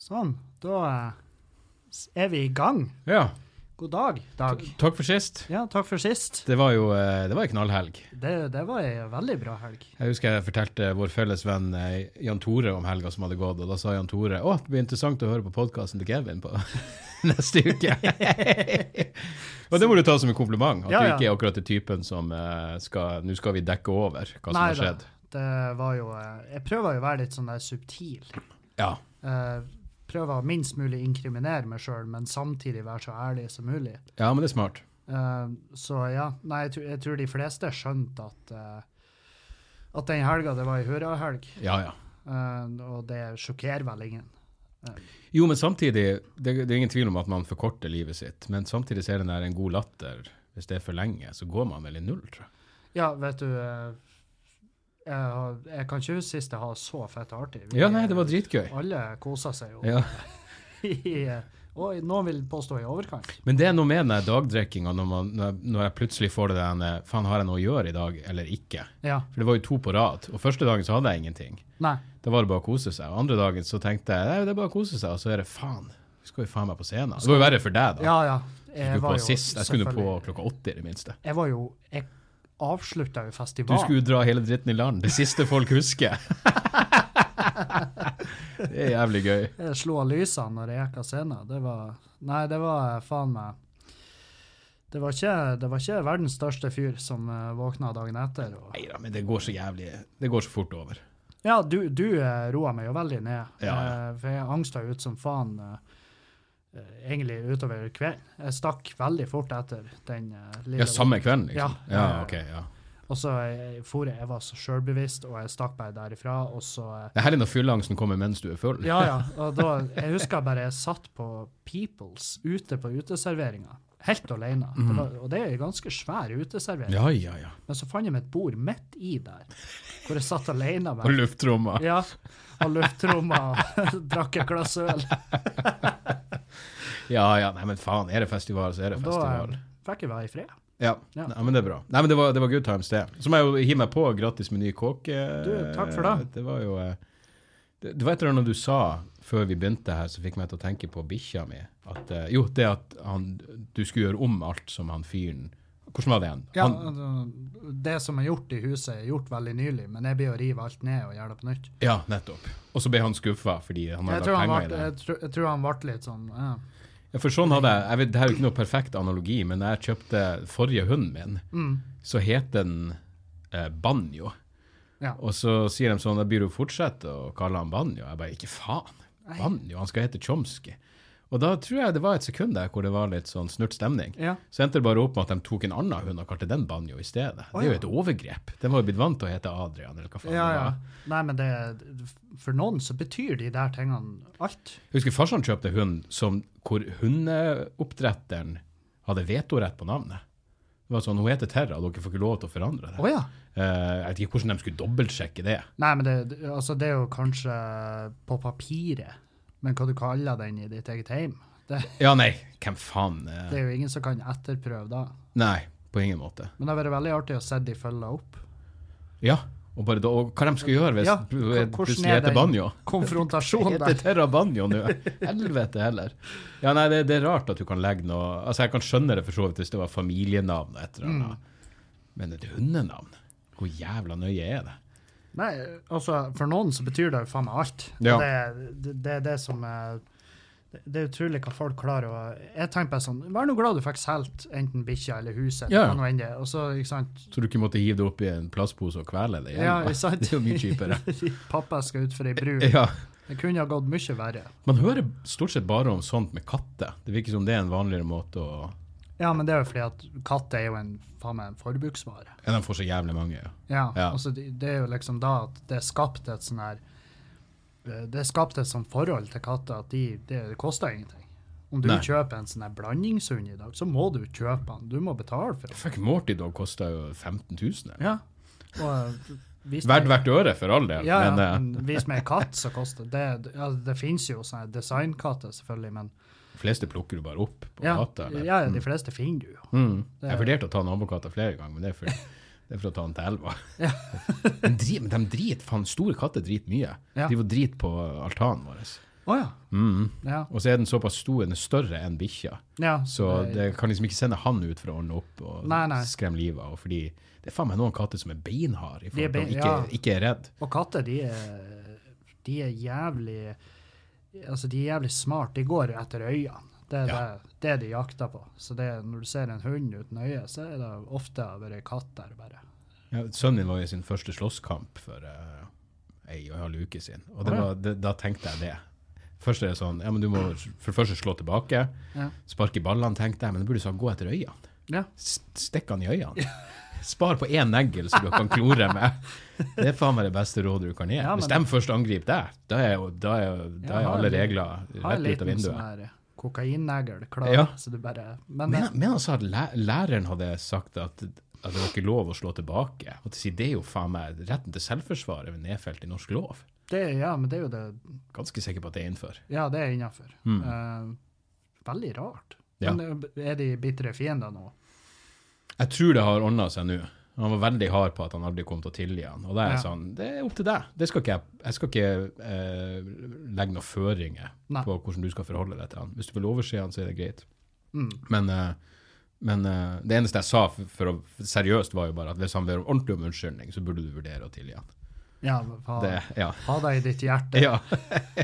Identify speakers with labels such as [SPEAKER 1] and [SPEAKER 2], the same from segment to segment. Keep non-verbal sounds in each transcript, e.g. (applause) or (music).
[SPEAKER 1] Sånn, da eh, er vi i gang.
[SPEAKER 2] Ja.
[SPEAKER 1] God dag, Dag.
[SPEAKER 2] Takk for sist.
[SPEAKER 1] Ja, takk for sist.
[SPEAKER 2] Det var jo eh, det var ei knallhelg.
[SPEAKER 1] Det, det var ei veldig bra helg.
[SPEAKER 2] Jeg husker jeg fortalte vår felles venn eh, Jan Tore om helga som hadde gått, og da sa Jan Tore å, det blir interessant å høre på podkasten til Kevin på (laughs) neste
[SPEAKER 1] (laughs)
[SPEAKER 2] uke. og det må du ta som en kompliment, at
[SPEAKER 1] Ja,
[SPEAKER 2] du
[SPEAKER 1] ja.
[SPEAKER 2] ikke er akkurat den typen som eh, skal Nå skal vi dekke over hva som har
[SPEAKER 1] Neida,
[SPEAKER 2] skjedd.
[SPEAKER 1] Det var jo eh, Jeg prøver jo å være litt sånn der subtil.
[SPEAKER 2] Ja.
[SPEAKER 1] Eh, Prøver å minst mulig inkriminere meg sjøl, men samtidig være så ærlig som mulig.
[SPEAKER 2] ja, men det er smart.
[SPEAKER 1] Eh, Så ja. Nei, jeg tror, jeg tror de fleste skjønte at eh, at den helga det var ei hurrahelg,
[SPEAKER 2] Ja, ja.
[SPEAKER 1] Eh, og det sjokkerer vel ingen.
[SPEAKER 2] Jo, men samtidig, det, det er ingen tvil om at man forkorter livet sitt, men samtidig så er den der en god latter. Hvis det er for lenge, så går man vel i null, tror jeg.
[SPEAKER 1] Ja, vet du eh, jeg, har, jeg kan ikke huske sist jeg har så fett artig. Vi- eh,
[SPEAKER 2] Ja, nei, det var dritgøy.
[SPEAKER 1] Alle koser seg (laughs) jo.
[SPEAKER 2] Ja.
[SPEAKER 1] I, eh, og i- noen vil påstå i overkant.
[SPEAKER 2] Men det er noe med den dagdrikkinga når, man- når, jeg- når jeg plutselig får det der eh, Faen, har jeg noe å gjøre i dag, eller ikke?
[SPEAKER 1] Ja.
[SPEAKER 2] For det var jo to på rad. Og første dagen så hadde jeg ingenting.
[SPEAKER 1] Nei.
[SPEAKER 2] Da var det bare å kose seg. Og andre dagen så tenkte jeg nei, det er bare å kose seg, og så er det faen. Skal vi faen meg på scenen? Det var jo verre for deg, da.
[SPEAKER 1] Ja, ja.
[SPEAKER 2] jeg skulle
[SPEAKER 1] var
[SPEAKER 2] på
[SPEAKER 1] jo
[SPEAKER 2] sist. Jeg skulle på
[SPEAKER 1] selvfølgelig-
[SPEAKER 2] klokka åtte, i det minste.
[SPEAKER 1] Jeg var jo Jeg avslutta jo
[SPEAKER 2] Du
[SPEAKER 1] festivalen.
[SPEAKER 2] skulle dra hele dritten i land. Det siste folk husker. (laughs) det er jævlig gøy.
[SPEAKER 1] Jeg slo av lysene når jeg gikk av scenen. Det var Nei, det var eh, faen meg det var, ikke, det var ikke verdens største fyr som eh, våkna dagen etter. Og,
[SPEAKER 2] Nei da, men det går så jævlig Det går så fort over.
[SPEAKER 1] Ja, du, du eh, roa meg jo veldig ned.
[SPEAKER 2] Ja, ja.
[SPEAKER 1] Eh, For jeg angsta jo ut som faen eh, eh, egentlig utover kvelden. Jeg stakk veldig fort etter den eh, lille
[SPEAKER 2] Ja, samme kvelden, liksom?
[SPEAKER 1] Ja.
[SPEAKER 2] Ja, ok, ja.
[SPEAKER 1] Og så eh, for jeg, jeg var så sjølbevisst, og jeg stakk bare derifra, og så eh,
[SPEAKER 2] Det er herlig når fylleangsten kommer mens du er full.
[SPEAKER 1] Ja, ja.
[SPEAKER 2] (laughs)
[SPEAKER 1] Og da Jeg husker bare jeg satt på Peoples ute på uteserveringa. Helt alene. Det var, og det er en ganske svær uteservering.
[SPEAKER 2] Mm. Ja, ja, ja.
[SPEAKER 1] Men så fant jeg meg et bord midt i der, hvor jeg satt alene. bare.
[SPEAKER 2] Og luftromma.
[SPEAKER 1] Ja, og lufttromma og (laughs) drakk et glass øl.
[SPEAKER 2] Ja, ja, nei, men faen, er det festival, så er det
[SPEAKER 1] Og da
[SPEAKER 2] festival.
[SPEAKER 1] eh, fikk jeg være i fred.
[SPEAKER 2] Ja,
[SPEAKER 1] ja.
[SPEAKER 2] Nei, men det er bra. Nei, men det var, det var good times, det. Så må jeg jo hive meg på grattis med ny kåk. eh,
[SPEAKER 1] Du, takk for det.
[SPEAKER 2] Det var jo eh, Det, det var et eller annet du sa før vi begynte her, som fikk meg til å tenke på bikkja mi. At, eh, jo, det at han, du skulle gjøre om alt som han fyren Hvordan var det igjen?
[SPEAKER 1] Ja,
[SPEAKER 2] Han,
[SPEAKER 1] altså, det som er gjort i huset, er gjort veldig nylig, men jeg blir å rive alt ned og gjøre det på nytt.
[SPEAKER 2] ja, nettopp. Og så ble han skuffa fordi han
[SPEAKER 1] Jeg
[SPEAKER 2] hadde
[SPEAKER 1] tror
[SPEAKER 2] lagt
[SPEAKER 1] han
[SPEAKER 2] penger i
[SPEAKER 1] ble,
[SPEAKER 2] det.
[SPEAKER 1] jeg tror, jeg tror han ble litt sånn ja.
[SPEAKER 2] Ja, for sånn hadde jeg, jeg vet, Det her er jo ikke noe perfekt analogi, men jeg kjøpte forrige hunden min.
[SPEAKER 1] Mm.
[SPEAKER 2] Så het den eh, Banjo.
[SPEAKER 1] Ja.
[SPEAKER 2] Og så sier de sånn Da blir du fortsette å kalle han Banjo. Jeg bare Ikke faen. Banjo, han skal hete Chomsky. Og da tror jeg det var et sekund der hvor det var litt sånn snurt stemning.
[SPEAKER 1] Ja.
[SPEAKER 2] Så endte det bare opp med at de tok en annen hund og kalte den Banjo i stedet. Det er jo et overgrep. Den var jo blitt vant til å hete Adrian, eller hva faen
[SPEAKER 1] ja,
[SPEAKER 2] det
[SPEAKER 1] ja.
[SPEAKER 2] var.
[SPEAKER 1] Nei, men det, for noen så betyr de der tingene alt.
[SPEAKER 2] Jeg husker farsan kjøpte hund som, hvor hundeoppdretteren hadde vetorett på navnet. Det var sånn, Hun heter Terra, dere får ikke lov til å forandre det.
[SPEAKER 1] Å ja.
[SPEAKER 2] Eh, jeg vet ikke hvordan de skulle dobbeltsjekke det.
[SPEAKER 1] Nei, men det, altså, det er jo kanskje på papiret, men hva du kaller den i ditt eget hjem, det,
[SPEAKER 2] Ja, nei, hvem faen? eh,
[SPEAKER 1] det er jo ingen som kan etterprøve da.
[SPEAKER 2] Nei, på ingen måte.
[SPEAKER 1] Men det har vært veldig artig å se de følge opp.
[SPEAKER 2] Ja, og bare da, og hva de skal gjøre hvis
[SPEAKER 1] Ja,
[SPEAKER 2] du
[SPEAKER 1] hva- hvordan
[SPEAKER 2] plutselig
[SPEAKER 1] er den
[SPEAKER 2] heter Banjo? (laughs)
[SPEAKER 1] konfrontasjonen
[SPEAKER 2] Heter
[SPEAKER 1] der.
[SPEAKER 2] Terra
[SPEAKER 1] (laughs)
[SPEAKER 2] Banjo nå? Helvete heller. Ja, nei, det, det er rart at du kan legge noe Altså, jeg kan skjønne det for så vidt hvis det var familienavn og et eller
[SPEAKER 1] Mm.
[SPEAKER 2] annet, men et hundenavn? Hvor jævla nøye er det?
[SPEAKER 1] Nei, altså, for noen så betyr det jo faen meg alt.
[SPEAKER 2] Ja.
[SPEAKER 1] Det, er- det, det er det som er Det er utrolig hva folk klarer å Jeg tenker bare sånn Vær nå glad du fikk solgt enten bikkja eller huset.
[SPEAKER 2] Ja.
[SPEAKER 1] hva nå enn det er. Og så, ikke sant
[SPEAKER 2] Så du ikke måtte hive det oppi en plastpose og kvele det? igjen,
[SPEAKER 1] Ja,
[SPEAKER 2] da?
[SPEAKER 1] ikke sant?
[SPEAKER 2] Det er jo mye
[SPEAKER 1] (laughs)
[SPEAKER 2] kjipere.
[SPEAKER 1] Pappa skal ut for ei bru.
[SPEAKER 2] Ja.
[SPEAKER 1] Det kunne ha gått mye verre.
[SPEAKER 2] Man hører stort sett bare om sånt med katter. Det virker som det er en vanligere måte å
[SPEAKER 1] Ja, men det er jo fordi at katt er jo en faen meg en forbruksvare.
[SPEAKER 2] Ja, de får så jævlig mange. ja.
[SPEAKER 1] Ja,
[SPEAKER 2] Ja.
[SPEAKER 1] altså det, det er jo liksom da at det er skapt et sånn her eh, Det er skapt et sånt forhold til katter at de, det, det koster ingenting. Om du
[SPEAKER 2] Nei.
[SPEAKER 1] kjøper en sånn her blandingshund i dag, så må du kjøpe den. Du må betale for den.
[SPEAKER 2] Fuck, Morty Dog kosta jo 15 000. eller?
[SPEAKER 1] Ja. Og, eh, hvis
[SPEAKER 2] Verdt
[SPEAKER 1] det-
[SPEAKER 2] hvert øre, for all del.
[SPEAKER 1] Ja, ja,
[SPEAKER 2] men, eh,
[SPEAKER 1] men hvis med katt, så koster det Det, ja, det finnes jo sånne designkatter, selvfølgelig, men
[SPEAKER 2] De fleste plukker du bare opp på
[SPEAKER 1] ja,
[SPEAKER 2] gata. Eller?
[SPEAKER 1] ja, de fleste finner du jo.
[SPEAKER 2] Mm.
[SPEAKER 1] er-
[SPEAKER 2] Jeg vurderte å ta nabokatta flere ganger, men det er
[SPEAKER 1] (laughs)
[SPEAKER 2] for, det er for å ta den til elva. de dri- (laughs) men de driter faen, store katter driter mye.
[SPEAKER 1] Ja.
[SPEAKER 2] De var drit på altanen vår.
[SPEAKER 1] Å ja.
[SPEAKER 2] Mm.
[SPEAKER 1] ja.
[SPEAKER 2] Og så er den såpass stor, den er større enn bikkja.
[SPEAKER 1] ja.
[SPEAKER 2] Så det kan liksom ikke sende han ut for å ordne opp og
[SPEAKER 1] Nei, nei.
[SPEAKER 2] skremme livet av. Fordi det er faen meg noen katter som er beinharde i
[SPEAKER 1] De er bein-
[SPEAKER 2] forhold til ikke,
[SPEAKER 1] ja.
[SPEAKER 2] ikke er redd.
[SPEAKER 1] Og katter, de er, de er jævlig Altså, de er jævlig smart. De går etter øynene. Det er
[SPEAKER 2] Ja.
[SPEAKER 1] det, det de jakter på. Så det, når du ser en hund uten øye, så er det ofte bare en katt der, bare.
[SPEAKER 2] Ja, sønnen min var i sin første slåsskamp for eh, ei og en halv uke siden. Og det
[SPEAKER 1] Å, ja.
[SPEAKER 2] var, det, da tenkte jeg det. Først er det sånn, ja, men du må for det første slå tilbake,
[SPEAKER 1] Ja.
[SPEAKER 2] sparke i ballene, tenkte jeg, men det burde sånn gå etter øynene.
[SPEAKER 1] Ja.
[SPEAKER 2] S- Stikk han i øynene. Spar på én negl som du kan klore med. Det er faen meg det beste rådet du kan gi.
[SPEAKER 1] Ja, men-
[SPEAKER 2] Hvis de først angriper deg, da er, jo- da er, jo- da
[SPEAKER 1] Ja,
[SPEAKER 2] er
[SPEAKER 1] ha
[SPEAKER 2] alle
[SPEAKER 1] en-
[SPEAKER 2] regler
[SPEAKER 1] Har en
[SPEAKER 2] rett ut av
[SPEAKER 1] liten sånn
[SPEAKER 2] vinduet.
[SPEAKER 1] her kokainnegl klar,
[SPEAKER 2] Ja.
[SPEAKER 1] så du bare Men, eh,
[SPEAKER 2] Men, men han sa at læ- læreren hadde sagt at, at det var ikke lov å slå tilbake. Og til å si det er jo faen meg retten til selvforsvar er vel nedfelt i norsk lov.
[SPEAKER 1] det, ja, men det er jo det
[SPEAKER 2] Ganske sikker på at det er innenfor.
[SPEAKER 1] Ja, det er innafor.
[SPEAKER 2] Mm.
[SPEAKER 1] veldig rart.
[SPEAKER 2] Ja.
[SPEAKER 1] Men eh, er de bitre fiender nå?
[SPEAKER 2] Jeg tror det har ordna seg nå. Han var veldig hard på at han aldri kom til å tilgi han. Og det er
[SPEAKER 1] Ja.
[SPEAKER 2] sånn, det er opp til deg. Det skal ikke jeg, jeg skal ikke eh, legge noen føringer
[SPEAKER 1] Nei.
[SPEAKER 2] på hvordan du skal forholde deg til han. Hvis du vil overse han, så er det greit.
[SPEAKER 1] Mm.
[SPEAKER 2] Men, eh, men eh, det eneste jeg sa for, for å, seriøst, var jo bare at hvis han ber om ordentlig om unnskyldning, så burde du vurdere å tilgi han.
[SPEAKER 1] Ja, men ha,
[SPEAKER 2] Det, ja.
[SPEAKER 1] ha det i ditt hjerte.
[SPEAKER 2] (laughs) Ja.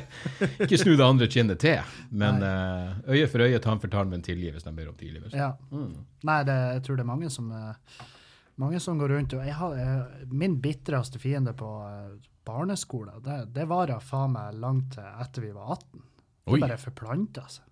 [SPEAKER 2] (laughs) ikke snu det andre kinnet til, men eh, øye for øye, tann for tann, men tilgi hvis de ber om tilgivelse.
[SPEAKER 1] Ja.
[SPEAKER 2] Mm.
[SPEAKER 1] Nei, det, jeg tror det er mange som eh, mange som går rundt og jeg har, eh, Min bitreste fiende på eh, barneskolen, det, det var da faen meg langt til etter vi var 18.
[SPEAKER 2] Oi.
[SPEAKER 1] Det bare forplanta seg.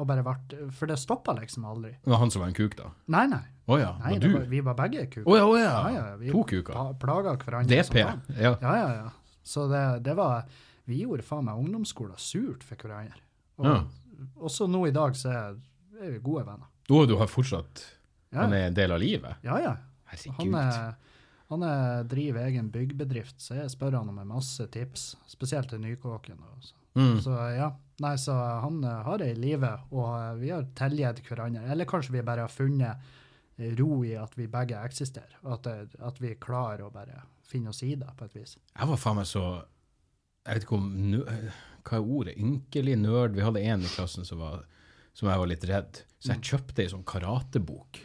[SPEAKER 1] Og bare vart, for det stoppa liksom aldri.
[SPEAKER 2] Det var han som var en kuk, da.
[SPEAKER 1] Nei, nei.
[SPEAKER 2] Å ja,
[SPEAKER 1] nei
[SPEAKER 2] var
[SPEAKER 1] det
[SPEAKER 2] du?
[SPEAKER 1] var, vi var begge kuker.
[SPEAKER 2] Å ja, å
[SPEAKER 1] Ja,
[SPEAKER 2] ja.
[SPEAKER 1] ja, vi
[SPEAKER 2] To kuker.
[SPEAKER 1] pla- Plaga hverandre. som
[SPEAKER 2] DP.
[SPEAKER 1] faen.
[SPEAKER 2] Ja.
[SPEAKER 1] Ja, ja, ja. Så det, det var Vi gjorde faen meg ungdomsskolen surt for hverandre. Og,
[SPEAKER 2] Ja.
[SPEAKER 1] Også nå i dag så er er vi gode venner.
[SPEAKER 2] Å, du har fortsatt
[SPEAKER 1] Ja,
[SPEAKER 2] Han er en del av livet?
[SPEAKER 1] ja. ja. Han,
[SPEAKER 2] Herregud.
[SPEAKER 1] er, han er, driver egen byggbedrift, så jeg spør han om en masse tips, spesielt til Nykåken. Og så.
[SPEAKER 2] Mm.
[SPEAKER 1] så ja, nei, så han eh, har det i live, og eh, vi har tilgitt hverandre. Eller kanskje vi bare har funnet eh, ro i at vi begge eksisterer, og at, det- at vi klarer å bare finne oss i det på et vis.
[SPEAKER 2] Jeg var faen meg så Jeg vet ikke om nø- Hva er ordet? Ynkelig nerd? Vi hadde en i klassen som, var, som jeg var litt redd. Så jeg kjøpte ei sånn karatebok.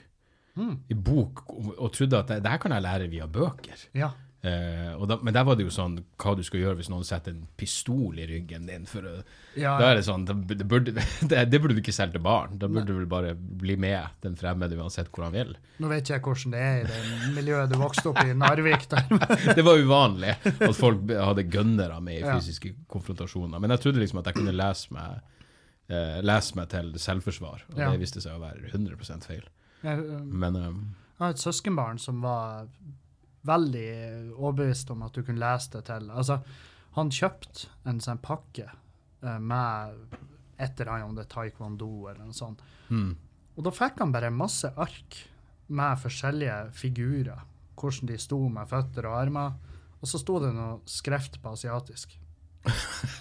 [SPEAKER 1] Mm.
[SPEAKER 2] I bok, og, og trodde at det, det her kan jeg lære via bøker.
[SPEAKER 1] Ja.
[SPEAKER 2] Eh, og da, men der var det jo sånn hva du skal gjøre hvis noen setter en pistol i ryggen din. For, å-
[SPEAKER 1] Ja,
[SPEAKER 2] da er det sånn, det burde, det, burde, (laughs) det, det burde du ikke selge til barn. Da burde du vel bare bli med den fremmede uansett hvor han vil.
[SPEAKER 1] Nå vet ikke jeg hvordan det er i det miljøet du vokste opp i, Narvik. der.
[SPEAKER 2] Det var uvanlig at folk be- hadde gønnere med i
[SPEAKER 1] Ja.
[SPEAKER 2] fysiske konfrontasjoner. Men jeg trodde liksom at jeg kunne lese meg, eh, lese meg til selvforsvar, og
[SPEAKER 1] Ja.
[SPEAKER 2] det viste seg å være 100 feil.
[SPEAKER 1] Jeg um,
[SPEAKER 2] Men eh,
[SPEAKER 1] jeg har et søskenbarn som var veldig overbevist om at du kunne lese det til. Altså, han kjøpte en sånn pakke eh, med et eller annet om det er taekwondo eller noe sånt.
[SPEAKER 2] hmm,
[SPEAKER 1] Og da fikk han bare masse ark med forskjellige figurer. Hvordan de sto med føtter og armer. Og så sto det noe skreft på asiatisk.
[SPEAKER 2] (laughs)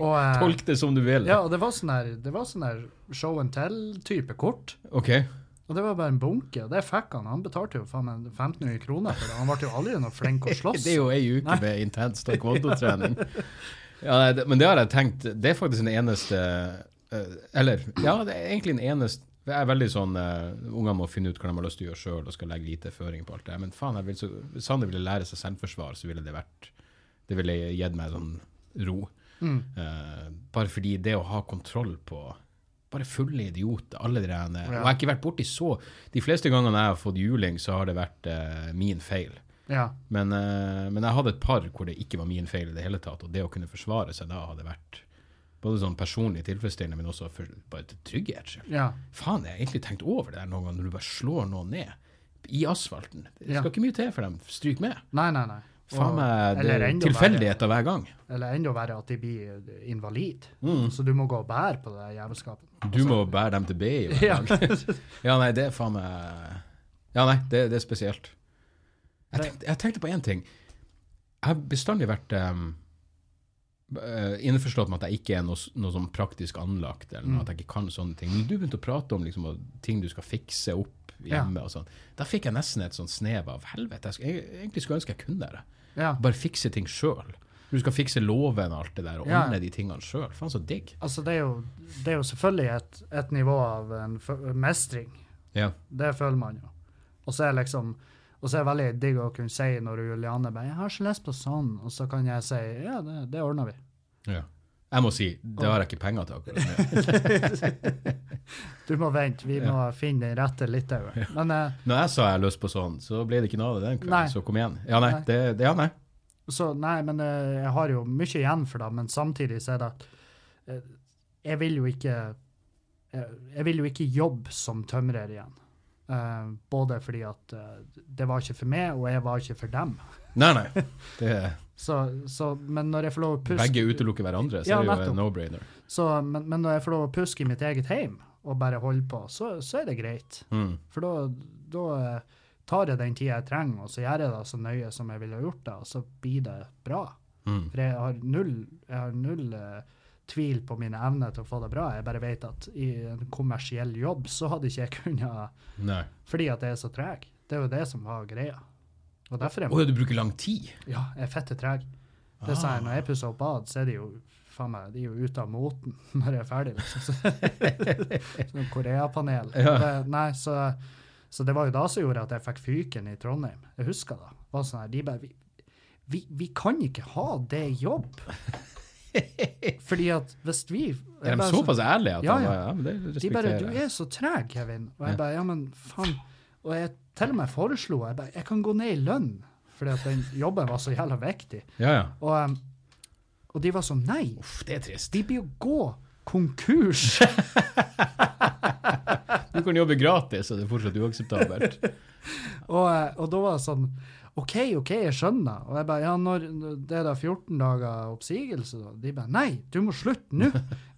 [SPEAKER 1] Og, eh,
[SPEAKER 2] tolk det som du vil.
[SPEAKER 1] Ja, og det var sånn der, det var sånn der show and tell-type kort.
[SPEAKER 2] OK.
[SPEAKER 1] Og det var bare en bunke, og det fikk han. Han betalte jo faen meg 1500 kroner for det. Han ble jo aldri noe flink
[SPEAKER 2] (laughs)
[SPEAKER 1] å slåss.
[SPEAKER 2] Det er jo ei uke med intens (laughs) taekwondo-trening. Ja, nei, det- men det har jeg tenkt Det er faktisk den eneste eh, Eller ja, det er egentlig den eneste jeg er veldig sånn, eh, Ungene må finne ut hva de har lyst til å gjøre sjøl og skal legge lite føring på alt det. Men faen, jeg vil så, hvis Sander ville lære seg selvforsvar, så ville det vært Det ville gitt meg sånn ro.
[SPEAKER 1] Mm.
[SPEAKER 2] Eh, bare fordi det å ha kontroll på bare fulle idioter, alle de der Og
[SPEAKER 1] Ja.
[SPEAKER 2] jeg har ikke vært borti så De fleste gangene jeg har fått juling, så har det vært eh, min feil.
[SPEAKER 1] Ja.
[SPEAKER 2] Men, eh, men jeg hadde et par hvor det ikke var min feil i det hele tatt, og det å kunne forsvare seg da hadde vært både sånn personlig tilfredsstillende, men også for, bare til trygghetsskyld.
[SPEAKER 1] ja.
[SPEAKER 2] Faen, jeg har egentlig tenkt over det der noen ganger, når du bare slår noen ned i asfalten. Det
[SPEAKER 1] Ja.
[SPEAKER 2] skal ikke mye til for dem. Stryk med.
[SPEAKER 1] Nei, nei, nei.
[SPEAKER 2] Faen meg det
[SPEAKER 1] eller
[SPEAKER 2] er
[SPEAKER 1] enda
[SPEAKER 2] tilfeldigheter hver gang.
[SPEAKER 1] Eller enda verre at de blir invalid.
[SPEAKER 2] Mm.
[SPEAKER 1] Så du må gå og bære på det der jævelskapet.
[SPEAKER 2] Du må bære dem til BI hver
[SPEAKER 1] Altså- (laughs) Ja.
[SPEAKER 2] dag. (laughs) Ja, nei, det er faen meg eh, Ja, nei, det, det er spesielt. Jeg tenkte, jeg tenkte på én ting. Jeg har bestandig vært em, eh, innforstått med at jeg ikke er noe, s- noe sånn praktisk anlagt, eller noe, at jeg ikke kan sånne ting. Men du begynte å prate om liksom, å- ting du skal fikse opp hjemme og sånn. Da fikk jeg nesten et sånn snev av helvete. Jeg, sk- jeg egentlig skulle ønske jeg kunne det.
[SPEAKER 1] ja.
[SPEAKER 2] Bare fikse ting sjøl. Du skal fikse låven og alt det der, og
[SPEAKER 1] Ja.
[SPEAKER 2] ordne de tingene sjøl. Faen, så digg.
[SPEAKER 1] Altså, det er jo, det er jo selvfølgelig et, et nivå av en f- mestring.
[SPEAKER 2] Ja.
[SPEAKER 1] Det føler man jo. Og så er liksom og så er det veldig digg å kunne si når Juliane bare 'Jeg har ikke lyst på sånn', og så kan jeg si 'Ja, det, det ordner vi'.
[SPEAKER 2] ja. Jeg må si, det har jeg ikke penger til akkurat nå.
[SPEAKER 1] Du må vente, vi må finne den rette litaueren. Men eh,
[SPEAKER 2] Når jeg sa jeg har lyst på sånn, så ble det ikke noe av det den kvelden.
[SPEAKER 1] Nei.
[SPEAKER 2] Så kom igjen. Ja, nei.
[SPEAKER 1] Nei.
[SPEAKER 2] Det, det, ja, nei.
[SPEAKER 1] Så nei, men eh, jeg har jo mye igjen for det, men samtidig så er det at eh, jeg vil jo ikke jeg, jeg vil jo ikke jobbe som tømrer igjen. Eh, både fordi at eh, det var ikke for meg, og jeg var ikke for dem.
[SPEAKER 2] Nei, nei. Det,
[SPEAKER 1] (laughs) Så, så, men når jeg får lov å puske,
[SPEAKER 2] begge utelukker hverandre, så
[SPEAKER 1] Ja,
[SPEAKER 2] er det jo
[SPEAKER 1] nettopp.
[SPEAKER 2] en no-brainer.
[SPEAKER 1] så, men, men når jeg får lov å puske i mitt eget hjem og bare holde på, så, så er det greit.
[SPEAKER 2] Mm.
[SPEAKER 1] For da, da eh, tar jeg den tida jeg trenger, og så gjør jeg det så nøye som jeg ville ha gjort det, og så blir det bra.
[SPEAKER 2] Mm.
[SPEAKER 1] For jeg har null, jeg har null eh, tvil på mine evner til å få det bra. Jeg bare vet at i en kommersiell jobb så hadde ikke jeg kunnet
[SPEAKER 2] Nei.
[SPEAKER 1] Fordi at jeg er så treg. Det er jo det som var greia. Og derfor
[SPEAKER 2] Å
[SPEAKER 1] er
[SPEAKER 2] ja, du bruker lang tid?
[SPEAKER 1] ja, jeg er fette treg. Det er
[SPEAKER 2] Ah.
[SPEAKER 1] sånn, Når jeg pusser opp bad, så er de jo faen meg, de er jo ute av moten (laughs) når jeg er ferdig. liksom. Så- (laughs) Sånn Koreapanel.
[SPEAKER 2] Ja.
[SPEAKER 1] Det- Nei, så, så det var jo da som gjorde at jeg fikk fyken i Trondheim. Jeg husker det. det var sånn her, de bare, vi, vi, vi kan ikke ha det i
[SPEAKER 2] (laughs)
[SPEAKER 1] jobb! Fordi at hvis vi jeg
[SPEAKER 2] Er de
[SPEAKER 1] bare sånn-
[SPEAKER 2] såpass ærlige at
[SPEAKER 1] Ja,
[SPEAKER 2] han
[SPEAKER 1] ja.
[SPEAKER 2] bare, ja, men det
[SPEAKER 1] de bare 'Du
[SPEAKER 2] respekterer
[SPEAKER 1] er
[SPEAKER 2] jeg.
[SPEAKER 1] så treg, Kevin'. Og jeg
[SPEAKER 2] Ja.
[SPEAKER 1] bare 'Ja, men faen'. Og jeg til og med foreslo jeg bare, jeg kan gå ned i lønn, fordi at den jobben var så jævla viktig.
[SPEAKER 2] Ja, ja.
[SPEAKER 1] Og, um, og de var sånn Nei,
[SPEAKER 2] Uff, det er trist.
[SPEAKER 1] de blir jo gå konkurs!
[SPEAKER 2] Du kan jobbe gratis, og det er fortsatt
[SPEAKER 1] (laughs)
[SPEAKER 2] uakseptabelt.
[SPEAKER 1] og, eh, og da var det sånn OK, OK, jeg skjønner. Og jeg bare Ja, når det er da 14 dager oppsigelse, da? De bare Nei, du må slutte nå!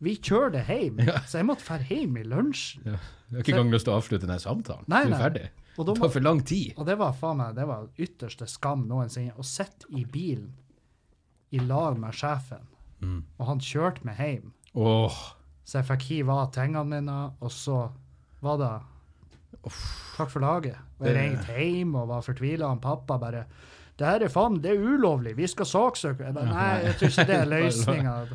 [SPEAKER 1] Vi kjører det hjem! Så jeg måtte dra hjem i lunsjen.
[SPEAKER 2] Jeg har ikke engang lyst til å avslutte denne samtalen.
[SPEAKER 1] Nei,
[SPEAKER 2] du er
[SPEAKER 1] nei.
[SPEAKER 2] ferdig.
[SPEAKER 1] Og,
[SPEAKER 2] Det
[SPEAKER 1] da
[SPEAKER 2] tar
[SPEAKER 1] må,
[SPEAKER 2] for lang tid.
[SPEAKER 1] og det var faen meg det var ytterste skam noensinne. Å sitte i bilen i lag med sjefen, og han kjørte meg hjem.
[SPEAKER 2] Åh,
[SPEAKER 1] Så jeg fikk hive av tingene mine, og så var det Takk for laget. Og jeg ringte hjem og var fortvila. Han pappa bare 'Det her er faen, det er ulovlig. Vi skal saksøke.' Jeg bare, Nei, jeg tror
[SPEAKER 2] (laughs)
[SPEAKER 1] ikke det er løsninga.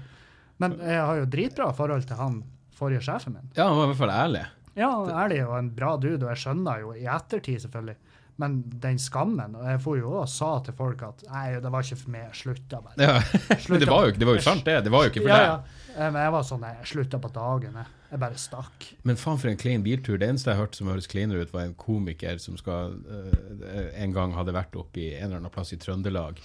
[SPEAKER 1] Men jeg har jo dritbra forhold til han forrige sjefen min.
[SPEAKER 2] Ja, han var i hvert fall ærlig.
[SPEAKER 1] Ja, han er ærlig og en bra dude, og jeg skjønner jo i ettertid, selvfølgelig. Men den skammen Og jeg for jo også og sa til folk at 'nei, det var ikke for meg, jeg slutta bare'.
[SPEAKER 2] Ja. Men det var jo, det var jo sant, det. Det var jo ikke for
[SPEAKER 1] Ja,
[SPEAKER 2] deg.
[SPEAKER 1] ja. Eh, Men jeg var sånn, nei, jeg slutta på dagen, jeg. Jeg bare stakk.
[SPEAKER 2] Men faen for en clean biltur. Det eneste jeg hørte som høres cleanere ut, var en komiker som skal, eh, en gang hadde vært oppe i en eller annen plass i Trøndelag.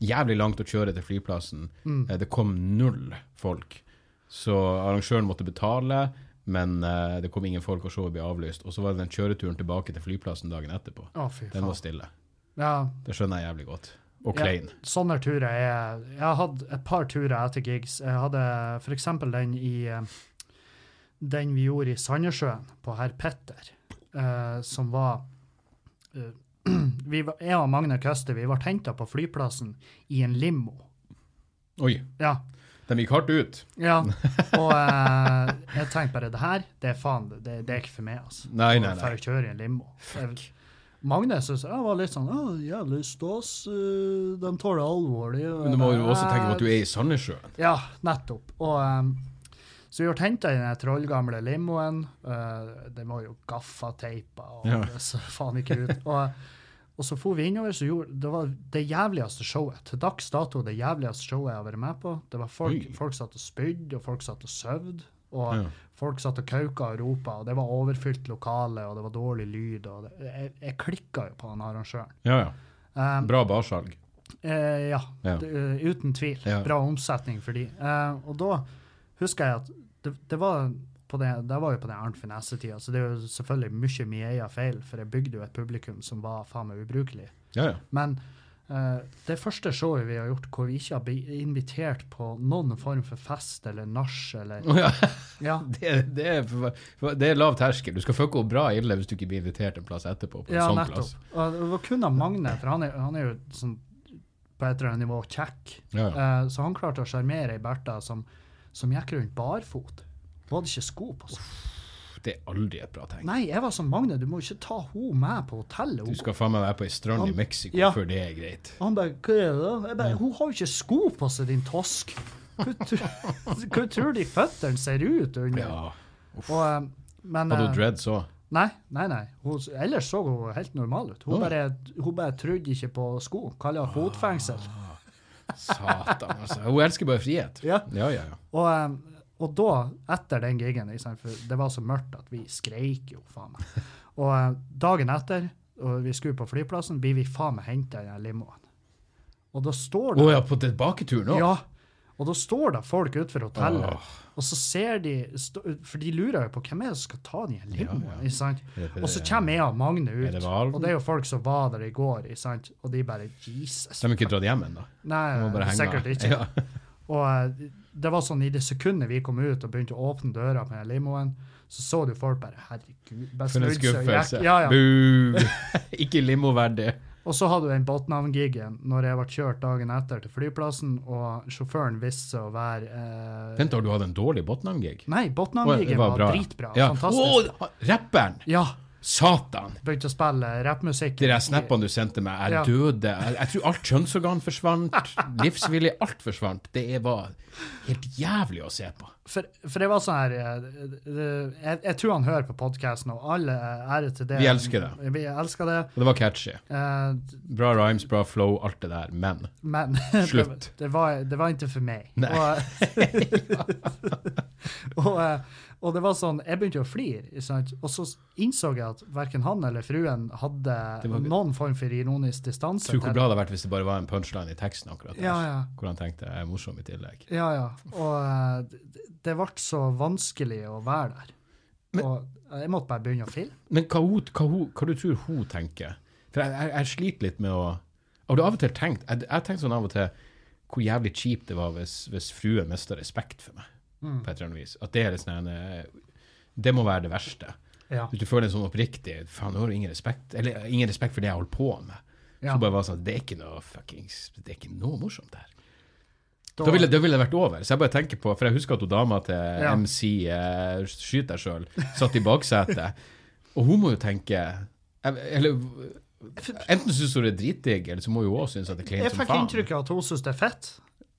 [SPEAKER 2] Jævlig langt å kjøre til flyplassen.
[SPEAKER 1] Mm.
[SPEAKER 2] Eh, det kom null folk. Så arrangøren måtte betale, men eh, det kom ingen folk, og showet ble avlyst. Og så var det den kjøreturen tilbake til flyplassen dagen etterpå.
[SPEAKER 1] Å, fy
[SPEAKER 2] Den
[SPEAKER 1] faen.
[SPEAKER 2] var stille.
[SPEAKER 1] Ja,
[SPEAKER 2] Det skjønner jeg jævlig godt. Og klein.
[SPEAKER 1] Ja, sånne turer er Jeg har hatt et par turer etter gigs. Jeg hadde f.eks. den i eh, Den vi gjorde i Sandnessjøen, på Herr Petter, eh, som var eh, (clears throat) vi var, Jeg og Magne Køste vi ble henta på flyplassen i en limo.
[SPEAKER 2] Oi,
[SPEAKER 1] Ja.
[SPEAKER 2] de gikk hardt ut.
[SPEAKER 1] ja. Og eh, jeg tenkte bare det her, det er faen, det, det er ikke for meg, altså.
[SPEAKER 2] Nei, nei,
[SPEAKER 1] For
[SPEAKER 2] nei.
[SPEAKER 1] å kjøre i en limo. Jeg- Magne syntes jeg var litt sånn «Å, jævlig stas, eh, de tar det alvorlig. og
[SPEAKER 2] Men du
[SPEAKER 1] jeg
[SPEAKER 2] må
[SPEAKER 1] bare,
[SPEAKER 2] jo også tenke på
[SPEAKER 1] «Nei,
[SPEAKER 2] at du er i Sandnessjøen.
[SPEAKER 1] ja, nettopp. Og um, så vi ble henta i den trollgamle limoen. Uh, den var jo gaffateipa og
[SPEAKER 2] Ja.
[SPEAKER 1] det så faen ikke ut. Og, og så for vi innover, så gjorde Det var det jævligste showet. Til dags dato det jævligste showet jeg har vært med på. Det var folk,
[SPEAKER 2] Oi.
[SPEAKER 1] folk satt og spydde, og folk satt og søvde. Og
[SPEAKER 2] Ja.
[SPEAKER 1] folk satt og kauka og ropa, og det var overfylt lokale, og det var dårlig lyd. Og det, jeg jeg klikka jo på han arrangøren.
[SPEAKER 2] Ja, ja.
[SPEAKER 1] Um,
[SPEAKER 2] Bra barsalg.
[SPEAKER 1] Eh, ja,
[SPEAKER 2] Ja.
[SPEAKER 1] Det, eh, uten tvil.
[SPEAKER 2] Ja.
[SPEAKER 1] Bra omsetning for de. Eh, og da husker jeg at det, det var på det, det var jo på den Arnt Finesse-tida, så det er jo (laughs) selvfølgelig mye min egen feil, for jeg bygde jo et publikum som var faen meg ubrukelig.
[SPEAKER 2] Ja, ja.
[SPEAKER 1] Men Eh, det første showet vi har gjort hvor vi ikke har blitt invitert på noen form for fest eller nach eller
[SPEAKER 2] Å ja.
[SPEAKER 1] Ja.
[SPEAKER 2] Mm. Det, det, er, for- for- det er lav terskel. Du skal fucke opp bra ille hvis du ikke blir invitert en plass etterpå. På en
[SPEAKER 1] Ja,
[SPEAKER 2] sånn
[SPEAKER 1] nettopp.
[SPEAKER 2] plass.
[SPEAKER 1] Og det var kun av Magne, for han er, han er jo sånn, på et eller annet nivå kjekk.
[SPEAKER 2] Ja, ja.
[SPEAKER 1] Eh, så han klarte å sjarmere ei Bertha som, som gikk rundt barfot. Hun hadde ikke sko på seg.
[SPEAKER 2] Det er aldri et bra tegn.
[SPEAKER 1] Nei, jeg var som Magne, du må jo ikke ta hun med på hotellet.
[SPEAKER 2] Du
[SPEAKER 1] Hun,
[SPEAKER 2] skal faen meg være på ei strand i Mexico
[SPEAKER 1] Ja.
[SPEAKER 2] før det er greit.
[SPEAKER 1] han bare, hva er det? da?" Jeg bare, hun har jo ikke sko på seg, din tosk. Hva tror- (laughs) hva tror de føttene ser ut under?
[SPEAKER 2] Ja.
[SPEAKER 1] Og, eh, men,
[SPEAKER 2] Hadde
[SPEAKER 1] eh,
[SPEAKER 2] hun dreads òg?
[SPEAKER 1] Nei, nei, nei. Hun, ellers så hun helt normal ut. Hun,
[SPEAKER 2] Oi.
[SPEAKER 1] bare, hun bare trodde ikke på sko. Kaller
[SPEAKER 2] Ah.
[SPEAKER 1] det fotfengsel.
[SPEAKER 2] Satan, altså. Hun elsker bare frihet.
[SPEAKER 1] Ja.
[SPEAKER 2] ja, ja. ja.
[SPEAKER 1] Og, eh, og da, etter den gigen, ikke sant, for det var så mørkt at vi skreik jo, faen meg. Og eh, dagen etter, og vi skulle på flyplassen, blir vi faen meg henta i den limoen. Og da står
[SPEAKER 2] Å
[SPEAKER 1] det
[SPEAKER 2] ja, på tilbaketur nå?
[SPEAKER 1] Ja. Og da står det folk utenfor hotellet,
[SPEAKER 2] Åh.
[SPEAKER 1] og så ser de stå, For de lurer jo på hvem er det som skal ta den i den limoen. ikke sant?
[SPEAKER 2] Er det-
[SPEAKER 1] Og så kommer jeg og Magne
[SPEAKER 2] Er
[SPEAKER 1] ut,
[SPEAKER 2] det Valven?
[SPEAKER 1] og det er jo folk som var der i går, ikke sant? og de bare Jesus.
[SPEAKER 2] Så de har ikke dratt hjem ennå?
[SPEAKER 1] Nei,
[SPEAKER 2] De må bare henge
[SPEAKER 1] Eh, sikkert
[SPEAKER 2] av.
[SPEAKER 1] ikke.
[SPEAKER 2] Ja.
[SPEAKER 1] Og eh, det var sånn i det sekundet vi kom ut og begynte å åpne døra med limoen, så så du folk bare Herregud. Bare
[SPEAKER 2] For en
[SPEAKER 1] snudde seg og gikk.
[SPEAKER 2] skuffelse.
[SPEAKER 1] Ja, ja.
[SPEAKER 2] Bu! (laughs) ikke limoverdig.
[SPEAKER 1] Og så hadde du den Botnavn-gigen når jeg ble kjørt dagen etter til flyplassen, og sjåføren viste seg å være eh,
[SPEAKER 2] Vent, har du hatt en dårlig Botnam-gig?
[SPEAKER 1] Nei, Botnavn-gigen var, dritbra.
[SPEAKER 2] Ja.
[SPEAKER 1] Fantastisk.
[SPEAKER 2] Å, rapperen!
[SPEAKER 1] Ja.
[SPEAKER 2] Satan!
[SPEAKER 1] Begynte å spille rappmusikk.
[SPEAKER 2] De der snappene du sendte meg, jeg
[SPEAKER 1] Ja.
[SPEAKER 2] døde. Jeg, jeg tror alt kjønnsorgan forsvant. Livsvillig, alt forsvant. Det er- var helt jævlig å se på.
[SPEAKER 1] For, for det var sånn her eh, det- jeg, jeg tror han hører på podkasten, og alle eh, ære til det.
[SPEAKER 2] Vi elsker
[SPEAKER 1] det. Vi elsker det.
[SPEAKER 2] Og det var catchy.
[SPEAKER 1] Eh,
[SPEAKER 2] Bra rhymes, bra flow, alt det der. Men
[SPEAKER 1] Men (laughs)
[SPEAKER 2] Slutt.
[SPEAKER 1] det, det, var, det var ikke for meg.
[SPEAKER 2] Nei.
[SPEAKER 1] Og, og, (laughs) eh, og det var sånn, jeg begynte å flire, ikke sant? og så innså jeg at verken han eller fruen hadde
[SPEAKER 2] Det var-
[SPEAKER 1] noen form for ironisk distanse.
[SPEAKER 2] tror du hvor
[SPEAKER 1] til-
[SPEAKER 2] bra det hadde vært hvis det bare var en punchline i teksten akkurat der?
[SPEAKER 1] Ja, ja.
[SPEAKER 2] Hvor han tenkte jeg er morsom i tillegg.
[SPEAKER 1] Ja, ja. Og eh, det, det ble så vanskelig å være der. og eh, jeg måtte bare begynne å filme.
[SPEAKER 2] Men hva, hun, hva, hun, hva du tror hun tenker? For jeg, jeg, jeg sliter litt med å Har du av og til tenkt Jeg, jeg tenker sånn av og til hvor jævlig kjipt det var hvis, hvis frue mista respekt for meg.
[SPEAKER 1] Mm.
[SPEAKER 2] på et eller annet vis. At det er litt sånn en, eh, Det må være det verste.
[SPEAKER 1] Ja.
[SPEAKER 2] Hvis du føler en sånn oppriktig Faen, nå har du ingen respekt Eller ingen respekt for det jeg holder på med.
[SPEAKER 1] Ja.
[SPEAKER 2] Så bare var det sånn Det er ikke noe fuckings Det er ikke noe morsomt der.
[SPEAKER 1] Da-
[SPEAKER 2] Da ville det ville det vært over. Så jeg bare tenker på For jeg husker at hun dama til
[SPEAKER 1] Ja.
[SPEAKER 2] MC eh, Skyt deg sjøl satt i baksetet. og hun må jo tenke jeg- Eller Enten syns hun det er dritdigg, eller så må hun òg synes at det er
[SPEAKER 1] jeg
[SPEAKER 2] kleint som
[SPEAKER 1] fikk
[SPEAKER 2] faen.
[SPEAKER 1] inntrykk av at hun syntes det er fett.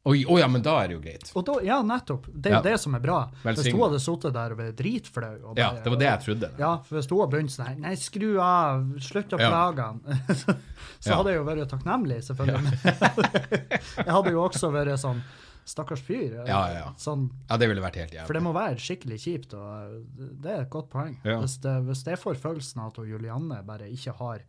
[SPEAKER 2] Oi, Å ja, men da er det jo greit.
[SPEAKER 1] Og da, ja, nettopp. Det er jo
[SPEAKER 2] Ja.
[SPEAKER 1] det som er bra. Hvis
[SPEAKER 2] Velsignet.
[SPEAKER 1] hun hadde sittet der og vært dritflau og
[SPEAKER 2] Ja,
[SPEAKER 1] bare-
[SPEAKER 2] det var det jeg trodde.
[SPEAKER 1] Ja, for hvis hun har begynt sånn her Nei, skru av, slutt å
[SPEAKER 2] Ja.
[SPEAKER 1] plage han. (laughs) Så
[SPEAKER 2] Ja.
[SPEAKER 1] hadde jeg jo vært takknemlig, selvfølgelig. (laughs) jeg hadde jo også vært sånn Stakkars fyr.
[SPEAKER 2] Ja, ja, ja.
[SPEAKER 1] Sånn,
[SPEAKER 2] Ja, det ville vært helt jævlig.
[SPEAKER 1] for det må være skikkelig kjipt, og eh, det er et godt poeng.
[SPEAKER 2] Ja.
[SPEAKER 1] Hvis, det, hvis det får følelsen av at hun Julianne bare ikke har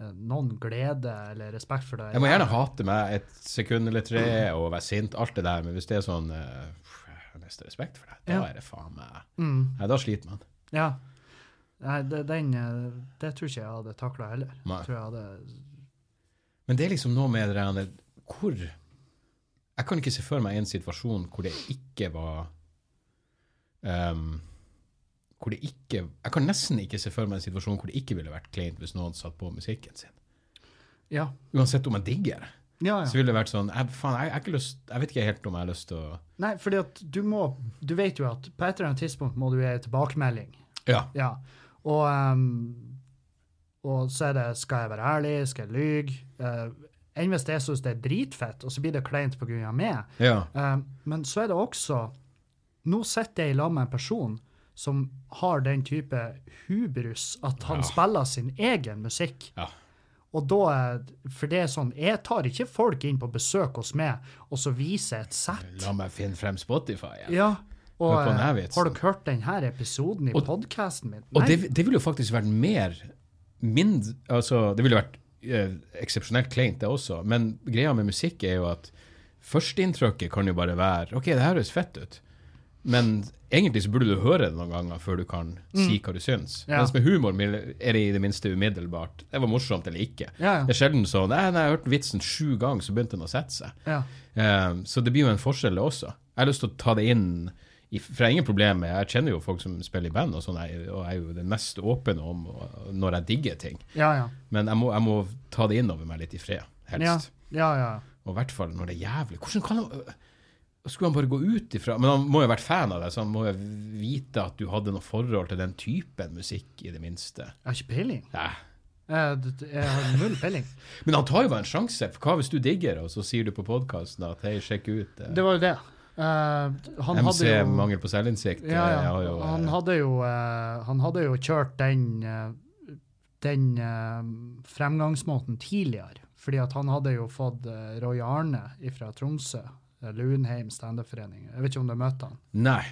[SPEAKER 1] eh, noen glede eller respekt for det
[SPEAKER 2] Jeg må gjerne hate meg et sekund eller tre og være sint, alt det der, men hvis det er sånn eh, pff, Jeg har nesten respekt for deg. Da
[SPEAKER 1] Ja.
[SPEAKER 2] er det faen meg
[SPEAKER 1] mm,
[SPEAKER 2] Nei, da sliter man.
[SPEAKER 1] Ja. Nei, det, den, eh, det tror ikke jeg hadde takla heller.
[SPEAKER 2] Nei.
[SPEAKER 1] Tror jeg hadde
[SPEAKER 2] Men det er liksom noe med det der Hvor Jeg kan ikke se for meg en situasjon hvor det ikke var ehm, Hvor det ikke Jeg kan nesten ikke se for meg en situasjon hvor det ikke ville vært kleint hvis noen satt på musikken sin.
[SPEAKER 1] Ja.
[SPEAKER 2] Uansett om jeg digger det.
[SPEAKER 1] ja, ja.
[SPEAKER 2] Så ville det vært sånn jeg, faen, jeg, jeg, har ikke lyst, jeg vet ikke helt om jeg har lyst til å
[SPEAKER 1] Nei, fordi at du må Du vet jo at på et eller annet tidspunkt må du gi en tilbakemelding.
[SPEAKER 2] Ja.
[SPEAKER 1] Ja. Og, ehm, og så er det Skal jeg være ærlig? Skal jeg lyge? Uh, Enn hvis jeg syns det er dritfett, og så blir det kleint pga. meg.
[SPEAKER 2] ja.
[SPEAKER 1] Ehm, men så er det også Nå sitter jeg i lag med en person som har den type hubris at han
[SPEAKER 2] Ja.
[SPEAKER 1] spiller sin egen musikk.
[SPEAKER 2] ja.
[SPEAKER 1] Og da, er- For det er sånn Jeg tar ikke folk inn på besøk hos meg, og så viser jeg et sett.
[SPEAKER 2] La meg finne frem Spotify. Ja.
[SPEAKER 1] Ja. Og
[SPEAKER 2] Hør på den her
[SPEAKER 1] eh,
[SPEAKER 2] vitsen.
[SPEAKER 1] har dere hørt denne episoden i
[SPEAKER 2] Og-
[SPEAKER 1] podkasten min?
[SPEAKER 2] Og
[SPEAKER 1] Nei.
[SPEAKER 2] det, det ville jo faktisk vært mer mindre, altså, Det ville vært eh, eksepsjonelt kleint, det også. Men greia med musikk er jo at førsteinntrykket kan jo bare være OK, det her høres fett ut. Men egentlig så burde du høre det noen ganger før du kan si hva du syns.
[SPEAKER 1] Mm. Ja.
[SPEAKER 2] Mens med humor er det i det minste umiddelbart. Det var morsomt eller ikke.
[SPEAKER 1] Ja, ja.
[SPEAKER 2] Det er sjelden sånn Nei, nei, jeg hørte vitsen sju ganger, så begynte den å sette seg.
[SPEAKER 1] Ja.
[SPEAKER 2] Eh, så det blir jo en forskjell, det også. Jeg har lyst til å ta det inn, i, for jeg har ingen problemer med Jeg kjenner jo folk som spiller i band, og sånn, jeg, og jeg er jo den mest åpne om og- når jeg digger ting.
[SPEAKER 1] Ja, ja.
[SPEAKER 2] Men jeg må, jeg må ta det innover meg litt i fred, helst.
[SPEAKER 1] Ja, ja, ja.
[SPEAKER 2] Og i hvert fall når det er jævlig. Hvordan kan han øh, Skulle han bare gå ut ifra Men han må jo ha vært fan av deg, så han må jo vite at du hadde noe forhold til den typen musikk, i det minste.
[SPEAKER 1] Jeg har ikke peiling.
[SPEAKER 2] Nei.
[SPEAKER 1] Eh, det- Jeg har null
[SPEAKER 2] (laughs)
[SPEAKER 1] peiling.
[SPEAKER 2] Men han tar jo bare en sjanse. For hva hvis du digger det, og så sier du på podkasten at hei, sjekk ut eh,
[SPEAKER 1] Det var jo det. Eh, han
[SPEAKER 2] MC
[SPEAKER 1] hadde jo
[SPEAKER 2] Mangel på selvinnsikt.
[SPEAKER 1] Ja,
[SPEAKER 2] eh, har
[SPEAKER 1] ja.
[SPEAKER 2] jo, eh,
[SPEAKER 1] Han hadde jo, eh, han hadde jo kjørt den, eh, den eh, fremgangsmåten tidligere. Fordi at han hadde jo fått eh, Roy Arne fra Tromsø, eh, Lunheim standup-forening. Jeg vet ikke om du møtte han.
[SPEAKER 2] eh, Nei.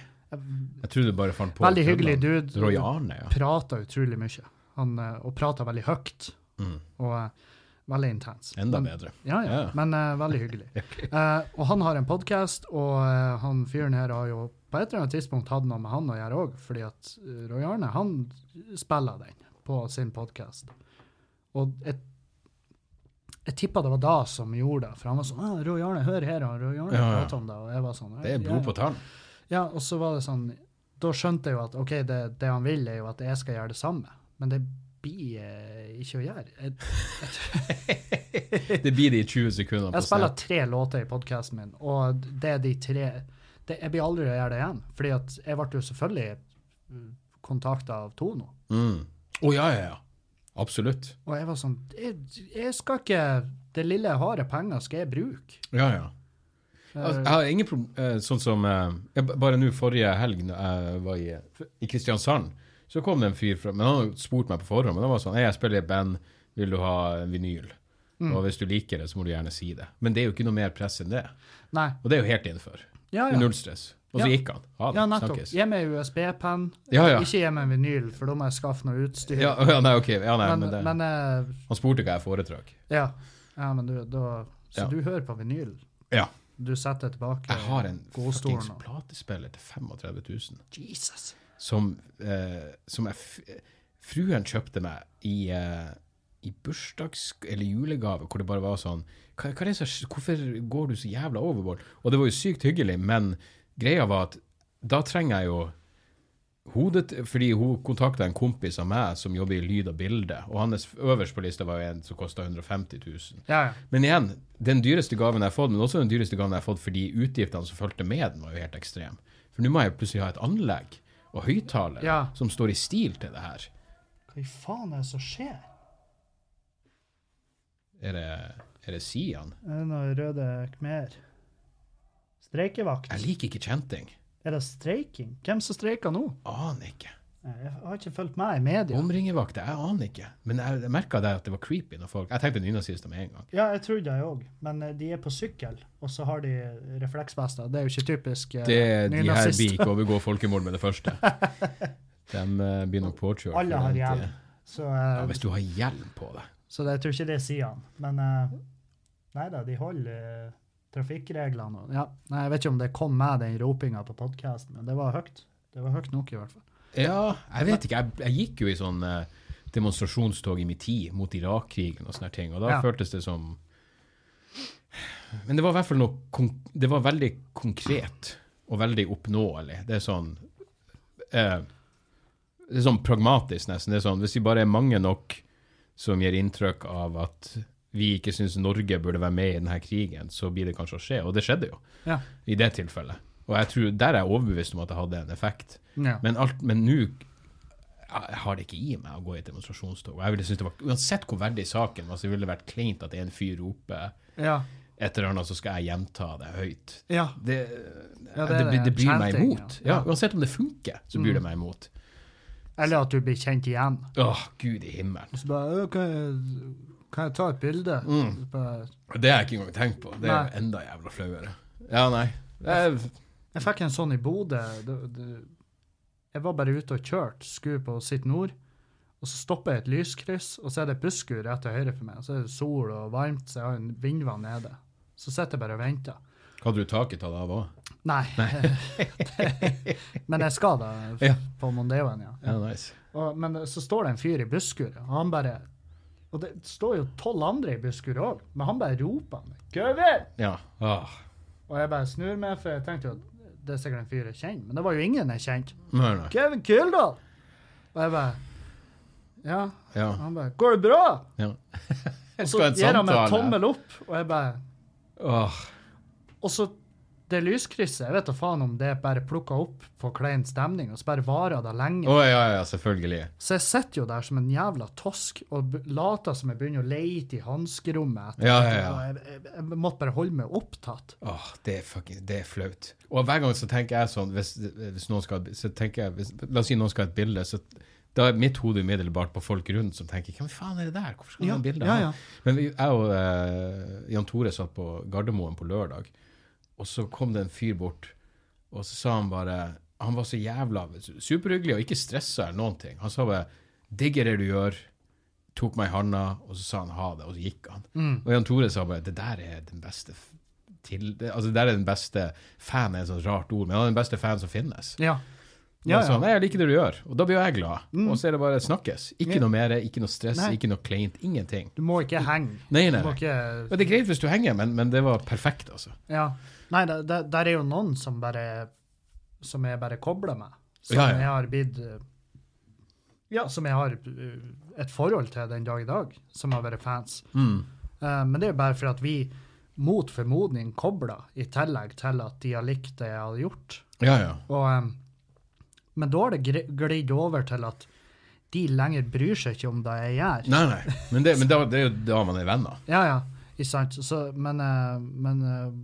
[SPEAKER 2] Jeg trodde du bare fant på
[SPEAKER 1] Veldig hyggelig
[SPEAKER 2] køddene.
[SPEAKER 1] dude.
[SPEAKER 2] Roy Arne, ja.
[SPEAKER 1] Prata utrolig mye. Han, eh, og prata veldig høyt.
[SPEAKER 2] Mm.
[SPEAKER 1] Og eh, veldig intens.
[SPEAKER 2] Enda
[SPEAKER 1] Men-
[SPEAKER 2] bedre.
[SPEAKER 1] Ja, ja.
[SPEAKER 2] (laughs) Ja.
[SPEAKER 1] Men eh, veldig hyggelig. Eh, og han har en podkast, og eh, han fyren her har jo på et eller annet tidspunkt hatt noe med han å gjøre òg, fordi at eh, Roy Arne, han spiller den på sin podkast. Og jeg, jeg tippa det var da som gjorde det, for han var sånn ah, 'Roy Arne, hør her', og Roy Arne
[SPEAKER 2] Ja, ja.
[SPEAKER 1] prater om det, og jeg var sånn
[SPEAKER 2] Det er blod på tann.
[SPEAKER 1] ja, og så var det sånn Da skjønte jeg jo at OK, det, det han vil, er jo at jeg skal gjøre det samme, men det blir eh, ikke å gjøre. Jeg,
[SPEAKER 2] Det blir de 20 sekundene på
[SPEAKER 1] Jeg spiller
[SPEAKER 2] scenen.
[SPEAKER 1] tre låter i podkasten min, og det er de tre det, Jeg blir aldri å gjøre det igjen. Fordi at jeg ble jo selvfølgelig kontakta av Tono.
[SPEAKER 2] Å mm. Å, ja, ja, ja. Absolutt.
[SPEAKER 1] Og jeg var sånn Jeg, jeg skal ikke Det lille jeg har av penger, skal jeg bruke. Eh,
[SPEAKER 2] Ja, ja. Altså, jeg har ingen problem Sånn som eh, jeg, b- Bare nå forrige helg når jeg var i, i Kristiansand, så kom det en fyr fra Men han hadde spurt meg på forhånd. Men han var sånn Hei, jeg spiller i et band. Vil du ha en vinyl?
[SPEAKER 1] Mm.
[SPEAKER 2] Og hvis du liker det, så må du gjerne si det. Men det er jo ikke noe mer press enn det.
[SPEAKER 1] Nei.
[SPEAKER 2] Og det er jo helt innenfor.
[SPEAKER 1] Ja, ja.
[SPEAKER 2] Null stress. Og så
[SPEAKER 1] Ja.
[SPEAKER 2] gikk han. Ha det.
[SPEAKER 1] Ja, nettopp.
[SPEAKER 2] Snakkes.
[SPEAKER 1] Gi meg USB-penn.
[SPEAKER 2] Ja, ja.
[SPEAKER 1] Ikke gi meg en vinyl, for da må jeg skaffe noe utstyr.
[SPEAKER 2] Ja, ja, nei, ok. Ja, nei, men,
[SPEAKER 1] men,
[SPEAKER 2] det,
[SPEAKER 1] men eh,
[SPEAKER 2] han spurte hva jeg foretrakk.
[SPEAKER 1] ja. ja, men du, da Så
[SPEAKER 2] Ja.
[SPEAKER 1] du hører på vinyl?
[SPEAKER 2] Ja.
[SPEAKER 1] Du setter tilbake
[SPEAKER 2] Jeg har en
[SPEAKER 1] godstolen
[SPEAKER 2] fuckings
[SPEAKER 1] og-
[SPEAKER 2] platespiller til 35 000.
[SPEAKER 1] Jesus!
[SPEAKER 2] som, eh, som jeg, f- fruen kjøpte meg i, eh, i bursdags- eller julegave, hvor det bare var sånn hva, hva er det som, sk- Hvorfor går du så jævla overboard? Og det var jo sykt hyggelig, men greia var at da trenger jeg jo hodet Fordi hun kontakta en kompis av meg som jobber i lyd og bilde, og hans øverst på lista var jo en som kosta 150 000.
[SPEAKER 1] Ja, ja.
[SPEAKER 2] Men igjen, den dyreste gaven jeg har fått, men også den dyreste gaven jeg har fått fordi utgiftene som fulgte med den, var jo helt ekstrem. For nå må jeg jo plutselig ha et anlegg og høyttaler
[SPEAKER 1] Ja.
[SPEAKER 2] som står i stil til det her.
[SPEAKER 1] Hva i faen er det som skjer?
[SPEAKER 2] Er det, er det Sian?
[SPEAKER 1] Er det noe røde khmer? Streikevakt?
[SPEAKER 2] Jeg liker ikke kjenting.
[SPEAKER 1] Er det streiking? Hvem som streiker nå?
[SPEAKER 2] Aner ikke.
[SPEAKER 1] Jeg har ikke fulgt med i media.
[SPEAKER 2] Omringevakter, jeg aner ikke. Men jeg, jeg merka at det var creepy når folk Jeg tenkte nynazister med en gang.
[SPEAKER 1] Ja, jeg trodde jeg òg, men eh, de er på sykkel, og så har de refleksvester. Det er jo ikke typisk eh,
[SPEAKER 2] Det, de her
[SPEAKER 1] nynazister.
[SPEAKER 2] blir ikke overgå folkemord med det første. De eh, blir nok påkjørt.
[SPEAKER 1] Alle har hjelm. (laughs) Så, eh,
[SPEAKER 2] Ja, hvis du har hjelm på deg.
[SPEAKER 1] så det, jeg tror ikke det sier han. Men eh, nei da, de holder eh, trafikkreglene. og- Ja. Nei, jeg vet ikke om det kom med den ropinga på podkasten, men det var høyt. Det var høyt nok, i hvert fall.
[SPEAKER 2] Ja, jeg vet ikke. Jeg, jeg gikk jo i sånn eh, demonstrasjonstog i min tid mot Irak-krigen og sånne ting, og da
[SPEAKER 1] Ja.
[SPEAKER 2] føltes det som Men det var i hvert fall noe konk Det var veldig konkret og veldig oppnåelig. Det er sånn eh, Det er sånn pragmatisk, nesten. Det er sånn, Hvis vi bare er mange nok som gir inntrykk av at vi ikke syns Norge burde være med i denne krigen, så blir det kanskje å skje. Og det skjedde jo,
[SPEAKER 1] Ja.
[SPEAKER 2] i det tilfellet. Og jeg tror, der er jeg overbevist om at det hadde en effekt.
[SPEAKER 1] Ja.
[SPEAKER 2] Men alt, men nå jeg har det ikke i meg å gå i et demonstrasjonstog. Og Jeg ville synes det var, Uansett hvor verdig saken var, så ville det vært kleint at en fyr roper
[SPEAKER 1] Ja.
[SPEAKER 2] et eller annet, så skal jeg gjenta det høyt.
[SPEAKER 1] ja.
[SPEAKER 2] Det,
[SPEAKER 1] Ja,
[SPEAKER 2] det,
[SPEAKER 1] det er
[SPEAKER 2] blir- det bryr meg
[SPEAKER 1] chanting,
[SPEAKER 2] imot.
[SPEAKER 1] ja. Mm.
[SPEAKER 2] Ja, uansett om det funker, så bryr det meg imot.
[SPEAKER 1] Eller at du blir kjent igjen.
[SPEAKER 2] Åh, gud i himmelen.
[SPEAKER 1] Og så bare «Øh, kan jeg, kan jeg ta et bilde? Så Bare,
[SPEAKER 2] Mm. Det har jeg ikke engang tenkt på. Det er
[SPEAKER 1] Nei.
[SPEAKER 2] jo enda jævla flauere. Ja, nei. Det er,
[SPEAKER 1] jeg fikk en sånn i Bodø. Det- det- Jeg var bare ute og kjørte, skulle på sitt nord. Og så stopper jeg et lyskryss, og så er det et busskur rett til høyre for meg. Så er det sol og varmt, så jeg har en vindvann nede. Så sitter jeg bare og venter.
[SPEAKER 2] Hadde du taket tatt av òg?
[SPEAKER 1] Nei. (laughs) men jeg skal da f-
[SPEAKER 2] Ja.
[SPEAKER 1] på Mondeoen, ja.
[SPEAKER 2] Ja, nice.
[SPEAKER 1] Og, men så står det en fyr i busskur, og han bare Og det står jo tolv andre i busskur òg, men han bare roper meg. Gøver!
[SPEAKER 2] Ja. Ah.
[SPEAKER 1] Og jeg bare snur meg, for jeg tenkte jo at det er sikkert en fyr jeg kjenner. Men det var jo ingen jeg kjente.
[SPEAKER 2] Nei, nei.
[SPEAKER 1] Kevin Kildahl! Og jeg bare Ja.
[SPEAKER 2] Ja.
[SPEAKER 1] Og han bare Går det bra?
[SPEAKER 2] ja.
[SPEAKER 1] Og
[SPEAKER 2] Jeg
[SPEAKER 1] så
[SPEAKER 2] skal ha en
[SPEAKER 1] gir han meg
[SPEAKER 2] samtale.
[SPEAKER 1] en tommel opp, og jeg bare
[SPEAKER 2] Åh.
[SPEAKER 1] Og så det lyskrysset, jeg vet da faen om det bare plukka opp på klein stemning, og så bare varer det lenge.
[SPEAKER 2] Å ja, ja, selvfølgelig.
[SPEAKER 1] Så jeg sitter jo der som en jævla tosk og b- later som jeg begynner å leite i hanskerommet. etter-
[SPEAKER 2] Ja, ja, ja.
[SPEAKER 1] Og Jeg, jeg, jeg måtte bare holde meg opptatt.
[SPEAKER 2] Åh, det er fucking, det er flaut. Og hver gang så tenker jeg sånn, hvis, hvis noen skal, så tenker jeg, hvis, la oss si noen skal ha et bilde, så da er mitt hode umiddelbart på folk rundt som tenker, hvem faen er det der? Hvorfor skal du
[SPEAKER 1] Ja,
[SPEAKER 2] ha et bilde?
[SPEAKER 1] ja,
[SPEAKER 2] av?"
[SPEAKER 1] ja.
[SPEAKER 2] Men vi, jeg og eh, Jan Tore satt på Gardermoen på lørdag, og så kom det en fyr bort, og så sa han bare, han var så jævla superhyggelig og ikke stresset eller noen ting. Han sa bare, digger det du gjør, tok meg i handa, og så sa han ha det, og så gikk han.
[SPEAKER 1] Mm.
[SPEAKER 2] Og Jan Tore sa bare, det der er den beste f- til, det, altså det der er den beste fan er et sånt rart ord, men han er den beste fan som finnes.
[SPEAKER 1] Ja.
[SPEAKER 2] Og
[SPEAKER 1] Ja,
[SPEAKER 2] han sa,
[SPEAKER 1] ja. Mm.
[SPEAKER 2] Nei, jeg liker det du gjør, og da blir jo jeg glad. Og så er det bare snakkes. Ikke
[SPEAKER 1] Ja.
[SPEAKER 2] noe mer, ikke noe stress,
[SPEAKER 1] Nei.
[SPEAKER 2] ikke noe kleint, ingenting.
[SPEAKER 1] Du må ikke henge.
[SPEAKER 2] Nei,
[SPEAKER 1] Du må
[SPEAKER 2] nei, nei.
[SPEAKER 1] ikke
[SPEAKER 2] Og det er greit hvis du henger, men, men det var perfekt, altså.
[SPEAKER 1] Ja. Nei, det, det, der er jo noen som bare Som jeg bare kobler med. Som
[SPEAKER 2] Ja, ja.
[SPEAKER 1] jeg har blitt eh, Ja, som jeg har eh, et forhold til den dag i dag, som har vært fans. Eh, men det er jo bare for at vi mot formodning kobler, i tillegg til at de har likt det jeg har gjort.
[SPEAKER 2] Ja, ja.
[SPEAKER 1] Og, eh, men da har det gri- glidd over til at de lenger bryr seg ikke om det jeg gjør.
[SPEAKER 2] Nei, nei. Men det, men da, det er jo da man er venner.
[SPEAKER 1] Ja, ja, ikke sant. Så, men eh, men eh,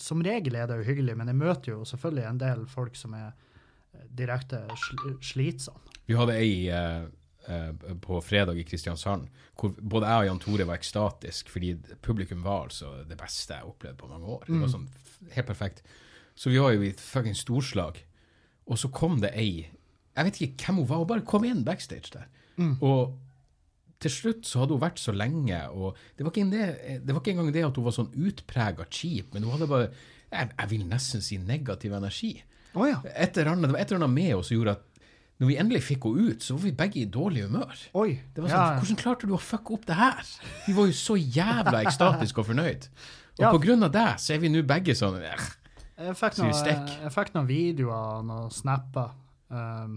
[SPEAKER 1] som regel er det jo hyggelig, men jeg møter jo selvfølgelig en del folk som er eh, direkte sl slitsomme.
[SPEAKER 2] Vi hadde ei eh, eh, på fredag i Kristiansand, hvor både jeg og Jan Tore var ekstatisk, fordi publikum var altså det beste jeg har opplevd på mange år. Det var sånn f- helt perfekt. Så vi var jo i et fucking storslag, og så kom det ei, jeg vet ikke hvem hun var, hun bare kom inn backstage der. Og til slutt så hadde hun vært så lenge, og det var ikke, en det, det var ikke engang det at hun var sånn utprega kjip, men hun hadde bare, jeg, jeg vil nesten si negativ energi
[SPEAKER 1] Å ja.
[SPEAKER 2] et eller annet, det var et eller annet med oss som gjorde at når vi endelig fikk henne ut, så var vi begge i dårlig humør.
[SPEAKER 1] Oi.
[SPEAKER 2] Det var sånn,
[SPEAKER 1] ja,
[SPEAKER 2] Hvordan klarte du å fucke opp det her? Vi var jo så jævla ekstatiske og fornøyd. Og
[SPEAKER 1] Ja.
[SPEAKER 2] på grunn av deg så er vi nå begge sånn eh,
[SPEAKER 1] jeg, fikk
[SPEAKER 2] Så
[SPEAKER 1] noe,
[SPEAKER 2] vi
[SPEAKER 1] jeg,
[SPEAKER 2] stekk.
[SPEAKER 1] fikk noen videoer og noen snapper um,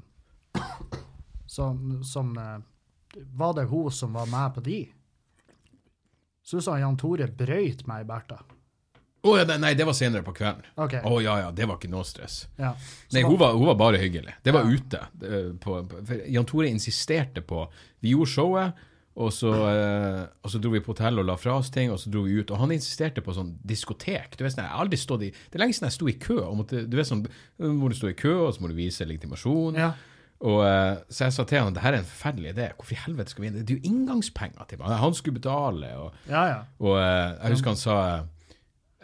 [SPEAKER 1] som, som eh, Var det hun som var med på de? Så du sa Jan Tore brøyt meg i Bertha.
[SPEAKER 2] Å ja, nei, nei, det var senere på kvelden. Å
[SPEAKER 1] OK.
[SPEAKER 2] ja, ja, det var ikke noe stress.
[SPEAKER 1] Ja. Så
[SPEAKER 2] Nei,
[SPEAKER 1] da-
[SPEAKER 2] hun var, hun var bare hyggelig. Det var
[SPEAKER 1] Ja.
[SPEAKER 2] ute. eh, På, på, for Jan Tore insisterte på Vi gjorde showet, og så, eh, og så dro vi på hotell og la fra oss ting, og så dro vi ut. Og han insisterte på sånn diskotek. Du vet, sånn, jeg har aldri stått i, det er lenge siden jeg sto i kø. Og måtte, du vet sånn, må du stå i kø, og så må du vise legitimasjon.
[SPEAKER 1] Ja.
[SPEAKER 2] Og, eh, så jeg sa til han at det her er en forferdelig idé. Hvorfor i helvete skal vi inn? Det er jo inngangspenger til meg. Han skulle betale. og...
[SPEAKER 1] ja, ja.
[SPEAKER 2] Og eh, jeg husker han sa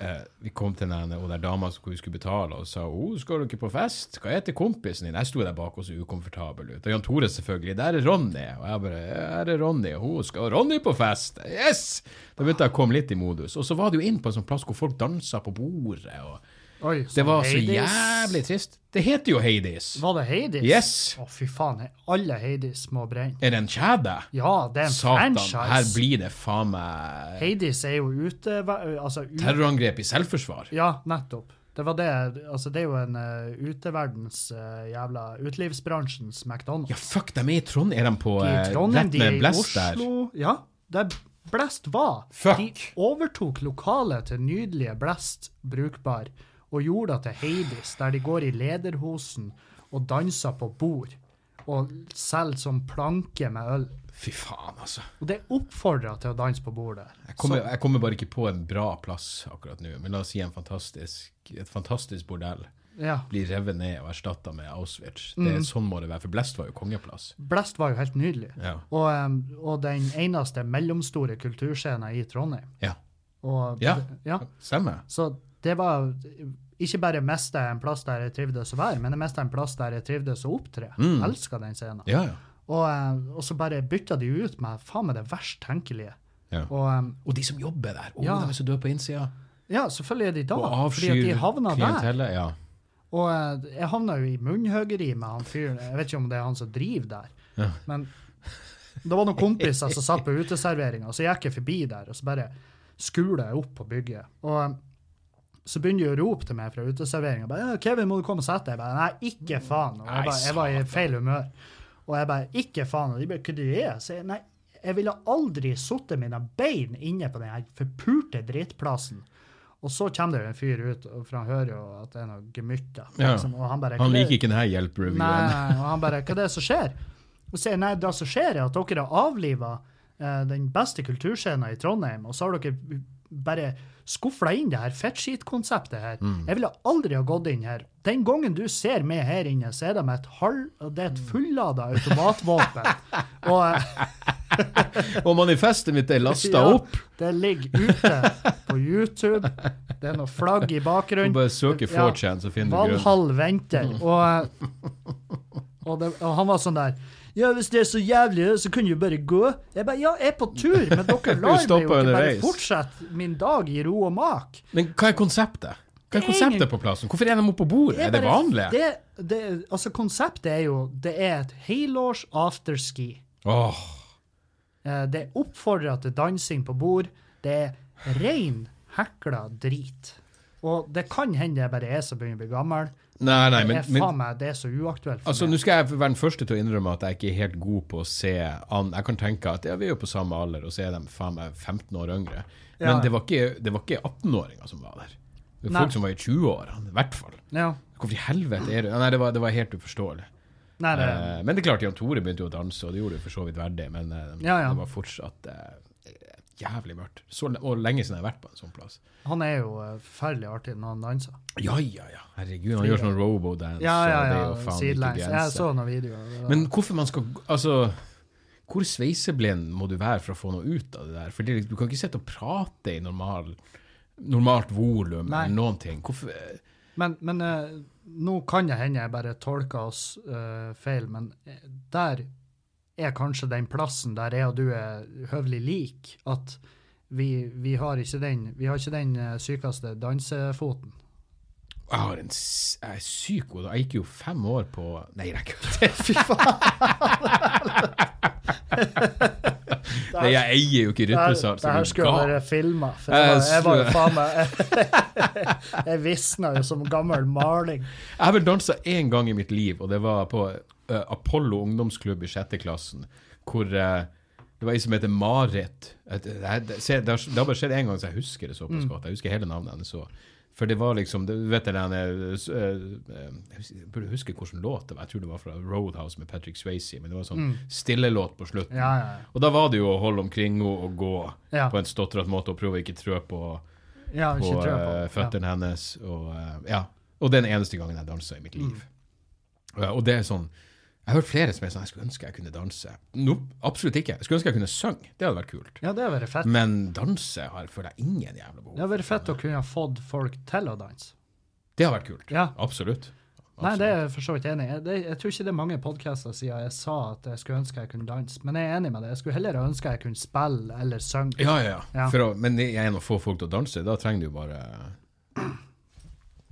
[SPEAKER 2] eh, Vi kom til den, og der dama som vi skulle betale, og sa oh, 'Skal du ikke på fest? Hva heter kompisen din?' Jeg sto der bak og så ukomfortabel ut. Og Jan Tore selvfølgelig. 'Der er Ronny.' Og jeg bare 'Her er Ronny.' Og hun 'Skal Ronny på fest?' Yes! Da begynte jeg å komme litt i modus. Og så var det jo inn på en sånn plass hvor folk dansa på bordet, og
[SPEAKER 1] Oi,
[SPEAKER 2] Det var så
[SPEAKER 1] Hades.
[SPEAKER 2] jævlig trist. Det heter jo Hades.
[SPEAKER 1] Var det Hades?
[SPEAKER 2] Yes.
[SPEAKER 1] Å, fy faen. he- Alle Hades må brenne.
[SPEAKER 2] Er det en kjede?
[SPEAKER 1] Ja, det er en
[SPEAKER 2] Satan, her
[SPEAKER 1] franchise.
[SPEAKER 2] blir det faen meg
[SPEAKER 1] Hades er jo ute hva- Altså, u
[SPEAKER 2] terrorangrep i selvforsvar.
[SPEAKER 1] ja, nettopp. Det var det Altså, det er jo en eh, uteverdens eh, jævla Utelivsbransjens McDonald's.
[SPEAKER 2] Ja, fuck, de er i Trondheim. Er de på
[SPEAKER 1] De er
[SPEAKER 2] eh,
[SPEAKER 1] i Trondheim,
[SPEAKER 2] rett
[SPEAKER 1] de er
[SPEAKER 2] med
[SPEAKER 1] i
[SPEAKER 2] Blest der?
[SPEAKER 1] Oslo. Ja, der Blest var.
[SPEAKER 2] Fuck.
[SPEAKER 1] De overtok lokalet til nydelige Blest brukbar og gjorde det til Hades, der de går i lederhosen og danser på bord og selger som planke med øl.
[SPEAKER 2] Fy faen, altså.
[SPEAKER 1] Og det oppfordrer til å danse på bordet.
[SPEAKER 2] Jeg kommer, jeg kommer bare ikke på en bra plass akkurat nå. Men la oss si en fantastisk, et fantastisk bordell
[SPEAKER 1] Ja.
[SPEAKER 2] blir revet ned og erstatta med Auschwitz. Det
[SPEAKER 1] Mm.
[SPEAKER 2] er Sånn må det være, for Blest var jo kongeplass.
[SPEAKER 1] Blest var jo helt nydelig.
[SPEAKER 2] Ja.
[SPEAKER 1] Og, em, og den eneste mellomstore kulturscenen i Trondheim.
[SPEAKER 2] ja.
[SPEAKER 1] Og,
[SPEAKER 2] Ja.
[SPEAKER 1] ja.
[SPEAKER 2] Stemmer.
[SPEAKER 1] Så det var Ikke bare mista jeg en plass der jeg trivdes å være, men jeg mista en plass der jeg trivdes å opptre. Mm. Elska den scenen.
[SPEAKER 2] Ja, ja.
[SPEAKER 1] Og, eh, og så bare bytta de ut med faen meg det verst tenkelige.
[SPEAKER 2] ja.
[SPEAKER 1] Og em,
[SPEAKER 2] Og de som jobber der, oh,
[SPEAKER 1] Ja.
[SPEAKER 2] de er så døde på innsida.
[SPEAKER 1] Ja, selvfølgelig er de da.
[SPEAKER 2] Og
[SPEAKER 1] Fordi at
[SPEAKER 2] avskyr
[SPEAKER 1] de havna der.
[SPEAKER 2] klientellet. Ja.
[SPEAKER 1] Og eh, jeg havna jo i munnhøgeri med han fyren. Jeg vet ikke om det er han som driver der.
[SPEAKER 2] Ja.
[SPEAKER 1] Men det var noen kompiser som satt på uteserveringa, så gikk jeg forbi der, og så bare skula jeg opp på bygget. Og eh, så begynner de å rope til meg fra uteserveringa. 'Kevin, må du komme og sette deg?' Jeg bare, Nei, ikke faen. Og
[SPEAKER 2] Nei,
[SPEAKER 1] jeg, bare, jeg var i feil humør. Og jeg bare 'Ikke faen'. Og de bare 'Hva du er?' Så jeg, nei, jeg ville aldri sittet mine bein inne på den her forpurte drittplassen. Og så kommer det jo en fyr ut, og- for han hører jo at det er noe gemytter.
[SPEAKER 2] Ja.
[SPEAKER 1] Liksom, og han bare «Hva
[SPEAKER 2] Han
[SPEAKER 1] er-
[SPEAKER 2] liker ikke denne hjelp-revyen.
[SPEAKER 1] Nei, og han bare Hva er det som skjer? Og sier nei, det som skjer, er at dere har avliva eh, den beste kulturscenen i Trondheim, og så har dere bare skufla inn det her fettskitkonseptet her.
[SPEAKER 2] Mm.
[SPEAKER 1] Jeg ville aldri ha gått inn her. Den gangen du ser meg her inne, så er det med et halv Det er et
[SPEAKER 2] Mm.
[SPEAKER 1] fullada
[SPEAKER 2] (laughs)
[SPEAKER 1] automatvåpen. og eh,
[SPEAKER 2] (laughs) Og manifestet mitt er
[SPEAKER 1] (laughs)
[SPEAKER 2] lasta
[SPEAKER 1] ja,
[SPEAKER 2] opp!
[SPEAKER 1] Det ligger ute på YouTube. Det er noe flagg i
[SPEAKER 2] Du
[SPEAKER 1] bakgrunnen.
[SPEAKER 2] bare søker
[SPEAKER 1] Ja.
[SPEAKER 2] 4chan, så finner du grunnen.
[SPEAKER 1] Valhall venter.
[SPEAKER 2] Mm.
[SPEAKER 1] Og, og, det, og han var sånn der Ja, hvis det er så jævlig, så kan du jo bare gå. Jeg bare Ja, jeg er på tur, men
[SPEAKER 2] (laughs)
[SPEAKER 1] dere
[SPEAKER 2] Du
[SPEAKER 1] lar meg jo
[SPEAKER 2] stopper
[SPEAKER 1] ikke bare
[SPEAKER 2] underveis.
[SPEAKER 1] fortsette min dag i ro og mak.
[SPEAKER 2] Men hva er konseptet? Hva er konseptet på plassen? Hvorfor er de oppe på bordet? Er det
[SPEAKER 1] bare-
[SPEAKER 2] vanlig?
[SPEAKER 1] Det, det, altså, konseptet er jo Det er et helårs afterski.
[SPEAKER 2] Åh,
[SPEAKER 1] Eh, Det er oppfordra til dansing på bord. Det er rein hekla drit. Og det kan hende jeg bare er som begynner å bli gammel.
[SPEAKER 2] Nei, nei,
[SPEAKER 1] Det
[SPEAKER 2] men,
[SPEAKER 1] er
[SPEAKER 2] men
[SPEAKER 1] faen meg det er så uaktuelt. for
[SPEAKER 2] Altså,
[SPEAKER 1] meg.
[SPEAKER 2] Nå skal jeg være den første til å innrømme at jeg ikke er helt god på å se an. Jeg kan tenke at ja, vi er jo på samme alder, og så er de faen meg 15 år yngre. Men
[SPEAKER 1] Ja.
[SPEAKER 2] det var ikke, det var ikke 18-åringer som var der. Det var
[SPEAKER 1] Nei.
[SPEAKER 2] folk som var i 20-årene, i hvert fall.
[SPEAKER 1] ja.
[SPEAKER 2] Hvorfor i helvete er det Nei, det var, det var helt uforståelig.
[SPEAKER 1] Nei, det,
[SPEAKER 2] Eh, men det er klart, Jan Tore begynte jo å danse, og det gjorde det for så vidt verdig, men eh,
[SPEAKER 1] Ja, ja.
[SPEAKER 2] det var fortsatt eh, jævlig mørkt. Så, le- og lenge siden jeg har vært på en sånn plass.
[SPEAKER 1] Han er jo eh, forferdelig artig når han danser.
[SPEAKER 2] Ja, ja, ja. Herregud, han gjør sånn robo-dance.
[SPEAKER 1] Ja, ja, ja.
[SPEAKER 2] og det er jo faen ikke
[SPEAKER 1] Sidelengs. Jeg
[SPEAKER 2] grenser.
[SPEAKER 1] så noen videoer.
[SPEAKER 2] Men hvorfor man skal Altså, hvor sveiseblind må du være for å få noe ut av det der? For det, er liksom- du kan ikke sitte og prate i normal, normalt volum
[SPEAKER 1] Nei.
[SPEAKER 2] eller noen ting. Hvorfor
[SPEAKER 1] men, men eh, nå kan det hende jeg bare tolker oss eh, feil, men eh, der er kanskje den plassen der jeg og du er høvelig lik, at vi, vi har ikke den, vi har ikke den eh, sykeste dansefoten.
[SPEAKER 2] Jeg har en s- jeg er syk god Jeg gikk jo fem år på Nei, jeg kødder.
[SPEAKER 1] (laughs) Fy faen!
[SPEAKER 2] Nei, Jeg eier jo ikke
[SPEAKER 1] Det her,
[SPEAKER 2] rytmesans.
[SPEAKER 1] det her
[SPEAKER 2] Jeg,
[SPEAKER 1] skulle
[SPEAKER 2] jeg,
[SPEAKER 1] være filma, for
[SPEAKER 2] Jeg
[SPEAKER 1] jeg var, jeg var jo
[SPEAKER 2] skulle-
[SPEAKER 1] faen meg (laughs) Jeg visna jo som gammel maling.
[SPEAKER 2] jeg har vel dansa én gang i mitt liv, og det var på eh, Apollo ungdomsklubb i sjette klassen, hvor eh, det var ei som heter Marit. Et- Det, her- det, se, det, har, det har bare skjedd én gang, så jeg husker det såpass godt. Jeg husker hele navnet hennes òg. For det var liksom det, Vet du den eh, s- eh, eh, Jeg hus- jeg burde huske hvilken låt det var. Jeg tror det var fra Roadhouse med Patrick Swayze. Men det var en sånn stillelåt på slutten.
[SPEAKER 1] Ja, ja, ja.
[SPEAKER 2] Og da var det jo å holde omkring henne og gå
[SPEAKER 1] Ja.
[SPEAKER 2] på en stotrete måte og prøve å ikke trø på,
[SPEAKER 1] ja
[SPEAKER 2] på,
[SPEAKER 1] ikke tror jeg på.
[SPEAKER 2] eh, føttene hennes. Og, eh, ja. og det er den eneste gangen jeg dansa i mitt
[SPEAKER 1] Mm.
[SPEAKER 2] liv. Ja, og det er sånn Jeg har hørt flere som er sånn Jeg skulle ønske jeg kunne danse. Nope, absolutt ikke. Jeg skulle ønske jeg kunne synge. Det hadde vært kult.
[SPEAKER 1] Ja, ja det har vært fett.
[SPEAKER 2] Men danse har, føler jeg ingen jævla behov
[SPEAKER 1] Det hadde vært fett å kunne ha fått folk til å danse.
[SPEAKER 2] Det har vært kult.
[SPEAKER 1] Ja.
[SPEAKER 2] Absolutt.
[SPEAKER 1] Nei, det er jeg for så vidt enig i. Jeg, det- jeg tror ikke det er mange podcaster siden jeg sa at jeg skulle ønske jeg kunne danse, men jeg er enig med det. Jeg skulle heller ønske jeg kunne spille eller synge.
[SPEAKER 2] Ja, ja, ja.
[SPEAKER 1] Ja.
[SPEAKER 2] For å, men jeg er en av få folk til å danse. Da trenger du jo bare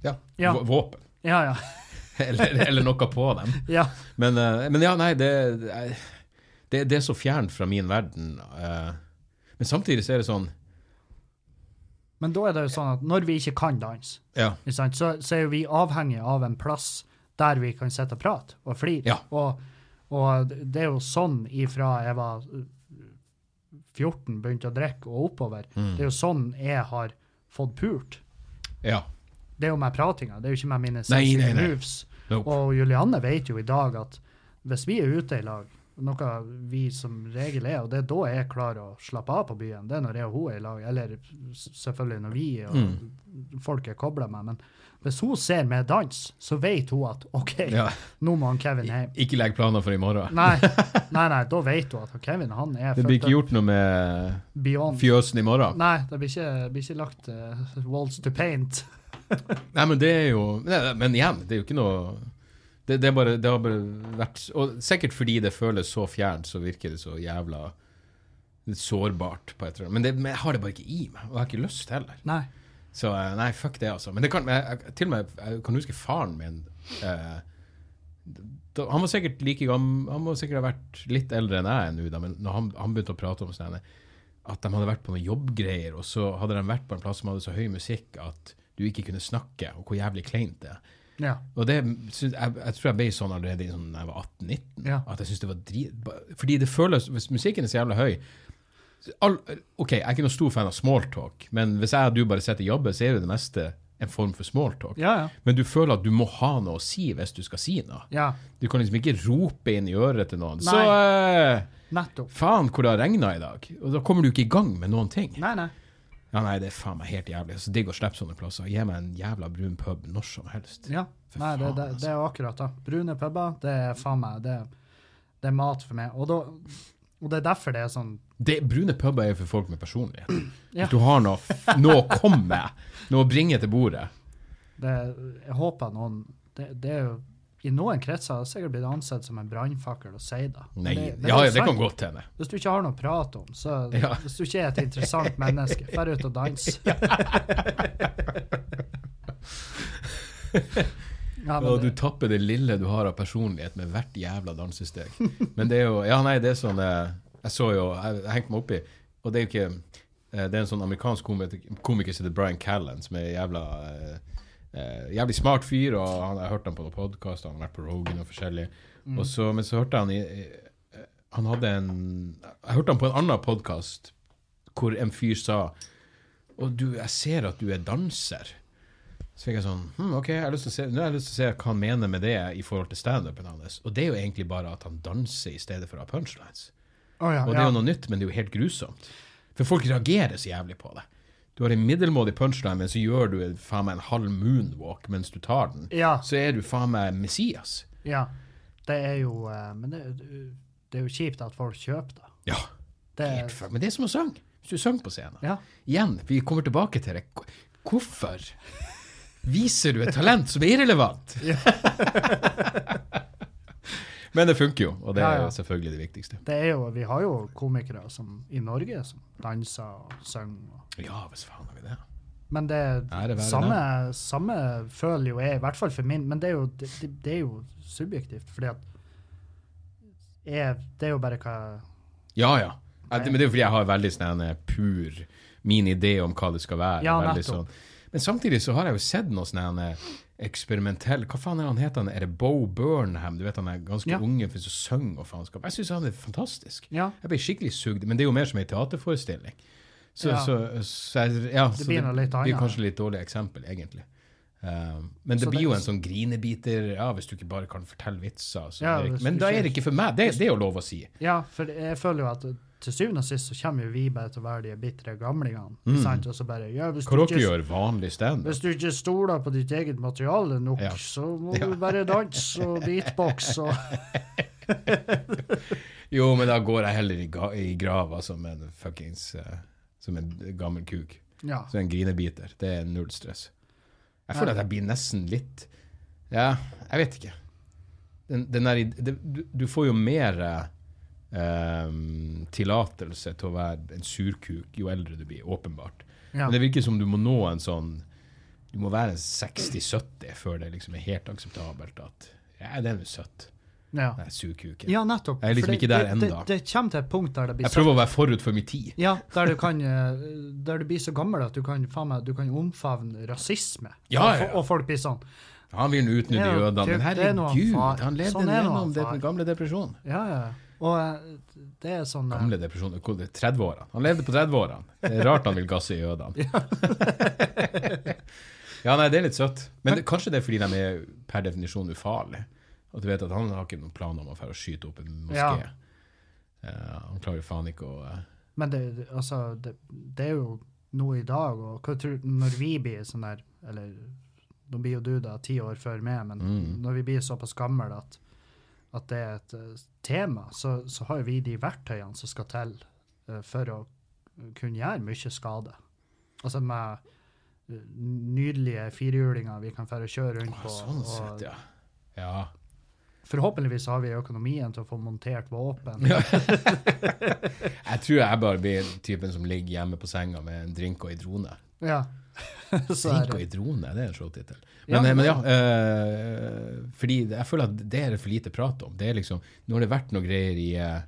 [SPEAKER 2] ja,
[SPEAKER 1] Ja.
[SPEAKER 2] vå- våpen. (laughs)
[SPEAKER 1] Ja, ja.
[SPEAKER 2] Eller, eller noe på dem.
[SPEAKER 1] ja.
[SPEAKER 2] Men, eh, men ja, nei, det, jeg- det, det er så fjernt fra min verden. eh. men samtidig så er det sånn
[SPEAKER 1] Men da er det jo sånn at når vi ikke kan danse,
[SPEAKER 2] Ja.
[SPEAKER 1] ikke sant, så, så er jo vi avhengige av en plass der vi kan sitte og prate og flire.
[SPEAKER 2] Ja.
[SPEAKER 1] Og, og det er jo sånn ifra jeg var 14, begynte å drikke og oppover. Det er jo sånn jeg har fått pult.
[SPEAKER 2] ja.
[SPEAKER 1] Det er jo med pratinga, det er jo ikke med mine
[SPEAKER 2] Nei,
[SPEAKER 1] sexy
[SPEAKER 2] nei, nei.
[SPEAKER 1] moves.
[SPEAKER 2] Nope.
[SPEAKER 1] Og Julianne vet jo i dag at hvis vi er ute i lag, noe vi som regel er, og det er da jeg klarer å slappe av på byen, det er når jeg og hun er i lag, eller s- selvfølgelig når vi og
[SPEAKER 2] Mm.
[SPEAKER 1] folk er kobla med, men hvis hun ser meg danse, så vet hun at OK,
[SPEAKER 2] Ja.
[SPEAKER 1] nå må han Kevin hjem.
[SPEAKER 2] Ikke legg planer for i morgen.
[SPEAKER 1] Nei, nei, nei, da vet hun at han Kevin han er
[SPEAKER 2] Det blir
[SPEAKER 1] fucked
[SPEAKER 2] ikke
[SPEAKER 1] up
[SPEAKER 2] gjort noe med
[SPEAKER 1] beyond.
[SPEAKER 2] fjøsen i morgen.
[SPEAKER 1] Nei, det blir ikke, blir ikke lagt eh, walls to paint.
[SPEAKER 2] Nei, men det er jo nei, Men igjen, det er jo ikke noe det, det, er bare, det har bare vært Og sikkert fordi det føles så fjernt, så virker det så jævla sårbart. på et eller annet. Men, det, men jeg har det bare ikke i meg, og jeg har ikke lyst heller.
[SPEAKER 1] Nei.
[SPEAKER 2] Så eh, nei, fuck det, altså. Men det kan, men jeg, jeg- til og med jeg kan huske faren min eh, da, Han var sikkert like gammel Han må sikkert ha vært litt eldre enn jeg er nå, da, men når han, han begynte å prate om sånne, at de hadde vært på noen jobbgreier, og så hadde de vært på en plass som hadde så høy musikk at du ikke kunne snakke, og hvor jævlig kleint det er.
[SPEAKER 1] Ja.
[SPEAKER 2] Og det, syns- jeg, jeg tror jeg ble sånn allerede i sånn, da jeg var 18-19.
[SPEAKER 1] Ja.
[SPEAKER 2] At jeg synes det var drit... ba- Fordi det føles Hvis musikken er så jævla høy all, OK, jeg er ikke noen stor fan av smalltalk, men hvis jeg og du bare sitter og jobber, så er jo det meste en form for smalltalk.
[SPEAKER 1] Ja, ja.
[SPEAKER 2] Men du føler at du må ha noe å si hvis du skal si noe.
[SPEAKER 1] ja.
[SPEAKER 2] Du kan liksom ikke rope inn i øret til noen.
[SPEAKER 1] Nei.
[SPEAKER 2] Så eh,
[SPEAKER 1] Nettopp.
[SPEAKER 2] faen hvor det har regna i dag. Og da kommer du ikke i gang med noen ting.
[SPEAKER 1] Nei, nei.
[SPEAKER 2] Ja, nei, det er faen meg helt jævlig. Så digg å slippe sånne plasser. Gi meg en jævla brun pub når som helst.
[SPEAKER 1] Ja.
[SPEAKER 2] For
[SPEAKER 1] Nei, det,
[SPEAKER 2] faen, altså.
[SPEAKER 1] det, det er akkurat det. Brune puber, det er faen meg det, det er mat for meg. Og, da, og det er derfor det er sånn
[SPEAKER 2] Det, brune puber er jo for folk med personlighet.
[SPEAKER 1] Ja.
[SPEAKER 2] Hvis du har noe, f- noe å komme med, noe å bringe til bordet.
[SPEAKER 1] det, Jeg håper noen det, det er jo I noen kretser har det sikkert blitt ansett som en brannfakkel å si det. Men
[SPEAKER 2] Nei,
[SPEAKER 1] det- men
[SPEAKER 2] ja,
[SPEAKER 1] er
[SPEAKER 2] ja, det
[SPEAKER 1] sant.
[SPEAKER 2] kan godt hende.
[SPEAKER 1] Hvis du ikke har noe å prate om, så
[SPEAKER 2] (laughs) Ja.
[SPEAKER 1] hvis du ikke er et interessant menneske, drar ut og
[SPEAKER 2] (laughs)
[SPEAKER 1] danse. ja, men
[SPEAKER 2] Og du
[SPEAKER 1] det,
[SPEAKER 2] tapper det lille du har av personlighet med hvert jævla dansesteg. Men det er jo Ja, nei, det er sånn eh, Jeg så jo Jeg, jeg hengte meg oppi, og det er jo ikke eh, Det er en sånn amerikansk komiker, komiker som heter Brian Callan, som er jævla eh, eh, Jævlig smart fyr, og han, jeg hørte han på noen podkast, han har vært på Rogan og forskjellig.
[SPEAKER 1] Mm.
[SPEAKER 2] Og så, men så hørte han i, i- Han hadde en Jeg hørte han på en annen podkast hvor en fyr sa Og du, jeg ser at du er danser. Så fikk jeg sånn hm, OK, jeg har lyst til å se, nå har jeg lyst til å se hva han mener med det i forhold til standupen hans. Og det er jo egentlig bare at han danser i stedet for å ha punchlines.
[SPEAKER 1] Å ja,
[SPEAKER 2] Og det
[SPEAKER 1] ja.
[SPEAKER 2] er jo noe nytt, men det er jo helt grusomt. For folk reagerer så jævlig på det. Du har en middelmådig punchline, men så gjør du en- faen meg en halv moonwalk mens du tar den.
[SPEAKER 1] ja,
[SPEAKER 2] Så er du faen meg Messias.
[SPEAKER 1] ja. Det er jo eh, Men det, det er jo kjipt at folk kjøper det.
[SPEAKER 2] Ja.
[SPEAKER 1] det
[SPEAKER 2] Helt faen. Men det er som å synge. Hvis du synger på scenen.
[SPEAKER 1] ja.
[SPEAKER 2] Igjen, vi kommer tilbake til det. Hvor- Hvorfor viser du et talent som
[SPEAKER 1] (laughs)
[SPEAKER 2] er irrelevant? (laughs) Men det funker jo, og det er
[SPEAKER 1] Ja,
[SPEAKER 2] jo
[SPEAKER 1] ja.
[SPEAKER 2] selvfølgelig det viktigste.
[SPEAKER 1] Det er jo, vi har jo komikere som, i Norge som danser og synger. og-
[SPEAKER 2] Ja, hvis faen har vi det.
[SPEAKER 1] Men det
[SPEAKER 2] Ære være
[SPEAKER 1] samme, samme føler jo jeg, i hvert fall for min, men det er jo, det, det- det er jo subjektivt. fordi at jeg, det er jo bare hva
[SPEAKER 2] Ja, ja. Ja, det- Men det er jo fordi jeg har veldig sånn en pur min idé om hva det skal være.
[SPEAKER 1] Ja,
[SPEAKER 2] veldig
[SPEAKER 1] nettopp.
[SPEAKER 2] sånn. Men samtidig så har jeg jo sett noe sånn en eksperimentell Hva faen er han heter han? Er det Bo Burnham? Du vet han er ganske
[SPEAKER 1] Ja.
[SPEAKER 2] unge, for så synger og faenskap. Jeg syns han er fantastisk.
[SPEAKER 1] Ja.
[SPEAKER 2] Jeg ble skikkelig sugd, men det er jo mer som ei teaterforestilling. Så,
[SPEAKER 1] Ja.
[SPEAKER 2] så, så jeg, ja, så
[SPEAKER 1] blir noe litt
[SPEAKER 2] blir
[SPEAKER 1] annet.
[SPEAKER 2] kanskje litt dårlig eksempel, egentlig. Um, men det
[SPEAKER 1] Så
[SPEAKER 2] blir
[SPEAKER 1] det-
[SPEAKER 2] jo en sånn grinebiter ja, hvis du ikke bare kan fortelle vitser. Så
[SPEAKER 1] Ja,
[SPEAKER 2] er det
[SPEAKER 1] hvis
[SPEAKER 2] ikke, men
[SPEAKER 1] du
[SPEAKER 2] da
[SPEAKER 1] ikke-
[SPEAKER 2] er det ikke for meg. Det, det er jo lov å si.
[SPEAKER 1] Ja, for jeg føler jo at til syvende og sist så kommer jo vi bare til å være de bitre gamlingene. sant? Og så bare ja, hvis,
[SPEAKER 2] Hva
[SPEAKER 1] du
[SPEAKER 2] dere
[SPEAKER 1] ikke,
[SPEAKER 2] Mm. gjør vanlig standup?
[SPEAKER 1] hvis du ikke stoler på ditt eget materiale nok,
[SPEAKER 2] Ja.
[SPEAKER 1] så må du bare danse og beatbox og
[SPEAKER 2] (laughs) Jo, men da går jeg heller i, ga i grava som en fuckings eh, Som en gammel kuk.
[SPEAKER 1] Ja.
[SPEAKER 2] Som en grinebiter. Det er null stress. Jeg føler at jeg blir nesten litt Ja, jeg vet ikke. Den, den der, id- det, du, du får jo mer eh, tillatelse til å være en surkuk jo eldre du blir, åpenbart.
[SPEAKER 1] Ja.
[SPEAKER 2] Men det virker som du må nå en sånn Du må være en 60-70 før det liksom er helt akseptabelt at Ja, den er jo søt.
[SPEAKER 1] ja.
[SPEAKER 2] Den er surkuken.
[SPEAKER 1] ja, nettopp.
[SPEAKER 2] Jeg er liksom
[SPEAKER 1] For det-
[SPEAKER 2] ikke der
[SPEAKER 1] det-
[SPEAKER 2] enda.
[SPEAKER 1] Det, det kommer til et punkt der det blir
[SPEAKER 2] Jeg prøver å være forut for min tid.
[SPEAKER 1] Ja, der du kan eh, Der du blir så gammel at du kan, faen meg, du kan omfavne rasisme.
[SPEAKER 2] Ja, ja, ja.
[SPEAKER 1] Og, og folk blir sånn
[SPEAKER 2] Han vil nå utnytte
[SPEAKER 1] Det er jo-
[SPEAKER 2] jødene, men
[SPEAKER 1] det er noe
[SPEAKER 2] herregud,
[SPEAKER 1] far.
[SPEAKER 2] han levde
[SPEAKER 1] Sånn er noe
[SPEAKER 2] gjennom
[SPEAKER 1] far.
[SPEAKER 2] den gamle depresjonen.
[SPEAKER 1] Ja, ja. Og eh, det er sånn eh,
[SPEAKER 2] Gamle depresjonen, hvor det- 30-årene. Han levde på 30-årene. Det er rart han vil gasse jødene. (laughs) ja, nei, det er litt søtt. Men det, kanskje det er fordi de er per definisjon ufarlige. At du vet at han har ikke noen planer om å fære og skyte opp en moské.
[SPEAKER 1] Ja.
[SPEAKER 2] Eh, han klarer jo faen ikke å eh,
[SPEAKER 1] Men det, det- altså, det, det er jo noe i dag, og hva tror, når vi blir sånn der Eller nå blir jo du da ti år før meg, men
[SPEAKER 2] Mm.
[SPEAKER 1] når vi blir såpass gamle at, at det er et eh, tema, så, så har jo vi de verktøyene som skal til eh, for å kunne gjøre mye skade. Altså med eh, nydelige firehjulinger vi kan fære og kjøre rundt på.
[SPEAKER 2] Sånn sett, ja. Ja.
[SPEAKER 1] og forhåpentligvis har vi økonomien til å få montert våpen.
[SPEAKER 2] Jeg tror jeg bare blir typen som ligger hjemme på senga med en drink og ei drone.
[SPEAKER 1] Ja. (laughs) Så er
[SPEAKER 2] Tenk og
[SPEAKER 1] det.
[SPEAKER 2] i drone, det er en showtittel.
[SPEAKER 1] Ja,
[SPEAKER 2] Men ja,
[SPEAKER 1] men-
[SPEAKER 2] men ja eh, fordi det- jeg føler at det er det for lite prat om. Det er liksom, nå har det vært noe greier i eh,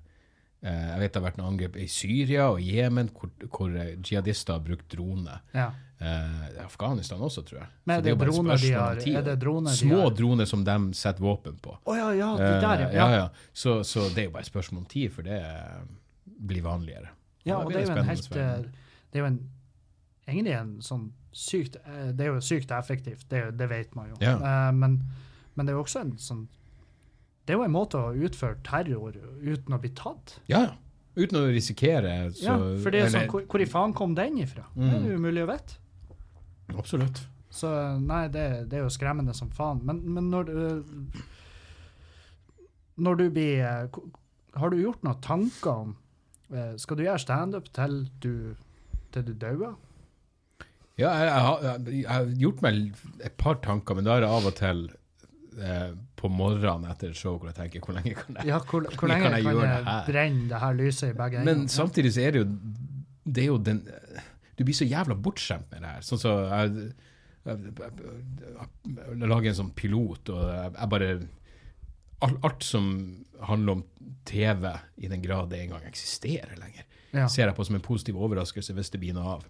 [SPEAKER 2] eh, Jeg vet det har vært noen angrep i Syria og Jemen hvor, hvor eh, jihadister har brukt drone.
[SPEAKER 1] Ja.
[SPEAKER 2] Eh, det er Afghanistan også, tror jeg.
[SPEAKER 1] Men
[SPEAKER 2] Så
[SPEAKER 1] er det,
[SPEAKER 2] jo bare et
[SPEAKER 1] droner de
[SPEAKER 2] spørsmål om
[SPEAKER 1] har?
[SPEAKER 2] tid.
[SPEAKER 1] Er det droner de
[SPEAKER 2] Små
[SPEAKER 1] har?
[SPEAKER 2] droner som de setter våpen på.
[SPEAKER 1] Å ja, ja, de der,
[SPEAKER 2] Eh,
[SPEAKER 1] ja.
[SPEAKER 2] ja, ja. Så, så det er jo bare et spørsmål om tid, for det eh, blir vanligere.
[SPEAKER 1] Ja,
[SPEAKER 2] Da
[SPEAKER 1] og
[SPEAKER 2] blir
[SPEAKER 1] det er jo en
[SPEAKER 2] spennende
[SPEAKER 1] helt
[SPEAKER 2] verden.
[SPEAKER 1] eh, Det er jo en, egentlig en sånn sykt eh, Det er jo sykt effektivt, det, er jo- det vet man jo.
[SPEAKER 2] Ja.
[SPEAKER 1] Eh, Men, men det er jo også en sånn Det er jo en måte å utføre terror uten å bli tatt.
[SPEAKER 2] Ja, ja. Uten å risikere. Så,
[SPEAKER 1] ja, for det er sånn,
[SPEAKER 2] eller- Mm.
[SPEAKER 1] hvor, hvor i faen kom den ifra? Det er jo umulig å vite.
[SPEAKER 2] Absolutt.
[SPEAKER 1] Så nei, det, det er jo skremmende som faen. Men, men når du Når du blir eh, ko- Har du gjort noen tanker om eh, Skal du gjøre standup til du til du dauer?
[SPEAKER 2] Ja, jeg, jeg, har- jeg, jeg har gjort meg et par tanker, men da er det av og til eh, på morgenen etter et show hvor jeg tenker hvor lenge kan jeg
[SPEAKER 1] Ja, hvor,
[SPEAKER 2] Hvor
[SPEAKER 1] hvor
[SPEAKER 2] lenge
[SPEAKER 1] lenge
[SPEAKER 2] kan jeg
[SPEAKER 1] kan
[SPEAKER 2] gjøre
[SPEAKER 1] jeg
[SPEAKER 2] det her?
[SPEAKER 1] brenne det her lyset i begge
[SPEAKER 2] Men
[SPEAKER 1] ender?
[SPEAKER 2] samtidig så er det jo Det er jo den Du blir så jævla bortskjemt med det her. Sånn så jeg, jeg, jeg, jeg lager en sånn pilot, og jeg, jeg bare alt, alt som handler om TV, i den grad det engang eksisterer lenger,
[SPEAKER 1] Ja.
[SPEAKER 2] ser jeg på som en positiv overraskelse hvis det blir noe av.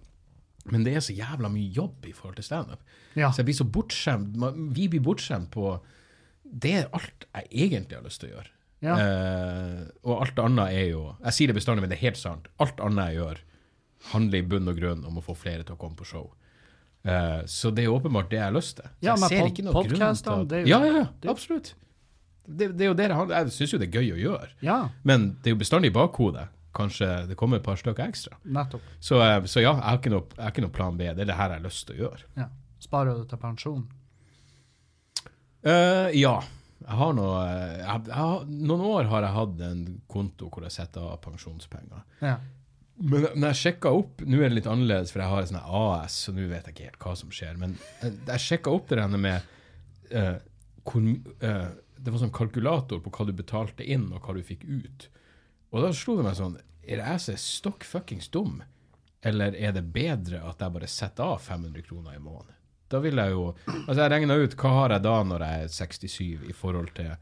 [SPEAKER 2] Men det er så jævla mye jobb i forhold til standup.
[SPEAKER 1] Ja.
[SPEAKER 2] Så jeg blir så bortskjemt. Man- Vi blir bortskjemt på Det er alt jeg egentlig har lyst til å gjøre.
[SPEAKER 1] Ja.
[SPEAKER 2] Eh, og alt annet er jo Jeg sier det bestandig, men det er helt sant. Alt annet jeg gjør, handler i bunn og grunn om å få flere til å komme på show. Eh, så det er åpenbart det jeg har lyst til. Så
[SPEAKER 1] Ja,
[SPEAKER 2] jeg
[SPEAKER 1] men
[SPEAKER 2] ser
[SPEAKER 1] pod-
[SPEAKER 2] ikke noe grunn til
[SPEAKER 1] podcastene,
[SPEAKER 2] at-
[SPEAKER 1] det er jo-
[SPEAKER 2] Ja, ja, ja, absolutt. Det, det er jo det det handler Jeg syns jo det er gøy å gjøre,
[SPEAKER 1] ja,
[SPEAKER 2] men det er jo bestandig i bakhodet. Kanskje det kommer et par stykker ekstra.
[SPEAKER 1] nettopp.
[SPEAKER 2] Så, eh, så ja, jeg har, ikke noe, jeg har ikke noe plan B. Det er det her jeg har lyst til å gjøre.
[SPEAKER 1] Ja. Sparer du til pensjon?
[SPEAKER 2] Eh, ja. Jeg har noe, jeg, jeg, har- noen år har jeg hatt en konto hvor jeg setter av pensjonspenger.
[SPEAKER 1] Ja.
[SPEAKER 2] Men når jeg sjekka opp Nå er det litt annerledes, for jeg har sånn et sånt AS, så nå vet jeg ikke helt hva som skjer. Men eh, jeg sjekka opp det denne med eh, hvor, my- eh, Det var sånn kalkulator på hva du betalte inn, og hva du fikk ut. Og da slo det meg sånn Er jeg så stokk fuckings dum? Eller er det bedre at jeg bare setter av 500 kroner i måneden? Da vil jeg jo Altså, jeg regna ut hva har jeg da når jeg er 67 i forhold til hva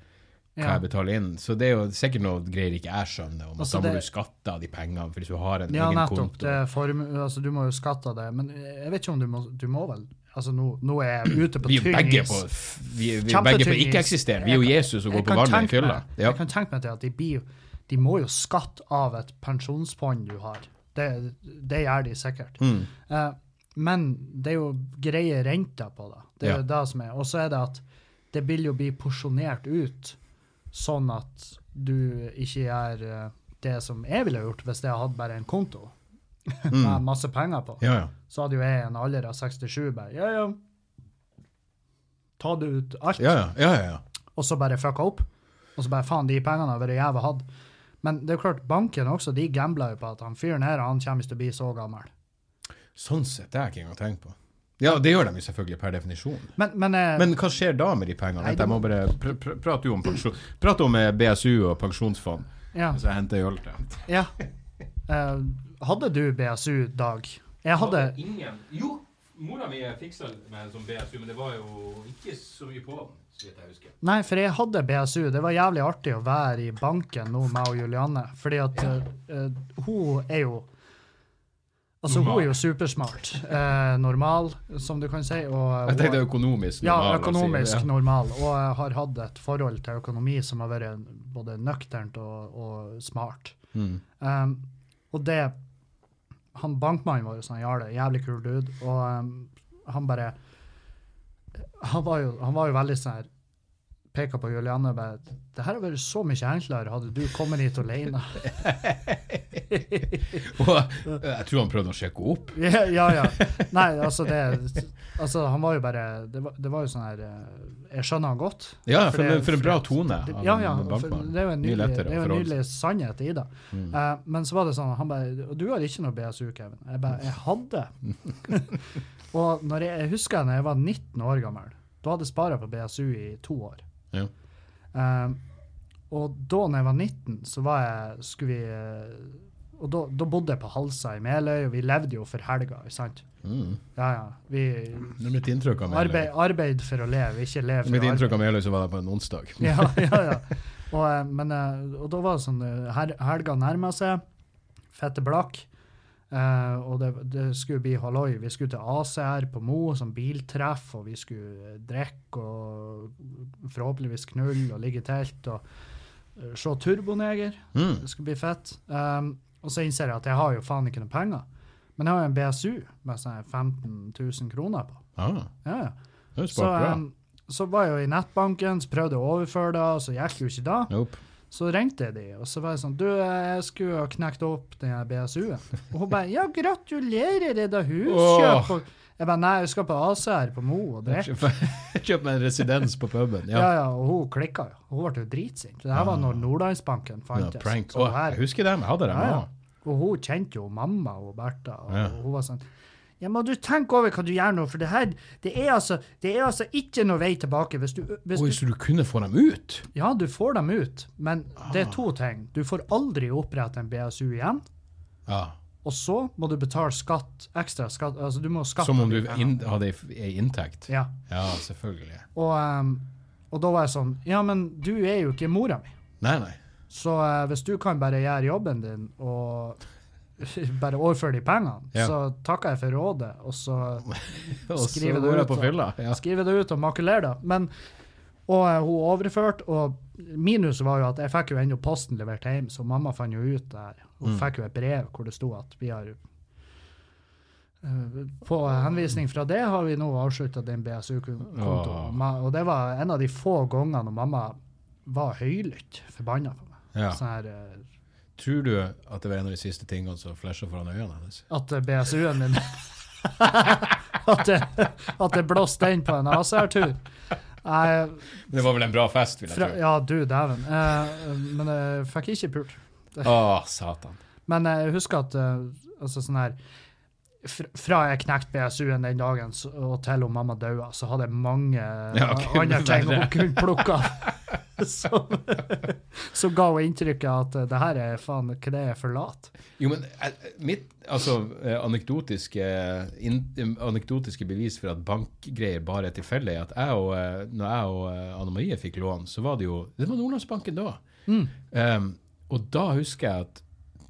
[SPEAKER 1] Ja.
[SPEAKER 2] jeg betaler inn. Så det er jo sikkert noe greier ikke jeg skjønner, om at
[SPEAKER 1] Altså,
[SPEAKER 2] da må
[SPEAKER 1] det-
[SPEAKER 2] du skatte av de pengene for hvis du har en
[SPEAKER 1] Ja,
[SPEAKER 2] egen
[SPEAKER 1] nettopp.
[SPEAKER 2] konto.
[SPEAKER 1] Det er form, altså, du må jo skatte av det. Men jeg vet ikke om du må, du må vel Altså, nå, nå er jeg ute på
[SPEAKER 2] Vi er jo
[SPEAKER 1] tynn
[SPEAKER 2] begge
[SPEAKER 1] is.
[SPEAKER 2] på, vi, vi er
[SPEAKER 1] Kjempetynn
[SPEAKER 2] begge på
[SPEAKER 1] is.
[SPEAKER 2] ikke-eksisterende. Vi er
[SPEAKER 1] Jeg
[SPEAKER 2] jo
[SPEAKER 1] kan-
[SPEAKER 2] Jesus og går
[SPEAKER 1] Jeg
[SPEAKER 2] på
[SPEAKER 1] kan
[SPEAKER 2] vannet i
[SPEAKER 1] tenke
[SPEAKER 2] fylla.
[SPEAKER 1] meg-
[SPEAKER 2] Ja.
[SPEAKER 1] Jeg kan tenke meg til at de, blir, jo- de må jo skatte av et pensjonsfond du har. Det, det gjør de sikkert.
[SPEAKER 2] Mm.
[SPEAKER 1] Eh, men det er jo greie renter på det. Det er jo det som er. Og så er det at det vil jo bli porsjonert ut sånn at du ikke gjør eh, det som jeg ville gjort hvis jeg hadde bare en konto (laughs) med masse penger på.
[SPEAKER 2] Mm. Ja, ja.
[SPEAKER 1] Så hadde jo jeg en alder av 67 bare Ja, ja. Ta det ut alt
[SPEAKER 2] Ja, ja, ja, ja, ja.
[SPEAKER 1] og så bare fucka opp. Og så bare faen, de pengene har vært jævla hatt. Men det er jo klart, banken også, de gambler jo på at han fyren her, han kommer ikke til å bli så gammel.
[SPEAKER 2] Sånn sett, det har jeg ikke engang tenkt på. Ja, det gjør de jo selvfølgelig per definisjon.
[SPEAKER 1] Men, men, eh,
[SPEAKER 2] Men hva skjer da med de pengene?
[SPEAKER 1] Nei,
[SPEAKER 2] Vent, Jeg må bare pr pr Prat jo om, pensjon, prat om eh, BSU og pensjonsfond,
[SPEAKER 1] ja,
[SPEAKER 2] så jeg henter ei øl til dem.
[SPEAKER 1] ja. Eh, hadde du BSU, Dag? Jeg hadde
[SPEAKER 2] ingen Jo, mora mi fiksa med en sånn BSU, men det var jo ikke så mye på den, så vidt jeg husker.
[SPEAKER 1] Nei, for jeg hadde BSU. Det var jævlig artig å være i banken nå, meg og Julianne. Fordi at eh, eh, hun er jo Altså, hun er jo supersmart. Eh, normal, som du kan si. Og, eh,
[SPEAKER 2] Jeg
[SPEAKER 1] hun-
[SPEAKER 2] tenkte økonomisk.
[SPEAKER 1] Ja,
[SPEAKER 2] normal,
[SPEAKER 1] økonomisk
[SPEAKER 2] altså.
[SPEAKER 1] normal. Og jeg har hatt et forhold til økonomi som har vært både nøkternt og, og smart.
[SPEAKER 2] Ja. Mm.
[SPEAKER 1] Um, og det han Bankmannen vår, han Jarle, jævlig kul dude, og um, han bare han var, jo, han var jo veldig sånn her Peka på Julianne og bare 'Det her hadde vært så mye enklere hadde du kommet hit
[SPEAKER 2] (laughs)
[SPEAKER 1] alene'. (laughs)
[SPEAKER 2] Og eh, jeg tror han prøvde å sjekke opp.
[SPEAKER 1] Ja, ja. ja. Nei, altså det altså Han var jo bare Det var, det var jo sånn her eh, Jeg skjønner han godt.
[SPEAKER 2] Ja,
[SPEAKER 1] For
[SPEAKER 2] for,
[SPEAKER 1] det-
[SPEAKER 2] en- for en bra tone.
[SPEAKER 1] Det-
[SPEAKER 2] av
[SPEAKER 1] Ja, ja.
[SPEAKER 2] en
[SPEAKER 1] for
[SPEAKER 2] bankmann.
[SPEAKER 1] Det er jo en
[SPEAKER 2] Mye
[SPEAKER 1] nydelig,
[SPEAKER 2] lettere Mm.
[SPEAKER 1] det er jo en
[SPEAKER 2] å forholde
[SPEAKER 1] nydelig sannhet i det. Eh, men så var det sånn Han bare Og du har ikke noe BSU, Kevin. Jeg bare Jeg
[SPEAKER 2] (laughs)
[SPEAKER 1] hadde. og når jeg, jeg husker da jeg var 19 år gammel. Da hadde jeg spara på BSU i to år.
[SPEAKER 2] Ja.
[SPEAKER 1] Eh, og da når jeg var 19, så var jeg, skulle vi eh, Og da, da bodde jeg på Halsa i Meløy, og vi levde jo for helga. ikke sant?
[SPEAKER 2] Mm.
[SPEAKER 1] Ja, ja. Vi
[SPEAKER 2] Det er mitt inntrykk av Meløy.
[SPEAKER 1] arbeid, arbeid for å leve, ikke leve
[SPEAKER 2] Mitt
[SPEAKER 1] for å arbeide.
[SPEAKER 2] inntrykk av Meløy så var det på en onsdag.
[SPEAKER 1] (laughs) Ja, ja, ja. Og, eh, men, eh, og da var det sånn eh, her, Helga nærma seg. Fette blakk. Eh, og det, det skulle bli halloi. Vi skulle til ACR på Mo, som biltreff, og vi skulle eh, drikke og forhåpentligvis knulle og ligge i telt og eh, se Turboneger.
[SPEAKER 2] Mm.
[SPEAKER 1] Det skulle bli fett. Eh, og så innser jeg at jeg har jo faen ikke noe penger. Men jeg har jo en BSU med sånn 15 000 kroner på.
[SPEAKER 2] Ah,
[SPEAKER 1] Ja, ja.
[SPEAKER 2] det er jo
[SPEAKER 1] Så, um,
[SPEAKER 2] spart bra.
[SPEAKER 1] em, så var jeg jo i nettbanken, så prøvde jeg å overføre det, og så gikk det jo ikke da.
[SPEAKER 2] Nope.
[SPEAKER 1] Så ringte jeg de, og så var jeg sånn Du, jeg skulle ha knekt opp den her BSU-en. Og hun bare Ja, gratulerer, er det huskjøp? Og Jeg bare Nei, jeg skal på ACR på Mo og drikke.
[SPEAKER 2] (laughs) Kjøp meg en residens på puben.
[SPEAKER 1] Ja. ja,
[SPEAKER 2] Ja. Ah.
[SPEAKER 1] og hun klikka jo. Hun ble jo dritsint. Det her var når Nordlandsbanken
[SPEAKER 2] Ja,
[SPEAKER 1] fantes.
[SPEAKER 2] prank.
[SPEAKER 1] Så
[SPEAKER 2] Åh, jeg
[SPEAKER 1] her,
[SPEAKER 2] husker dem. Jeg hadde dem
[SPEAKER 1] Ja, ja.
[SPEAKER 2] også.
[SPEAKER 1] og hun kjente jo mamma og Bertha, og
[SPEAKER 2] Ja.
[SPEAKER 1] hun var sånn ja, må du tenke over hva du gjør nå, for det her, det er altså, det er altså ikke noe vei tilbake. Hvis du, hvis
[SPEAKER 2] Oi,
[SPEAKER 1] du
[SPEAKER 2] så du kunne få dem ut?
[SPEAKER 1] Ja, du får dem ut, men det
[SPEAKER 2] Ah.
[SPEAKER 1] er to ting. Du får aldri opprette en BSU igjen,
[SPEAKER 2] Ja.
[SPEAKER 1] og så må du betale skatt, ekstra skatt. Altså, du må skatte
[SPEAKER 2] Som om
[SPEAKER 1] de
[SPEAKER 2] du
[SPEAKER 1] pengene.
[SPEAKER 2] inn, hadde ei inntekt?
[SPEAKER 1] Ja.
[SPEAKER 2] Ja, selvfølgelig.
[SPEAKER 1] Og, ehm, og da var jeg sånn Ja, men du er jo ikke mora mi,
[SPEAKER 2] Nei, nei.
[SPEAKER 1] så eh, hvis du kan bare gjøre jobben din og (laughs) bare overføre de pengene,
[SPEAKER 2] Ja.
[SPEAKER 1] så takker jeg for rådet, og så
[SPEAKER 2] Og så
[SPEAKER 1] Skrive det
[SPEAKER 2] går jeg
[SPEAKER 1] ut,
[SPEAKER 2] på
[SPEAKER 1] da.
[SPEAKER 2] fylla. Ja.
[SPEAKER 1] skrive det ut og makulere det. Men, og eh, hun overførte, og minuset var jo at jeg fikk jo ennå posten levert hjem, så mamma fant jo ut det her. Hun
[SPEAKER 2] Mm.
[SPEAKER 1] fikk jo et brev hvor det sto at vi har eh, på henvisning fra det har vi nå avslutta din
[SPEAKER 2] Åh.
[SPEAKER 1] BSU-kontoen. Og det var en av de få gangene når mamma var høylytt forbanna på meg.
[SPEAKER 2] Ja.
[SPEAKER 1] Sånn her, eh,
[SPEAKER 2] Tror du at det var en av de siste tingene som flasha foran øynene hennes?
[SPEAKER 1] at eh, BSU-en min (laughs) At det- at det blåste inn på en ACR-tur. Jeg
[SPEAKER 2] Men det var vel en bra fest, vil jeg
[SPEAKER 1] Fra,
[SPEAKER 2] tro.
[SPEAKER 1] ja, du dæven. Eh, men jeg fikk ikke pult.
[SPEAKER 2] Å, satan.
[SPEAKER 1] Men jeg husker at eh, altså sånn her fra- Fra jeg knekte BSU-en den dagen så- og til hun mamma daua, så hadde jeg mange
[SPEAKER 2] Ja, ok,
[SPEAKER 1] eh, andre ting
[SPEAKER 2] verre.
[SPEAKER 1] hun kunne plukke av. (laughs) Som som ga hun inntrykket av at eh, det her er faen ikke det jeg forlater.
[SPEAKER 2] Jo, men eh, mitt altså, eh, anekdotiske, in, eh, anekdotiske bevis for at bankgreier bare er tilfeldig, er at jeg og, eh, når jeg og eh, Anne Marie fikk lån, så var det jo Det var Nordlandsbanken da. Em, og da husker jeg at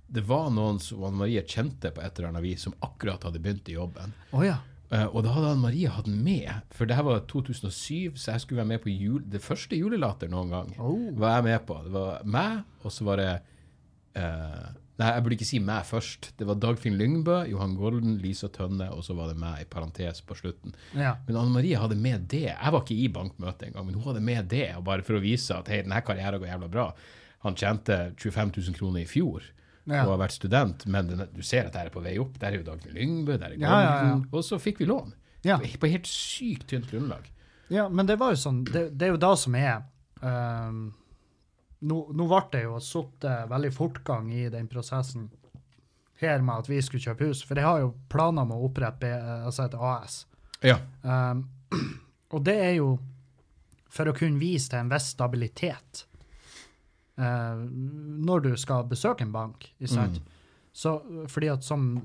[SPEAKER 2] det var noen som Anne Marie kjente på et eller annet vis, som akkurat hadde begynt i jobben.
[SPEAKER 1] Å ja.
[SPEAKER 2] Eh, og da hadde Anne Marie hatt den med, for det her var 2007, så jeg skulle være med på jul, det første julelater noen gang.
[SPEAKER 1] Oh.
[SPEAKER 2] Var jeg med på. Det var meg, og så var det eh, Nei, jeg burde ikke si meg først. Det var Dagfinn Lyngbø, Johan Golden, Lisa Tønne, og så var det meg, i parentes på slutten.
[SPEAKER 1] ja.
[SPEAKER 2] Men Anne Marie hadde med det. Jeg var ikke i bankmøtet engang, men hun hadde med det, og bare for å vise at hei, denne karrieren går jævla bra. Han tjente 25 000 kroner i fjor.
[SPEAKER 1] Ja.
[SPEAKER 2] Og har vært student, men den, du ser at det her er på vei opp. Der er jo Dagfinn Lyngbø, der er Golden.
[SPEAKER 1] Ja, ja, ja.
[SPEAKER 2] Og så fikk vi lån.
[SPEAKER 1] Ja.
[SPEAKER 2] På helt sykt tynt grunnlag.
[SPEAKER 1] Ja, men det var jo sånn Det, det er jo da som er ehm, nå, nå ble det jo sittet veldig fortgang i den prosessen her med at vi skulle kjøpe hus, for jeg har jo planer om å opprette B- altså et AS.
[SPEAKER 2] Ja.
[SPEAKER 1] Ehm, (clears throat) og det er jo for å kunne vise til en viss stabilitet eh, når du skal besøke en bank. Ikke sant? Så, fordi at som,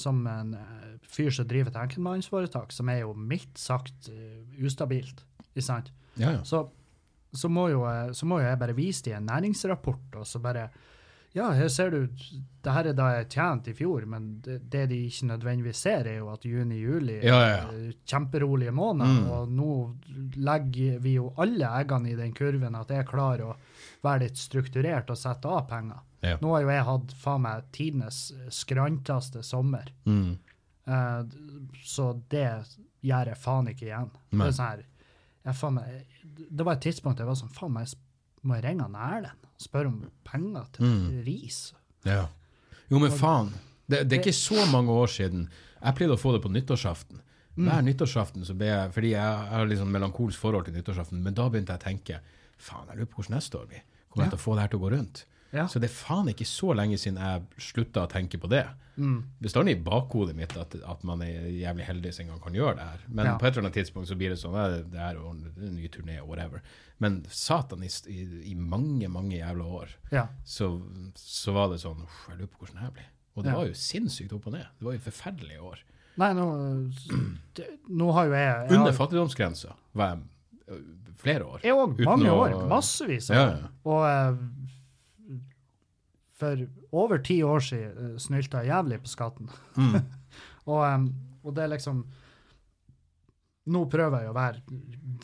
[SPEAKER 1] som en eh, fyr som driver et enkeltmannsforetak, som er jo mildt sagt eh, ustabilt, ikke sant?
[SPEAKER 2] ja, ja.
[SPEAKER 1] Så, så, må jo, jeg- så må jo jeg bare vise dem en næringsrapport, og så bare Ja, her ser du, det her er da jeg tjente i fjor, men det, det de ikke nødvendigvis ser, er jo at juni-juli
[SPEAKER 2] Ja, ja, Mm. ja.
[SPEAKER 1] eh, Kjemperolige måneder, og nå legger vi jo alle eggene i den kurven at jeg klarer å være litt strukturert og sette av penger.
[SPEAKER 2] Ja.
[SPEAKER 1] Nå har jo jeg hatt faen meg tidenes skranteste sommer.
[SPEAKER 2] Mm.
[SPEAKER 1] Eh, så det gjør jeg faen ikke igjen. Det,
[SPEAKER 2] Nei.
[SPEAKER 1] er sånn her, jeg faen meg, det var et tidspunkt jeg var sånn Faen meg, må jeg ringe han Erlend og spørre om penger til
[SPEAKER 2] Mm.
[SPEAKER 1] ris?
[SPEAKER 2] Ja. Jo, men faen. Det, det er ikke så mange år siden. Jeg pleide å få det på nyttårsaften.
[SPEAKER 1] Mm.
[SPEAKER 2] Hver nyttårsaften så ble jeg Fordi jeg har litt sånn melankolsk forhold til nyttårsaften, men da begynte jeg å tenke Faen, jeg lurer på hvordan neste år blir. Kommer jeg til å få det her til å gå rundt?
[SPEAKER 1] Ja.
[SPEAKER 2] Så det er faen ikke så lenge siden jeg slutta å tenke på det.
[SPEAKER 1] Mm.
[SPEAKER 2] Bestandig i bakhodet mitt at, at man er jævlig heldig som en gang kan gjøre det her. Men
[SPEAKER 1] Ja.
[SPEAKER 2] på et eller annet tidspunkt så blir det sånn eh, det er jo en en ny turné, whatever. Men satan, i, st- i, i mange, mange jævla år
[SPEAKER 1] ja.
[SPEAKER 2] så, så var det sånn uff, Jeg lurer på hvordan det her blir. Og det
[SPEAKER 1] Ja.
[SPEAKER 2] var jo sinnssykt opp og ned. Det var jo forferdelige år.
[SPEAKER 1] Nei, nå, det- nå har jo jeg jeg har-
[SPEAKER 2] Under fattigdomsgrensa var jeg ø, flere år.
[SPEAKER 1] Jeg òg.
[SPEAKER 2] Uten
[SPEAKER 1] Mange
[SPEAKER 2] å-
[SPEAKER 1] år. Massevis. av
[SPEAKER 2] Ja,
[SPEAKER 1] år.
[SPEAKER 2] ja.
[SPEAKER 1] Og eh, for over ti år siden eh, snylta jeg jævlig på skatten.
[SPEAKER 2] Mm.
[SPEAKER 1] (laughs) Og, eh, og det er liksom Nå prøver jeg å være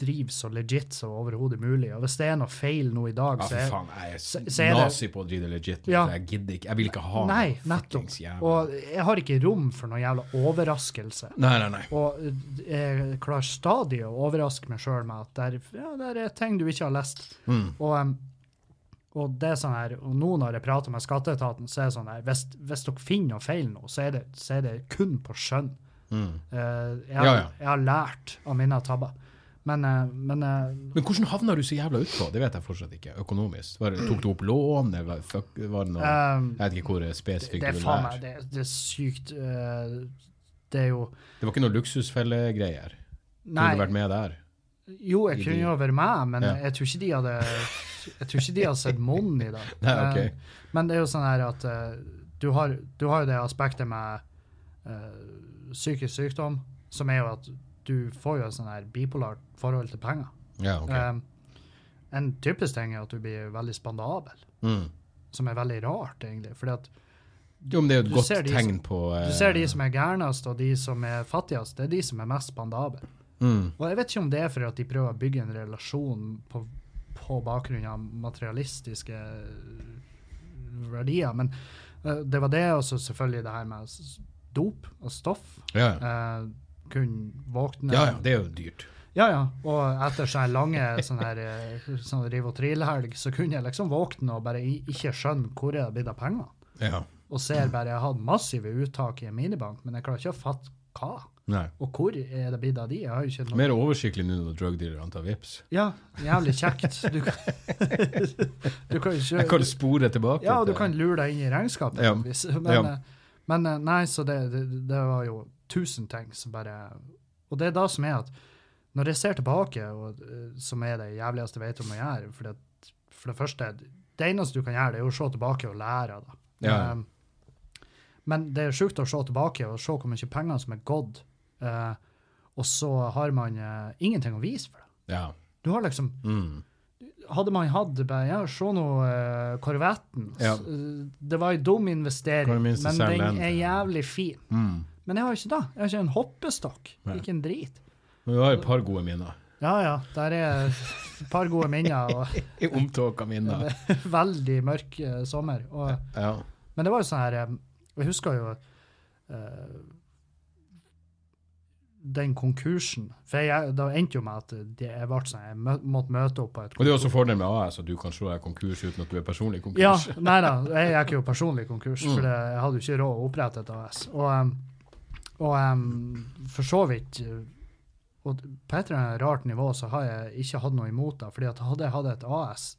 [SPEAKER 1] driv så legit som overhodet mulig. Og hvis det er noe feil nå i dag,
[SPEAKER 2] Ja,
[SPEAKER 1] så
[SPEAKER 2] for
[SPEAKER 1] er
[SPEAKER 2] faen, jeg er
[SPEAKER 1] se-
[SPEAKER 2] s-
[SPEAKER 1] se det-
[SPEAKER 2] nazi på å drive det legit. nå,
[SPEAKER 1] Ja.
[SPEAKER 2] for Jeg gidder ikke. Jeg vil ikke ha
[SPEAKER 1] Nei,
[SPEAKER 2] noe
[SPEAKER 1] nettopp.
[SPEAKER 2] fuckings jævla
[SPEAKER 1] Og jeg har ikke rom for noen jævla overraskelse.
[SPEAKER 2] Nei, nei, nei.
[SPEAKER 1] Og eh, jeg klarer stadig å overraske meg sjøl med at der, ja, der er ting du ikke har lest.
[SPEAKER 2] Mm.
[SPEAKER 1] Og, em, og det er sånn her, og nå når jeg prater med skatteetaten, så er det sånn her, hvis, hvis dere finner noe feil nå, så er det, så er det kun på skjønn.
[SPEAKER 2] Mm.
[SPEAKER 1] Eh, jeg, har-
[SPEAKER 2] Ja, ja.
[SPEAKER 1] jeg har lært av mine tabber. Men, eh, men eh,
[SPEAKER 2] Men hvordan havna du så jævla utpå? Det vet jeg fortsatt ikke. Økonomisk. Var, det- tok du opp lån, eller hva fuck, var det noe
[SPEAKER 1] em,
[SPEAKER 2] Jeg vet ikke hvor
[SPEAKER 1] Eh,
[SPEAKER 2] eh,
[SPEAKER 1] det,
[SPEAKER 2] spesifikt
[SPEAKER 1] det
[SPEAKER 2] det
[SPEAKER 1] er
[SPEAKER 2] vil
[SPEAKER 1] faen meg,
[SPEAKER 2] være.
[SPEAKER 1] det, det er sykt. eh, det er jo,
[SPEAKER 2] Det var ikke noe luksusfellegreier? Kunne du
[SPEAKER 1] nei,
[SPEAKER 2] vært med der?
[SPEAKER 1] jo, jeg kunne jo vært med, men
[SPEAKER 2] Ja.
[SPEAKER 1] jeg tror ikke de hadde, jeg tror ikke de hadde sett månen i det.
[SPEAKER 2] (laughs) Nei, ok.
[SPEAKER 1] Eh, Men det er jo sånn her at eh, du, har, du har jo det aspektet med eh, psykisk sykdom, som er jo at du får jo et sånn her bipolart forhold til penger.
[SPEAKER 2] Ja, ok.
[SPEAKER 1] Eh, en typisk ting er at du blir veldig spandabel,
[SPEAKER 2] Mm.
[SPEAKER 1] som er veldig rart, egentlig. fordi at
[SPEAKER 2] Jo, men det er jo
[SPEAKER 1] du
[SPEAKER 2] et godt
[SPEAKER 1] ser de
[SPEAKER 2] tegn på eh,
[SPEAKER 1] du ser de som er gærnest, og de som er fattigst, det er de som er mest spandabel.
[SPEAKER 2] mm.
[SPEAKER 1] Og jeg vet ikke om det er fordi at de prøver å bygge en relasjon på, på bakgrunn av materialistiske verdier, men eh, det var det, og så selvfølgelig det her med s- dop og stoff.
[SPEAKER 2] ja, ja.
[SPEAKER 1] Eh, kunne våkne
[SPEAKER 2] ja, ja. Det er jo dyrt.
[SPEAKER 1] Ja, ja. Og etter sånne lange sånne her, eh, sånn riv og trill-helg, så kunne jeg liksom våkne og bare i- ikke skjønne hvor jeg hadde blitt av pengene.
[SPEAKER 2] Ja.
[SPEAKER 1] Og ser bare jeg hadde massive uttak i en minibank, men jeg klarer ikke å fatte hva.
[SPEAKER 2] Nei.
[SPEAKER 1] Og hvor er det blitt av de? Jeg har jo ikke noe
[SPEAKER 2] Mer oversiktlig nå når drug dealerne tar vips.
[SPEAKER 1] Ja, jævlig kjekt. Du kan, (laughs) du kan
[SPEAKER 2] Jeg
[SPEAKER 1] ikke
[SPEAKER 2] kan spore tilbake.
[SPEAKER 1] Ja, og du
[SPEAKER 2] til-
[SPEAKER 1] kan lure deg inn i regnskapet.
[SPEAKER 2] Ja.
[SPEAKER 1] på et vis. Men,
[SPEAKER 2] Ja.
[SPEAKER 1] eh, men eh, nei, så det, det, det var jo tusen ting som bare Og det er da som er at når jeg ser tilbake, og, eh, som er det jævligste jeg vet om å gjøre For det, for det første, det eneste du kan gjøre, det er jo å se tilbake og lære av det.
[SPEAKER 2] Ja.
[SPEAKER 1] Eh, men det er sjukt å se tilbake og se hvor mye penger som er gått, eh, og så har man eh, ingenting å vise for det.
[SPEAKER 2] Ja.
[SPEAKER 1] Du har liksom
[SPEAKER 2] Mm.
[SPEAKER 1] hadde man hatt det bare, ja, se nå eh, korvetten. S-
[SPEAKER 2] Ja.
[SPEAKER 1] eh, Det var en dum investering,
[SPEAKER 2] Kan du
[SPEAKER 1] men
[SPEAKER 2] minst selge
[SPEAKER 1] den
[SPEAKER 2] den?
[SPEAKER 1] er jævlig fin.
[SPEAKER 2] Mm.
[SPEAKER 1] Men jeg har ikke det. Jeg har ikke en hoppestokk.
[SPEAKER 2] Nei.
[SPEAKER 1] Ikke en drit.
[SPEAKER 2] Men du har et par gode
[SPEAKER 1] (laughs)
[SPEAKER 2] minner.
[SPEAKER 1] Ja ja, der er et par gode minner
[SPEAKER 2] (laughs)
[SPEAKER 1] og
[SPEAKER 2] Omtåka minner.
[SPEAKER 1] (laughs) veldig mørk eh, sommer. Og,
[SPEAKER 2] Ja.
[SPEAKER 1] men det var jo sånn her eh, Jeg husker jo eh, den konkursen. For jeg, det endte jo med at det- jeg ble sånn, jeg mø- måtte møte opp på et
[SPEAKER 2] Og det er også fordelen med AS, at du kan slå deg konkurs uten at du er personlig
[SPEAKER 1] Ja,
[SPEAKER 2] konkurs.
[SPEAKER 1] nei da, jeg gikk jo personlig konkurs,
[SPEAKER 2] Mm.
[SPEAKER 1] for det, jeg hadde jo ikke råd å opprette et AS. Og, em, og em, for så vidt eh, og På et eller annet rart nivå så har jeg ikke hatt noe imot det, fordi at hadde jeg hatt et AS,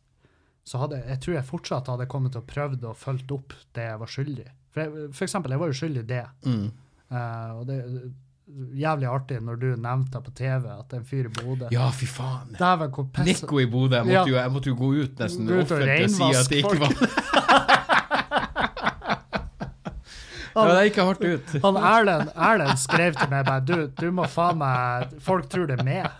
[SPEAKER 1] så hadde jeg tror jeg fortsatt hadde kommet til å prøvd og fulgt opp det jeg var skyldig. For, jeg, for eksempel, jeg var jo skyldig det.
[SPEAKER 2] Mm.
[SPEAKER 1] Eh, og det er jævlig artig når du nevnte på TV at en fyr i Bodø
[SPEAKER 2] Ja, fy faen.
[SPEAKER 1] Dæven, hvor piss
[SPEAKER 2] Nico i Bodø. Jeg,
[SPEAKER 1] Altså- Ja.
[SPEAKER 2] måtte jo- jeg måtte jo gå ut nesten
[SPEAKER 1] Gå ut og
[SPEAKER 2] offentlig og si at det ikke var (laughs) Ja, det gikk hardt ut.
[SPEAKER 1] Han Erlend, Erlend skrev til meg bare, du, du må faen meg Folk tror det er meg.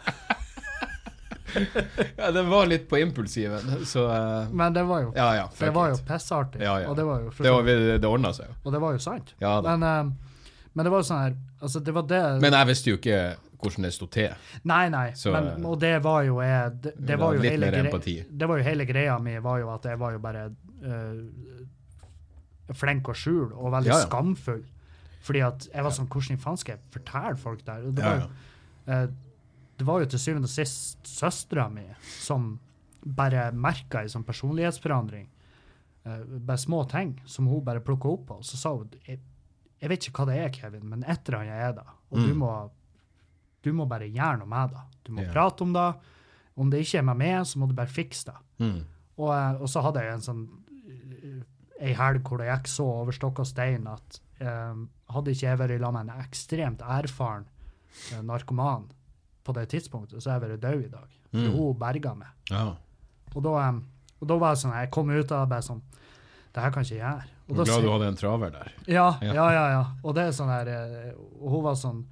[SPEAKER 2] Ja, den var litt på impulsiven, så eh,
[SPEAKER 1] Men det var jo,
[SPEAKER 2] Ja, ja. Fuck
[SPEAKER 1] det var jo
[SPEAKER 2] it.
[SPEAKER 1] pissartig.
[SPEAKER 2] Ja, ja.
[SPEAKER 1] Og det var jo
[SPEAKER 2] Det, var- det, det ordna seg jo.
[SPEAKER 1] Og det var jo sant.
[SPEAKER 2] Ja da.
[SPEAKER 1] Men, eh, men det var jo sånn her Altså, det var det
[SPEAKER 2] Men jeg visste jo ikke hvordan det sto til.
[SPEAKER 1] Nei, nei.
[SPEAKER 2] Så,
[SPEAKER 1] men, og det var jo jeg Det, det,
[SPEAKER 2] ville
[SPEAKER 1] var,
[SPEAKER 2] ha
[SPEAKER 1] jo
[SPEAKER 2] litt
[SPEAKER 1] hele
[SPEAKER 2] mer
[SPEAKER 1] gre-
[SPEAKER 2] empati.
[SPEAKER 1] det var jo hele greia mi, var jo at jeg var jo bare eh, flink å skjule og veldig
[SPEAKER 2] Ja, ja.
[SPEAKER 1] skamfull. Fordi at jeg var sånn Hvordan i faen skal jeg fortelle folk det her? Og Det
[SPEAKER 2] Ja,
[SPEAKER 1] var jo Eh, det var jo til syvende og sist søstera mi som bare merka ei sånn personlighetsforandring. Eh, bare små ting som hun bare plukka opp på. Og så sa hun jeg, jeg vet ikke hva det er, Kevin, men et eller annet er det. Og du,
[SPEAKER 2] Mm.
[SPEAKER 1] må, du må bare gjøre noe med det. Du må
[SPEAKER 2] Ja.
[SPEAKER 1] prate om det. Om det ikke er med meg, så må du bare fikse det.
[SPEAKER 2] Mm.
[SPEAKER 1] Og, eh, og så hadde jeg en sånn ei helg hvor det gikk så over stokk og stein at eh, hadde ikke jeg vært sammen med en ekstremt erfaren eh, narkoman på det tidspunktet, så hadde jeg vært død i dag. For
[SPEAKER 2] Mm.
[SPEAKER 1] hun berga meg.
[SPEAKER 2] Ja.
[SPEAKER 1] Og da, em, og da var jeg sånn, jeg kom ut av det bare sånn Det her kan ikke jeg gjøre. Og
[SPEAKER 2] Jeg
[SPEAKER 1] da
[SPEAKER 2] er glad
[SPEAKER 1] sier-
[SPEAKER 2] du hadde en traver der.
[SPEAKER 1] ja,
[SPEAKER 2] Ja.
[SPEAKER 1] ja, ja, ja. Og det er sånn her eh, og Hun var sånn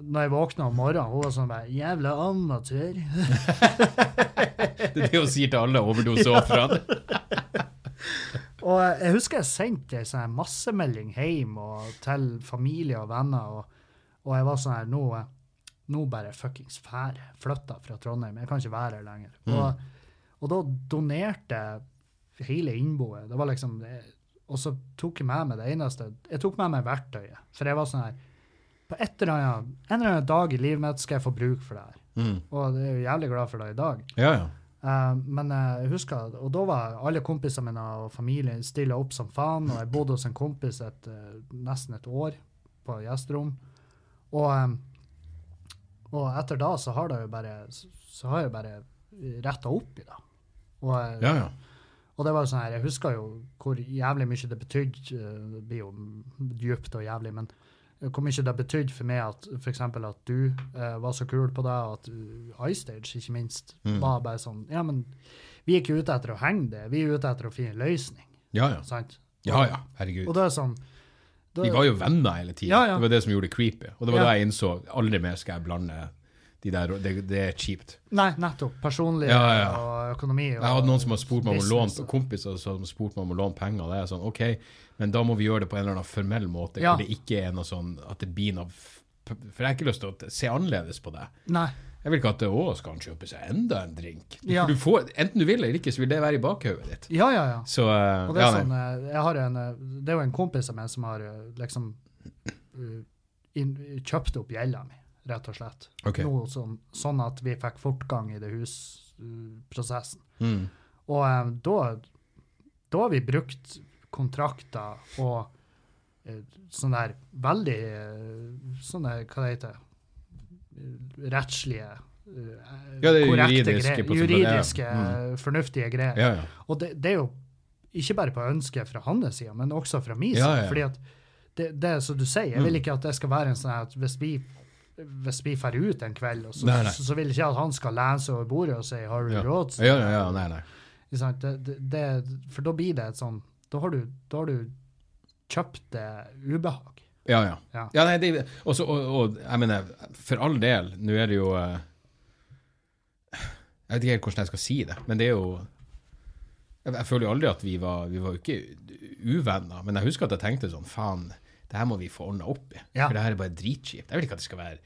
[SPEAKER 1] Når jeg våkna om morgenen, hun var sånn bare Jævla amatør.
[SPEAKER 2] (laughs) Det er det hun sier til
[SPEAKER 1] (laughs)
[SPEAKER 2] alle overdoseofrene.
[SPEAKER 1] Og jeg jeg husker jeg sendte ei sånn her massemelding hjem og til familie og venner, og, og jeg var sånn her Nå, eh, nå bare fuckings fær jeg. Flytta fra Trondheim. Jeg kan ikke være her lenger. Og, og da donerte jeg hele innboet. Det var liksom det- Og så tok jeg med meg det eneste Jeg tok med meg verktøyet. For jeg var sånn her På et eller annet, en eller annen dag i livet mitt skal jeg få bruk for det her.
[SPEAKER 2] Mm.
[SPEAKER 1] Og jeg er jo jævlig glad for det i dag.
[SPEAKER 2] Ja, ja.
[SPEAKER 1] Eh, men eh, jeg husker, at- og da var alle kompisene mine og familien stilla opp som faen, og jeg bodde hos en kompis et, eh, nesten et år på gjesterom. Og, eh, og etter da så har det jo bare så så har jeg bare retta opp i det. Og, eh,
[SPEAKER 2] ja, ja.
[SPEAKER 1] og det var jo sånn her, jeg husker jo hvor jævlig mye det betydde, eh, det blir jo djupt og jævlig, men eh, hvor mye det betydde for meg at for eksempel at du eh, var så kul på det, og at uh, iStage ikke minst
[SPEAKER 2] Mm.
[SPEAKER 1] var bare sånn, ja, men vi er ikke ute etter å henge det, vi er ute etter å finne en løsning,
[SPEAKER 2] Ja, ja.
[SPEAKER 1] sant?
[SPEAKER 2] ja, ja.
[SPEAKER 1] Og
[SPEAKER 2] Herregud.
[SPEAKER 1] det er sånn, det,
[SPEAKER 2] Vi var jo venner hele tida.
[SPEAKER 1] Ja, ja.
[SPEAKER 2] Det var det som gjorde det creepy. Og det var
[SPEAKER 1] Ja.
[SPEAKER 2] da jeg innså aldri mer skal jeg blande de der Det, det er kjipt.
[SPEAKER 1] nei, nettopp, personlig
[SPEAKER 2] Ja, ja, ja.
[SPEAKER 1] og økonomi. Og,
[SPEAKER 2] Jeg hadde noen som har spurt meg om å
[SPEAKER 1] business
[SPEAKER 2] låne
[SPEAKER 1] og-
[SPEAKER 2] kompiser som har spurt meg om å låne penger. Det er sånn, ok, men da må vi gjøre det på en eller annen formell måte,
[SPEAKER 1] Ja.
[SPEAKER 2] hvor det ikke er noe sånn at det blir noe f- For jeg har ikke lyst til å se annerledes på det.
[SPEAKER 1] Nei,
[SPEAKER 2] Jeg vil ikke at å, skal han kjøpe seg enda en drink?
[SPEAKER 1] Ja.
[SPEAKER 2] For du får, enten du vil eller ikke, så vil det være i bakhodet ditt.
[SPEAKER 1] ja, ja, ja.
[SPEAKER 2] Så eh,
[SPEAKER 1] Og det er,
[SPEAKER 2] ja, nei.
[SPEAKER 1] sånn, eh, jeg har en, eh, det er jo en kompis av meg som har eh, liksom eh, inn, kjøpt opp gjelda mi, rett og slett.
[SPEAKER 2] Ok.
[SPEAKER 1] Noe som, sånn at vi fikk fortgang i det husprosessen.
[SPEAKER 2] Mm.
[SPEAKER 1] Og eh, da, da har vi brukt kontrakter og eh, sånne der veldig eh, Sånne, hva det heter eh, Rettslige eh,
[SPEAKER 2] Ja, det er
[SPEAKER 1] korrekte
[SPEAKER 2] juridiske
[SPEAKER 1] greier.
[SPEAKER 2] på-
[SPEAKER 1] Juridiske,
[SPEAKER 2] ja. Mm.
[SPEAKER 1] eh, fornuftige greier.
[SPEAKER 2] Ja, ja.
[SPEAKER 1] Og det, det er jo ikke bare på ønsket fra hans side, men også fra min side.
[SPEAKER 2] Ja, ja. Mm.
[SPEAKER 1] Fordi at det, det er som du sier, jeg vil ikke at det skal være en sånn her at hvis vi hvis vi drar ut en kveld, og så,
[SPEAKER 2] Nei, nei.
[SPEAKER 1] Så, så vil ikke jeg at han skal lene seg over bordet og si 'har du
[SPEAKER 2] Ja.
[SPEAKER 1] råd?'
[SPEAKER 2] ja, ja, ja nei, nei.
[SPEAKER 1] Ikke sant? Det, det, det, for da blir det et sånn Da har du, da har du kjøpt det ubehag.
[SPEAKER 2] Ja, ja.
[SPEAKER 1] Ja.
[SPEAKER 2] ja nei, det, også, og, og jeg mener, for all del, nå er det jo eh, Jeg vet ikke helt hvordan jeg skal si det, men det er jo Jeg, jeg føler jo aldri at vi var Vi var jo ikke uvenner, men jeg husker at jeg tenkte sånn Faen, det her må vi få ordna opp i.
[SPEAKER 1] Ja.
[SPEAKER 2] For det her er bare dritkjipt. Jeg vil ikke at det skal være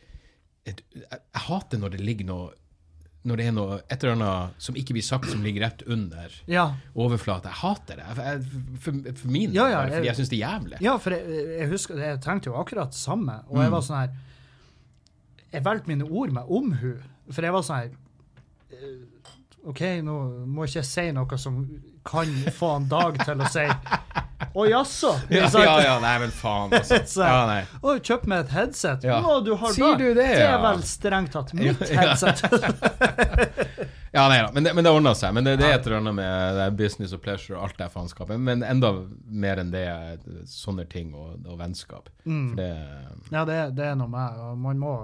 [SPEAKER 2] et, jeg, jeg hater når det ligger noe når det er noe et eller annet som ikke blir sagt, som ligger rett under
[SPEAKER 1] Ja,
[SPEAKER 2] overflata. Jeg hater det. Jeg, jeg, for, for min del,
[SPEAKER 1] Ja, ja,
[SPEAKER 2] bare,
[SPEAKER 1] jeg-
[SPEAKER 2] fordi jeg syns det er jævlig.
[SPEAKER 1] Ja, for jeg, jeg husker Jeg tenkte jo akkurat det samme. Og
[SPEAKER 2] Mm.
[SPEAKER 1] jeg var sånn her Jeg valgte mine ord med omhu. For jeg var sånn her eh, OK, nå må ikke jeg si noe som kan få en Dag til å si Å, jaså?
[SPEAKER 2] (laughs) Ja,
[SPEAKER 1] Ikke sant?
[SPEAKER 2] ja, ja, nei, men faen, altså.
[SPEAKER 1] (laughs) Så-
[SPEAKER 2] Ja, nei.
[SPEAKER 1] Å, kjøp meg et headset.
[SPEAKER 2] Ja.
[SPEAKER 1] Nå, du har
[SPEAKER 2] Sier
[SPEAKER 1] da-
[SPEAKER 2] du det,
[SPEAKER 1] det er
[SPEAKER 2] ja?
[SPEAKER 1] vel strengt tatt mitt
[SPEAKER 2] Ja, ja.
[SPEAKER 1] headset.
[SPEAKER 2] (laughs)
[SPEAKER 1] (laughs)
[SPEAKER 2] Ja, nei da. Men det, men det ordna seg. Men det, det er et eller annet med det er business og pleasure og alt det faenskapet. Men enda mer enn det er sånne ting og, og vennskap.
[SPEAKER 1] Mm.
[SPEAKER 2] For det
[SPEAKER 1] Ja, det, det er noe med og Man må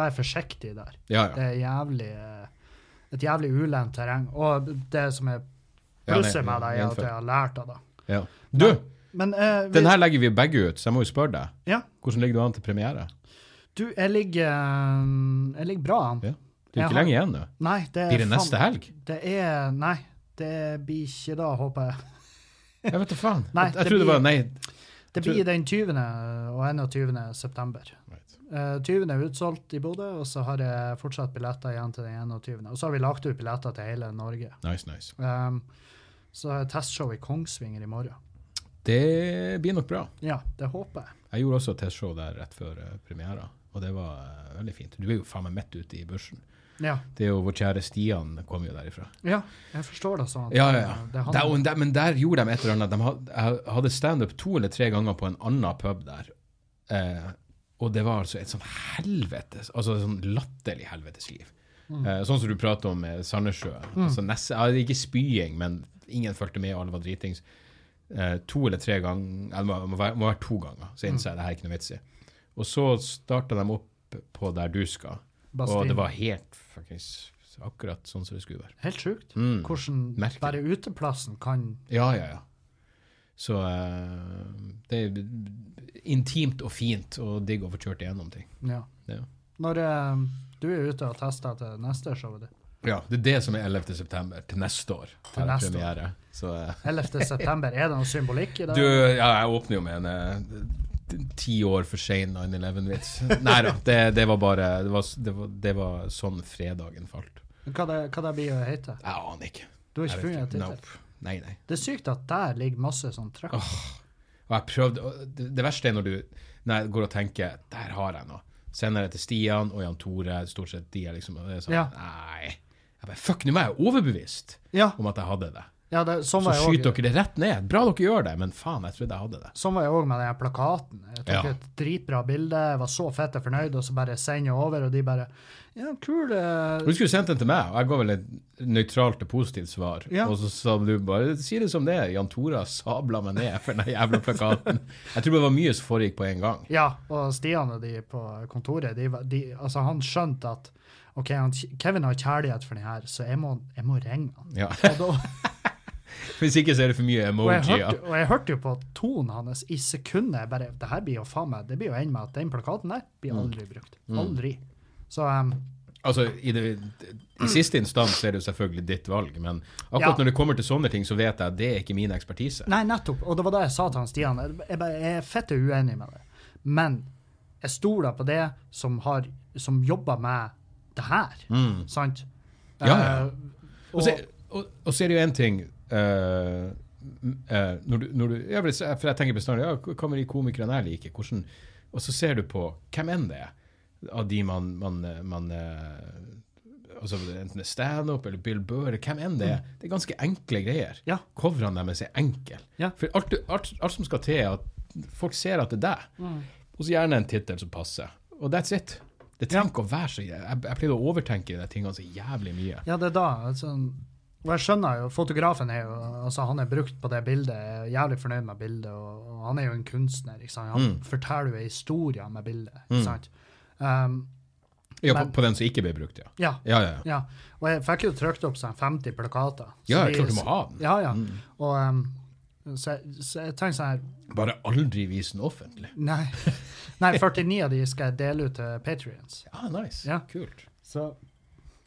[SPEAKER 1] være forsiktig der.
[SPEAKER 2] Ja,
[SPEAKER 1] Det
[SPEAKER 2] ja.
[SPEAKER 1] er jævlig eh, et jævlig ulendt terreng. Og det som er
[SPEAKER 2] Ja, det-
[SPEAKER 1] plusset med det, er at jeg har lært av det.
[SPEAKER 2] ja. Du,
[SPEAKER 1] Men eh, vi,
[SPEAKER 2] den her legger vi begge ut, så jeg må jo spørre deg.
[SPEAKER 1] Ja.
[SPEAKER 2] Hvordan ligger du an til premiere?
[SPEAKER 1] du, jeg ligger eh, Jeg ligger bra an.
[SPEAKER 2] Ja. Det er jo
[SPEAKER 1] Jeg
[SPEAKER 2] ikke
[SPEAKER 1] har-
[SPEAKER 2] lenge igjen nå.
[SPEAKER 1] Nei, det er
[SPEAKER 2] Blir det
[SPEAKER 1] faen-
[SPEAKER 2] neste helg?
[SPEAKER 1] Det er Nei, det blir ikke da, håper jeg.
[SPEAKER 2] Jeg vet da faen.
[SPEAKER 1] Nei,
[SPEAKER 2] jeg jeg
[SPEAKER 1] det
[SPEAKER 2] trodde det
[SPEAKER 1] blir-
[SPEAKER 2] var Nei.
[SPEAKER 1] Det
[SPEAKER 2] Tror-
[SPEAKER 1] blir den 20. og 21. september. Eh, 20. er utsolgt i Bodø, og så har jeg fortsatt billetter igjen til den 21. Og så har vi lagt ut billetter til hele Norge.
[SPEAKER 2] Nice, nice.
[SPEAKER 1] Um, så har jeg testshow i Kongsvinger i morgen.
[SPEAKER 2] Det blir nok bra.
[SPEAKER 1] Ja, det håper jeg.
[SPEAKER 2] Jeg gjorde også et testshow der rett før eh, premiera, og det var eh, veldig fint. Du er jo faen meg midt ute i børsen.
[SPEAKER 1] Ja,
[SPEAKER 2] Det er jo vår kjære Stian kommer jo derifra.
[SPEAKER 1] ja jeg forstår det sånn. at,
[SPEAKER 2] Ja, ja,
[SPEAKER 1] eh,
[SPEAKER 2] ja.
[SPEAKER 1] Det
[SPEAKER 2] Der,
[SPEAKER 1] handler,
[SPEAKER 2] og der, men der gjorde de et eller annet. De had- jeg hadde standup to eller tre ganger på en annen pub der. Eh, og det var altså et sånn helvetes, altså et sånn latterlig
[SPEAKER 1] Mm.
[SPEAKER 2] eh, helvetes liv. Eh, sånn som du prater om med Sandnessjø. Altså, ness- ja, det er ikke spying, men ingen fulgte med, alle var dritings. Eh, to eller tre ganger, eller må, må, være, må være to ganger, så
[SPEAKER 1] Mm.
[SPEAKER 2] innså jeg det her er ikke noe vits i. Og så starta de opp på der du skal, og det
[SPEAKER 1] Bastin.
[SPEAKER 2] var helt fuckings akkurat sånn som det skulle være.
[SPEAKER 1] Helt sjukt.
[SPEAKER 2] Mm.
[SPEAKER 1] Hvordan
[SPEAKER 2] Merkelig.
[SPEAKER 1] bare uteplassen kan
[SPEAKER 2] Ja, ja, ja. Så eh, det er intimt og fint og digg å få kjørt igjennom ting.
[SPEAKER 1] Ja.
[SPEAKER 2] Ja.
[SPEAKER 1] Når eh, du er ute og tester til neste showet ditt
[SPEAKER 2] Ja, det er det som er 11. september til neste år.
[SPEAKER 1] Til neste år.
[SPEAKER 2] år. Så, eh, (laughs)
[SPEAKER 1] 11. september, er det noe symbolikk i det?
[SPEAKER 2] Du, ja, jeg åpner jo med en eh, ti år for sein
[SPEAKER 1] (laughs)
[SPEAKER 2] 9-11-vits. Nei da, det, det var bare det var, det, var, det var sånn fredagen falt.
[SPEAKER 1] Hva det, hva det blir å hete?
[SPEAKER 2] Jeg aner ikke.
[SPEAKER 1] Du har
[SPEAKER 2] Jeg
[SPEAKER 1] ikke
[SPEAKER 2] vet
[SPEAKER 1] funnet en tittel?
[SPEAKER 2] Nope. Nei, nei.
[SPEAKER 1] Det er sykt at der ligger masse sånn trøkk.
[SPEAKER 2] Og jeg prøvde, og det, det verste er når du når jeg går og tenker der har jeg noe. Sender det til Stian og Jan Tore. Stort sett de er liksom og det er sånn,
[SPEAKER 1] Ja.
[SPEAKER 2] Nei. Jeg bare, Fuck, nå var jeg overbevist
[SPEAKER 1] Ja,
[SPEAKER 2] om at jeg hadde det.
[SPEAKER 1] ja det, sånn,
[SPEAKER 2] Så
[SPEAKER 1] var jeg
[SPEAKER 2] skyter
[SPEAKER 1] også,
[SPEAKER 2] dere det rett ned. Bra dere gjør det, men faen, jeg trodde jeg hadde det.
[SPEAKER 1] sånn var jeg òg med den her plakaten. Jeg tok
[SPEAKER 2] Ja.
[SPEAKER 1] et dritbra bilde, jeg var så fette fornøyd, og så bare sender jeg over, og de bare Ja, kul. eh,
[SPEAKER 2] Du skulle sendt den til meg, og jeg ga vel et nøytralt og positivt svar.
[SPEAKER 1] Ja.
[SPEAKER 2] Og så sa du bare si det som det er. Jan Tora sabla meg ned for den jævla plakaten. Jeg tror det var mye som foregikk på en gang.
[SPEAKER 1] Ja, og Stian og de på kontoret, de, var- de, altså han skjønte at OK, han, Kevin har kjærlighet for den her, så jeg må, jeg må ringe han.
[SPEAKER 2] Ja. (laughs)
[SPEAKER 1] Og, da,
[SPEAKER 2] Hvis ikke så er det for mye
[SPEAKER 1] og, jeg
[SPEAKER 2] emojier.
[SPEAKER 1] hørte, og jeg hørte jo på tonen hans i sekundet jeg bare, Det her blir jo faen meg, det blir jo ende med at den plakaten der
[SPEAKER 2] Mm.
[SPEAKER 1] blir aldri brukt. Aldri. Så um,
[SPEAKER 2] Altså, i, det, I siste instans er det jo selvfølgelig ditt valg, men
[SPEAKER 1] Ja.
[SPEAKER 2] akkurat når det kommer til sånne ting, så vet jeg at det er ikke min ekspertise.
[SPEAKER 1] Nei, nettopp. Og det var det jeg sa til han Stian. Jeg, bare, jeg er fette uenig med det. Men jeg stoler på det som, har, som jobber med det her. Sant?
[SPEAKER 2] Mm. Ja, ja.
[SPEAKER 1] Eh,
[SPEAKER 2] Og, så- og, og så er det jo én ting eh, m- eh, når du, når du, ja, for jeg- For jeg tenker bestandig ja, hva med de komikerne jeg liker? Hvordan, og så ser du på hvem enn det er av de man, man, eh, man eh, altså Enten det er standup eller Bill Burr, eller hvem enn det er. Det er ganske enkle greier.
[SPEAKER 1] Mm. Ja.
[SPEAKER 2] Coverene deres er enkle.
[SPEAKER 1] Ja.
[SPEAKER 2] For alt, du- alt, alt som skal til, er at folk ser at det er deg.
[SPEAKER 1] Mm.
[SPEAKER 2] Og så gjerne en tittel som passer. Og that's it. Det trenger ikke å være så Jeg, jeg pleide å overtenke de tingene så jævlig mye.
[SPEAKER 1] Ja, det er da. Altså, og jeg skjønner jo, fotografen er jo, altså han er brukt på det bildet, jeg er jævlig fornøyd med bildet, og, og han er jo en kunstner, ikke sant?
[SPEAKER 2] Mm.
[SPEAKER 1] Han forteller jo en historie med bildet, ikke sant? Um,
[SPEAKER 2] Ja, på,
[SPEAKER 1] Men-
[SPEAKER 2] på den som ikke ble brukt, ja.
[SPEAKER 1] ja,
[SPEAKER 2] Ja, ja, ja.
[SPEAKER 1] ja. Og jeg fikk jo trykt opp sånn 50 plakater. Så
[SPEAKER 2] Ja,
[SPEAKER 1] de-
[SPEAKER 2] klart du må ha Mm. den.
[SPEAKER 1] Ja, ja. Og, um, så, jeg- så jeg tenkte sånn her,
[SPEAKER 2] Bare aldri vise den offentlig.
[SPEAKER 1] nei, (laughs) nei, 49 av de skal jeg dele ut til Patreons.
[SPEAKER 2] Ja, nice.
[SPEAKER 1] Ja.
[SPEAKER 2] Kult.
[SPEAKER 1] Så,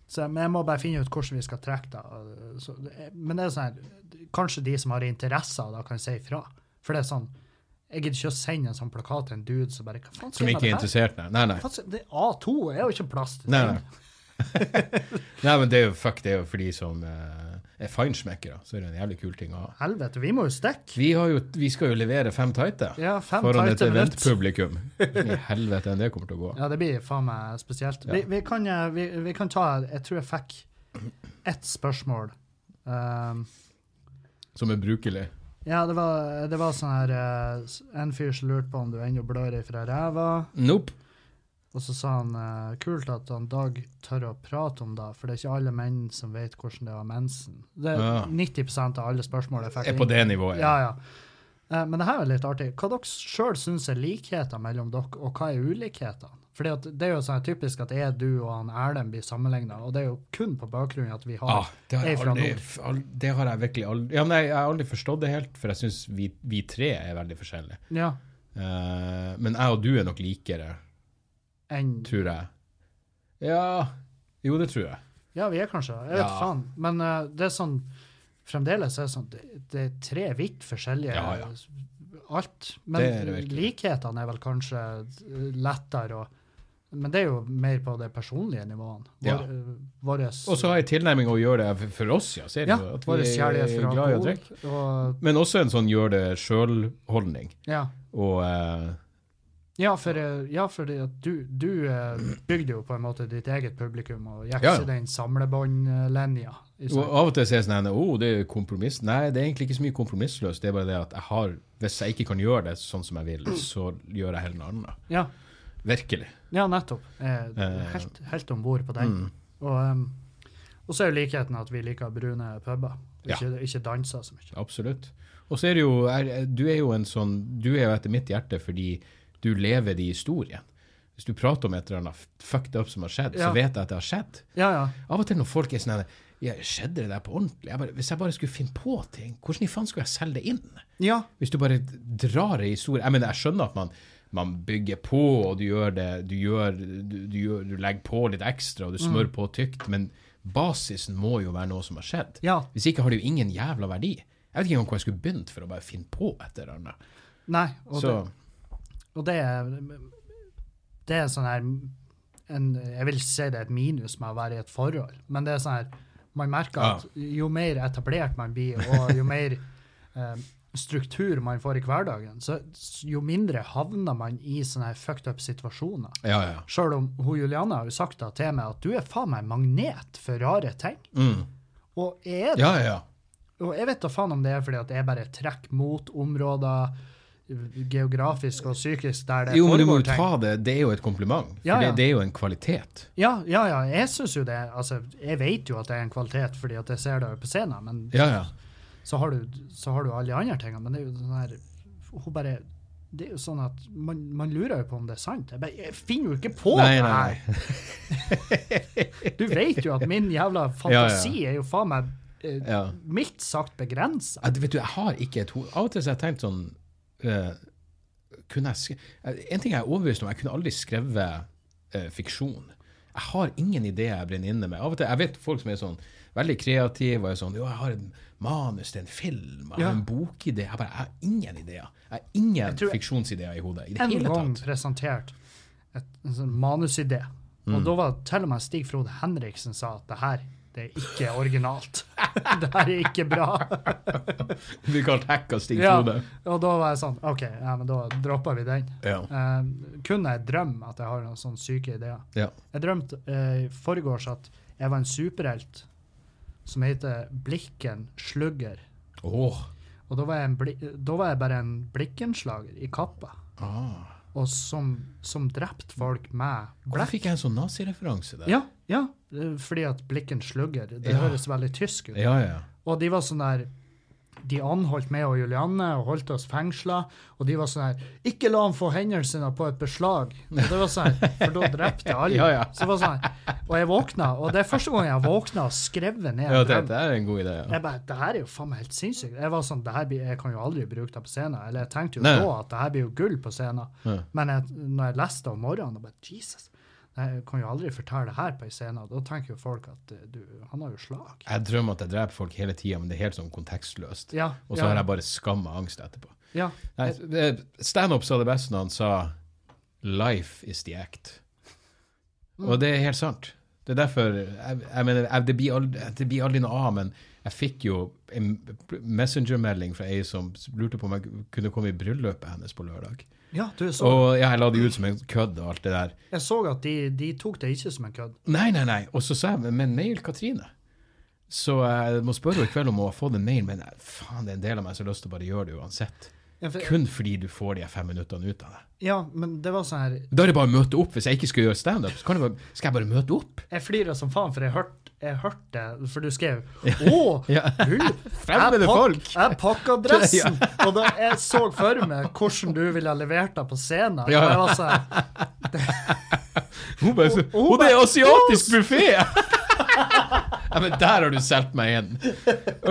[SPEAKER 1] så, men jeg må bare finne ut hvordan vi skal trekke det. og- Så, det- men det er sånn her, kanskje de som har interesse av det, kan si ifra. For det er sånn Jeg gidder ikke å sende en sånn plakat til en dude som bare Hva faen
[SPEAKER 2] Som
[SPEAKER 1] skal jeg
[SPEAKER 2] ikke er
[SPEAKER 1] med det her?
[SPEAKER 2] interessert, nei. Nei, nei.
[SPEAKER 1] Hva faen- det- A2 er jo ikke plass til
[SPEAKER 2] nei,
[SPEAKER 1] ting.
[SPEAKER 2] nei. nei (laughs) men det er jo fuck, det er jo for de som eh, er feinschmeckere, så er det en jævlig kul ting å ha.
[SPEAKER 1] Helvete, vi må jo stikke.
[SPEAKER 2] Vi, har jo, vi skal jo levere fem tighte
[SPEAKER 1] Ja, fem
[SPEAKER 2] foran et
[SPEAKER 1] tighte minutt. (laughs)
[SPEAKER 2] eventpublikum. I helvete enn det kommer til å gå.
[SPEAKER 1] Ja, det blir faen meg spesielt. Vi, vi, kan, eh, vi, vi kan ta Jeg tror jeg fikk ett spørsmål. Um,
[SPEAKER 2] Som er brukelig.
[SPEAKER 1] ja, det var, det var sånn her eh, s- En fyr som lurte på om du ennå blør ifra ræva.
[SPEAKER 2] Nope.
[SPEAKER 1] Og så sa han eh, kult at han Dag tør å prate om det, for det er ikke alle menn som vet hvordan det er å ha mensen. Det er
[SPEAKER 2] Ja.
[SPEAKER 1] 90 av alle spørsmål jeg fikk.
[SPEAKER 2] Er på
[SPEAKER 1] inn.
[SPEAKER 2] det nivået.
[SPEAKER 1] Ja, ja. Eh, men det her er litt artig. Hva dere sjøl syns er likheter mellom dere, og hva er ulikhetene? Fordi at det er jo sånn typisk at jeg, du og han Erlend blir sammenligna, og det er jo kun på bakgrunn av at vi har
[SPEAKER 2] Ah, det, har jeg
[SPEAKER 1] er fra
[SPEAKER 2] aldri,
[SPEAKER 1] nord.
[SPEAKER 2] al- det har jeg virkelig aldri ja, nei, Jeg har aldri forstått det helt, for jeg syns vi, vi tre er veldig forskjellige.
[SPEAKER 1] Ja,
[SPEAKER 2] Eh, men jeg og du er nok likere,
[SPEAKER 1] enn
[SPEAKER 2] tror jeg. Ja Jo, det tror jeg.
[SPEAKER 1] Ja, vi er kanskje Jeg vet
[SPEAKER 2] Ja.
[SPEAKER 1] faen. Men eh, det er sånn Fremdeles er det sånn Det, det er tre vidt forskjellige
[SPEAKER 2] Ja, ja.
[SPEAKER 1] alt.
[SPEAKER 2] Det er det
[SPEAKER 1] Men
[SPEAKER 2] virkelig.
[SPEAKER 1] likhetene er vel kanskje eh, lettere å Men det er jo mer på det personlige nivået.
[SPEAKER 2] Ja.
[SPEAKER 1] Vår, eh, våres
[SPEAKER 2] Og så har jeg tilnærming å gjøre det for- for oss, ja. Ser du
[SPEAKER 1] ja,
[SPEAKER 2] jo at
[SPEAKER 1] vår
[SPEAKER 2] vi
[SPEAKER 1] kjærlighet
[SPEAKER 2] er
[SPEAKER 1] for
[SPEAKER 2] glad i å drikke.
[SPEAKER 1] alkohol. Og,
[SPEAKER 2] Men også en sånn gjør det sjøl-holdning.
[SPEAKER 1] ja.
[SPEAKER 2] Og eh,
[SPEAKER 1] Ja, for, eh, ja, fordi at du, du eh, bygde jo på en måte ditt eget publikum og gikk
[SPEAKER 2] Ja, ja.
[SPEAKER 1] ikke den samlebåndlinja. i
[SPEAKER 2] Og
[SPEAKER 1] seg.
[SPEAKER 2] av og til sier jeg sånn her, oh, det er jo kompromiss. Nei, det er egentlig ikke så mye kompromissløst. Det er bare det at jeg har, hvis jeg ikke kan gjøre det sånn som jeg vil, så gjør jeg heller noe annet.
[SPEAKER 1] Ja.
[SPEAKER 2] Virkelig.
[SPEAKER 1] Ja, nettopp. Eh,
[SPEAKER 2] Eh. Mm.
[SPEAKER 1] helt helt om bord på den. Og, em, og så er jo likheten at vi liker brune puber. og ikke, ikke dansa så mye.
[SPEAKER 2] Absolutt. Og så er det jo er, Du er jo en sånn Du er jo etter mitt hjerte fordi du lever i historien. Hvis du prater om et eller annet fucked up som har skjedd,
[SPEAKER 1] Ja.
[SPEAKER 2] så vet jeg at det har skjedd.
[SPEAKER 1] Ja, ja.
[SPEAKER 2] Av og til når folk er sånn her, ja, Skjedde det der på ordentlig? Jeg bare, hvis jeg bare skulle finne på ting, hvordan i faen skulle jeg selge det inn?
[SPEAKER 1] Ja,
[SPEAKER 2] Hvis du bare drar ei historie Jeg mener, jeg skjønner at man, man bygger på, og du gjør det du, gjør, du, du, gjør, du legger på litt ekstra,
[SPEAKER 1] Mm.
[SPEAKER 2] og du smører på tykt, men basisen må jo være noe som har skjedd.
[SPEAKER 1] ja.
[SPEAKER 2] Hvis ikke har det jo ingen jævla verdi. Jeg vet ikke engang hvor jeg skulle begynt for å bare finne på et eller annet.
[SPEAKER 1] Nei. Og
[SPEAKER 2] Så,
[SPEAKER 1] Og det er, det er sånn her en, Jeg vil ikke si det er et minus med å være i et forhold, men det er sånn her Man merker at jo mer etablert man blir, og jo mer (laughs) eh, struktur man får i hverdagen, så s- jo mindre havner man i sånne her fucked up situasjoner.
[SPEAKER 2] ja, ja.
[SPEAKER 1] Sjøl om hun Juliana har jo sagt da til meg at du er faen meg magnet for rare ting.
[SPEAKER 2] Mm.
[SPEAKER 1] Og jeg er det.
[SPEAKER 2] Ja, ja, ja.
[SPEAKER 1] Og jeg vet da faen om det er fordi at jeg bare trekker mot områder eh, geografisk og psykisk der det
[SPEAKER 2] Jo, men du må
[SPEAKER 1] foregår
[SPEAKER 2] jo
[SPEAKER 1] ting.
[SPEAKER 2] ta det. Det er jo et kompliment. For
[SPEAKER 1] Ja, ja.
[SPEAKER 2] Det, det er jo en kvalitet.
[SPEAKER 1] Ja, ja, ja, jeg syns jo det. Altså, jeg vet jo at det er en kvalitet fordi at jeg ser det på scenen, men
[SPEAKER 2] Ja, ja.
[SPEAKER 1] så, har du, så har du alle de andre tingene. Men det er jo sånn her Hun bare Det er jo sånn at man, man lurer jo på om det er sant. Jeg, bare, jeg finner jo ikke på
[SPEAKER 2] Nei,
[SPEAKER 1] det
[SPEAKER 2] nei,
[SPEAKER 1] her! Du vet jo at min
[SPEAKER 2] (laughs)
[SPEAKER 1] jævla fantasi er jo faen meg eh,
[SPEAKER 2] Ja.
[SPEAKER 1] mildt sagt begrensa.
[SPEAKER 2] Ja, du vet du, jeg har ikke et hode. Av og til så har jeg tenkt sånn eh, kunne jeg, sk- eh, En ting jeg er overbevist om, jeg kunne aldri skrevet eh, fiksjon. Jeg har ingen ideer jeg brenner inne med. Av og til, Jeg vet folk som er sånn veldig kreative og er sånn Jo, jeg har et manus til en film, jeg har
[SPEAKER 1] Ja.
[SPEAKER 2] en bokidé Jeg bare, jeg har ingen ideer. Jeg har ingen
[SPEAKER 1] tror jeg-
[SPEAKER 2] fiksjonsideer i hodet i det
[SPEAKER 1] En
[SPEAKER 2] hele
[SPEAKER 1] gang
[SPEAKER 2] tatt.
[SPEAKER 1] presentert et, en sånn manusidé,
[SPEAKER 2] Mm.
[SPEAKER 1] og da var det til og med Stig Frode Henriksen sa at det her det er ikke originalt. (laughs) det her er ikke bra.
[SPEAKER 2] Du kalte hacka Stig
[SPEAKER 1] Ja,
[SPEAKER 2] Frode.
[SPEAKER 1] og da var jeg sånn OK, ja, men da dropper vi den.
[SPEAKER 2] Ja.
[SPEAKER 1] Eh, kun jeg drømmer at jeg har noen sånne syke ideer.
[SPEAKER 2] Ja.
[SPEAKER 1] Jeg drømte eh, i forgårs at jeg var en superhelt som heter Blikken Slugger.
[SPEAKER 2] Åh.
[SPEAKER 1] Og da var jeg, en bli, da var jeg bare en blikkenslager i kappa,
[SPEAKER 2] Ah.
[SPEAKER 1] og som, som drepte folk med
[SPEAKER 2] Hvordan fikk jeg en sånn nazireferanse der?
[SPEAKER 1] Ja, ja, eh, fordi at Blikken Slugger, det
[SPEAKER 2] Ja.
[SPEAKER 1] høres veldig tysk ut.
[SPEAKER 2] ja, ja.
[SPEAKER 1] Og de var sånn der De anholdt meg og Julianne og holdt oss fengsla. Og de var sånn her Ikke la ham få hendene sine på et beslag. Og det var sånn her, For da drepte jeg alle.
[SPEAKER 2] (laughs) Ja, ja.
[SPEAKER 1] Så det var sånn her, Og jeg våkna, og det er første gang jeg våkna og skrev ned
[SPEAKER 2] ja
[SPEAKER 1] en
[SPEAKER 2] det,
[SPEAKER 1] drøm.
[SPEAKER 2] det er en god idé. Ja.
[SPEAKER 1] Jeg bare, det her er jo faen meg helt sinnssykt. Jeg var sånn, det her blir, jeg kan jo aldri bruke det på scenen. Eller jeg tenkte jo
[SPEAKER 2] Nei.
[SPEAKER 1] da at det her blir jo gull på scenen.
[SPEAKER 2] Ja.
[SPEAKER 1] Men jeg, når jeg leste det om morgenen, da bare, Jesus, jeg kan jo aldri fortelle det her på en scene. Da tenker jo folk at eh, du, han har jo slag.
[SPEAKER 2] Jeg drømmer at jeg dreper folk hele tida, men det er helt sånn kontekstløst.
[SPEAKER 1] Ja,
[SPEAKER 2] Og så
[SPEAKER 1] ja,
[SPEAKER 2] har jeg bare skam og angst etterpå.
[SPEAKER 1] ja.
[SPEAKER 2] Nei, eh, Standup sa det best når han sa 'Life is the act'.
[SPEAKER 1] Mm.
[SPEAKER 2] Og det er helt sant. Det er derfor jeg, jeg mener, jeg, det, blir aldri, det blir aldri noe av, men jeg fikk jo en messengermelding fra ei som lurte på om jeg kunne komme i bryllupet hennes på lørdag.
[SPEAKER 1] Ja, du så
[SPEAKER 2] Og ja, jeg la det ut som en kødd og alt det der.
[SPEAKER 1] Jeg så at de, de tok det ikke som en kødd.
[SPEAKER 2] Nei, nei, nei. Og så sa jeg, men mail Katrine. Så jeg må spørre henne i kveld om hun har fått en mail, men eh, faen, det er en del av meg som har lyst til å bare gjøre det uansett.
[SPEAKER 1] Ja, for-
[SPEAKER 2] Kun fordi du får de her fem minuttene ut av det.
[SPEAKER 1] Ja, men det var sånn her
[SPEAKER 2] Da er det bare å møte opp. Hvis jeg ikke skal gjøre standup, så kan jeg bare, skal jeg bare møte opp.
[SPEAKER 1] Jeg flirer som faen, for jeg hørte jeg hørte det, for du skrev Å,
[SPEAKER 2] Ja. (laughs)
[SPEAKER 1] du,
[SPEAKER 2] Fremmede
[SPEAKER 1] jeg pakk-
[SPEAKER 2] folk.
[SPEAKER 1] Jeg pakka
[SPEAKER 2] (laughs)
[SPEAKER 1] dressen! Og da jeg så for meg hvordan du ville ha levert deg på scenen. Og
[SPEAKER 2] Ja.
[SPEAKER 1] jeg var sånn
[SPEAKER 2] (laughs)
[SPEAKER 1] her,
[SPEAKER 2] Hun bare så,
[SPEAKER 1] hun
[SPEAKER 2] Å, det er asiatisk buffé! (laughs) ja, men der har du solgt meg igjen.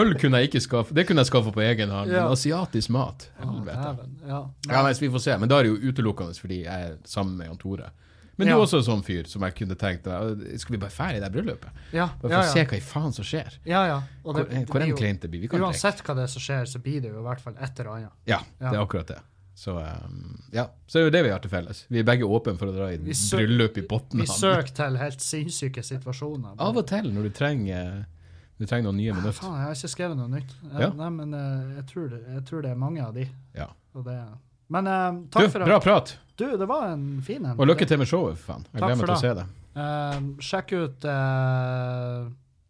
[SPEAKER 2] Øl kunne jeg ikke skaffe. Det kunne jeg skaffe på egen hånd.
[SPEAKER 1] Ja.
[SPEAKER 2] Men asiatisk mat Helvete.
[SPEAKER 1] dæven. Ja.
[SPEAKER 2] Ja, nei, så vi får se. Men da er det jo utelukkende fordi jeg er sammen med Jan Tore. Men
[SPEAKER 1] Ja.
[SPEAKER 2] du er også en sånn fyr som jeg kunne tenkt meg Skal vi bare fære i det bryllupet?
[SPEAKER 1] Ja,
[SPEAKER 2] Bare for
[SPEAKER 1] ja,
[SPEAKER 2] å se
[SPEAKER 1] ja.
[SPEAKER 2] hva i faen som skjer.
[SPEAKER 1] ja, ja. Og
[SPEAKER 2] Hvor,
[SPEAKER 1] det- det
[SPEAKER 2] hvor
[SPEAKER 1] blir
[SPEAKER 2] enn
[SPEAKER 1] jo-
[SPEAKER 2] kleint det blir. Vi kan drikke.
[SPEAKER 1] Uansett hva det er som skjer, så blir det jo i hvert fall et eller annet.
[SPEAKER 2] Ja,
[SPEAKER 1] Ja.
[SPEAKER 2] det er akkurat det. Så, um, ja. så det er jo det vi har til felles. Vi er begge åpne for å dra i
[SPEAKER 1] Vi sø-
[SPEAKER 2] bryllup i
[SPEAKER 1] Vi
[SPEAKER 2] Botnhamn.
[SPEAKER 1] søker til helt sinnssyke situasjoner.
[SPEAKER 2] Av og til når du trenger, du trenger noen nye minutter.
[SPEAKER 1] Faen, jeg har ikke skrevet noe nytt. Eh,
[SPEAKER 2] Ja.
[SPEAKER 1] Nei, men eh, jeg, tror det, jeg tror det er mange av de.
[SPEAKER 2] Ja.
[SPEAKER 1] Og det, men eh,
[SPEAKER 2] Du,
[SPEAKER 1] takk for
[SPEAKER 2] bra
[SPEAKER 1] at
[SPEAKER 2] prat!
[SPEAKER 1] Du, det var en fin en.
[SPEAKER 2] Og lykke til med showet, for faen. Jeg
[SPEAKER 1] Takk
[SPEAKER 2] gleder
[SPEAKER 1] for
[SPEAKER 2] meg til å se
[SPEAKER 1] det.
[SPEAKER 2] det.
[SPEAKER 1] Eh, sjekk ut eh,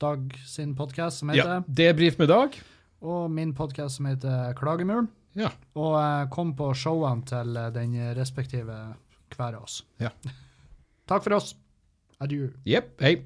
[SPEAKER 1] Dag sin podkast som
[SPEAKER 2] Ja,
[SPEAKER 1] heter
[SPEAKER 2] Debrif med Dag.
[SPEAKER 1] Og min podkast som heter Klagemuren.
[SPEAKER 2] Ja.
[SPEAKER 1] Og eh, kom på showene til eh, den (laughs) respektive hver av oss.
[SPEAKER 2] Ja.
[SPEAKER 1] Takk for oss. Adjø.
[SPEAKER 2] Jepp. Hei.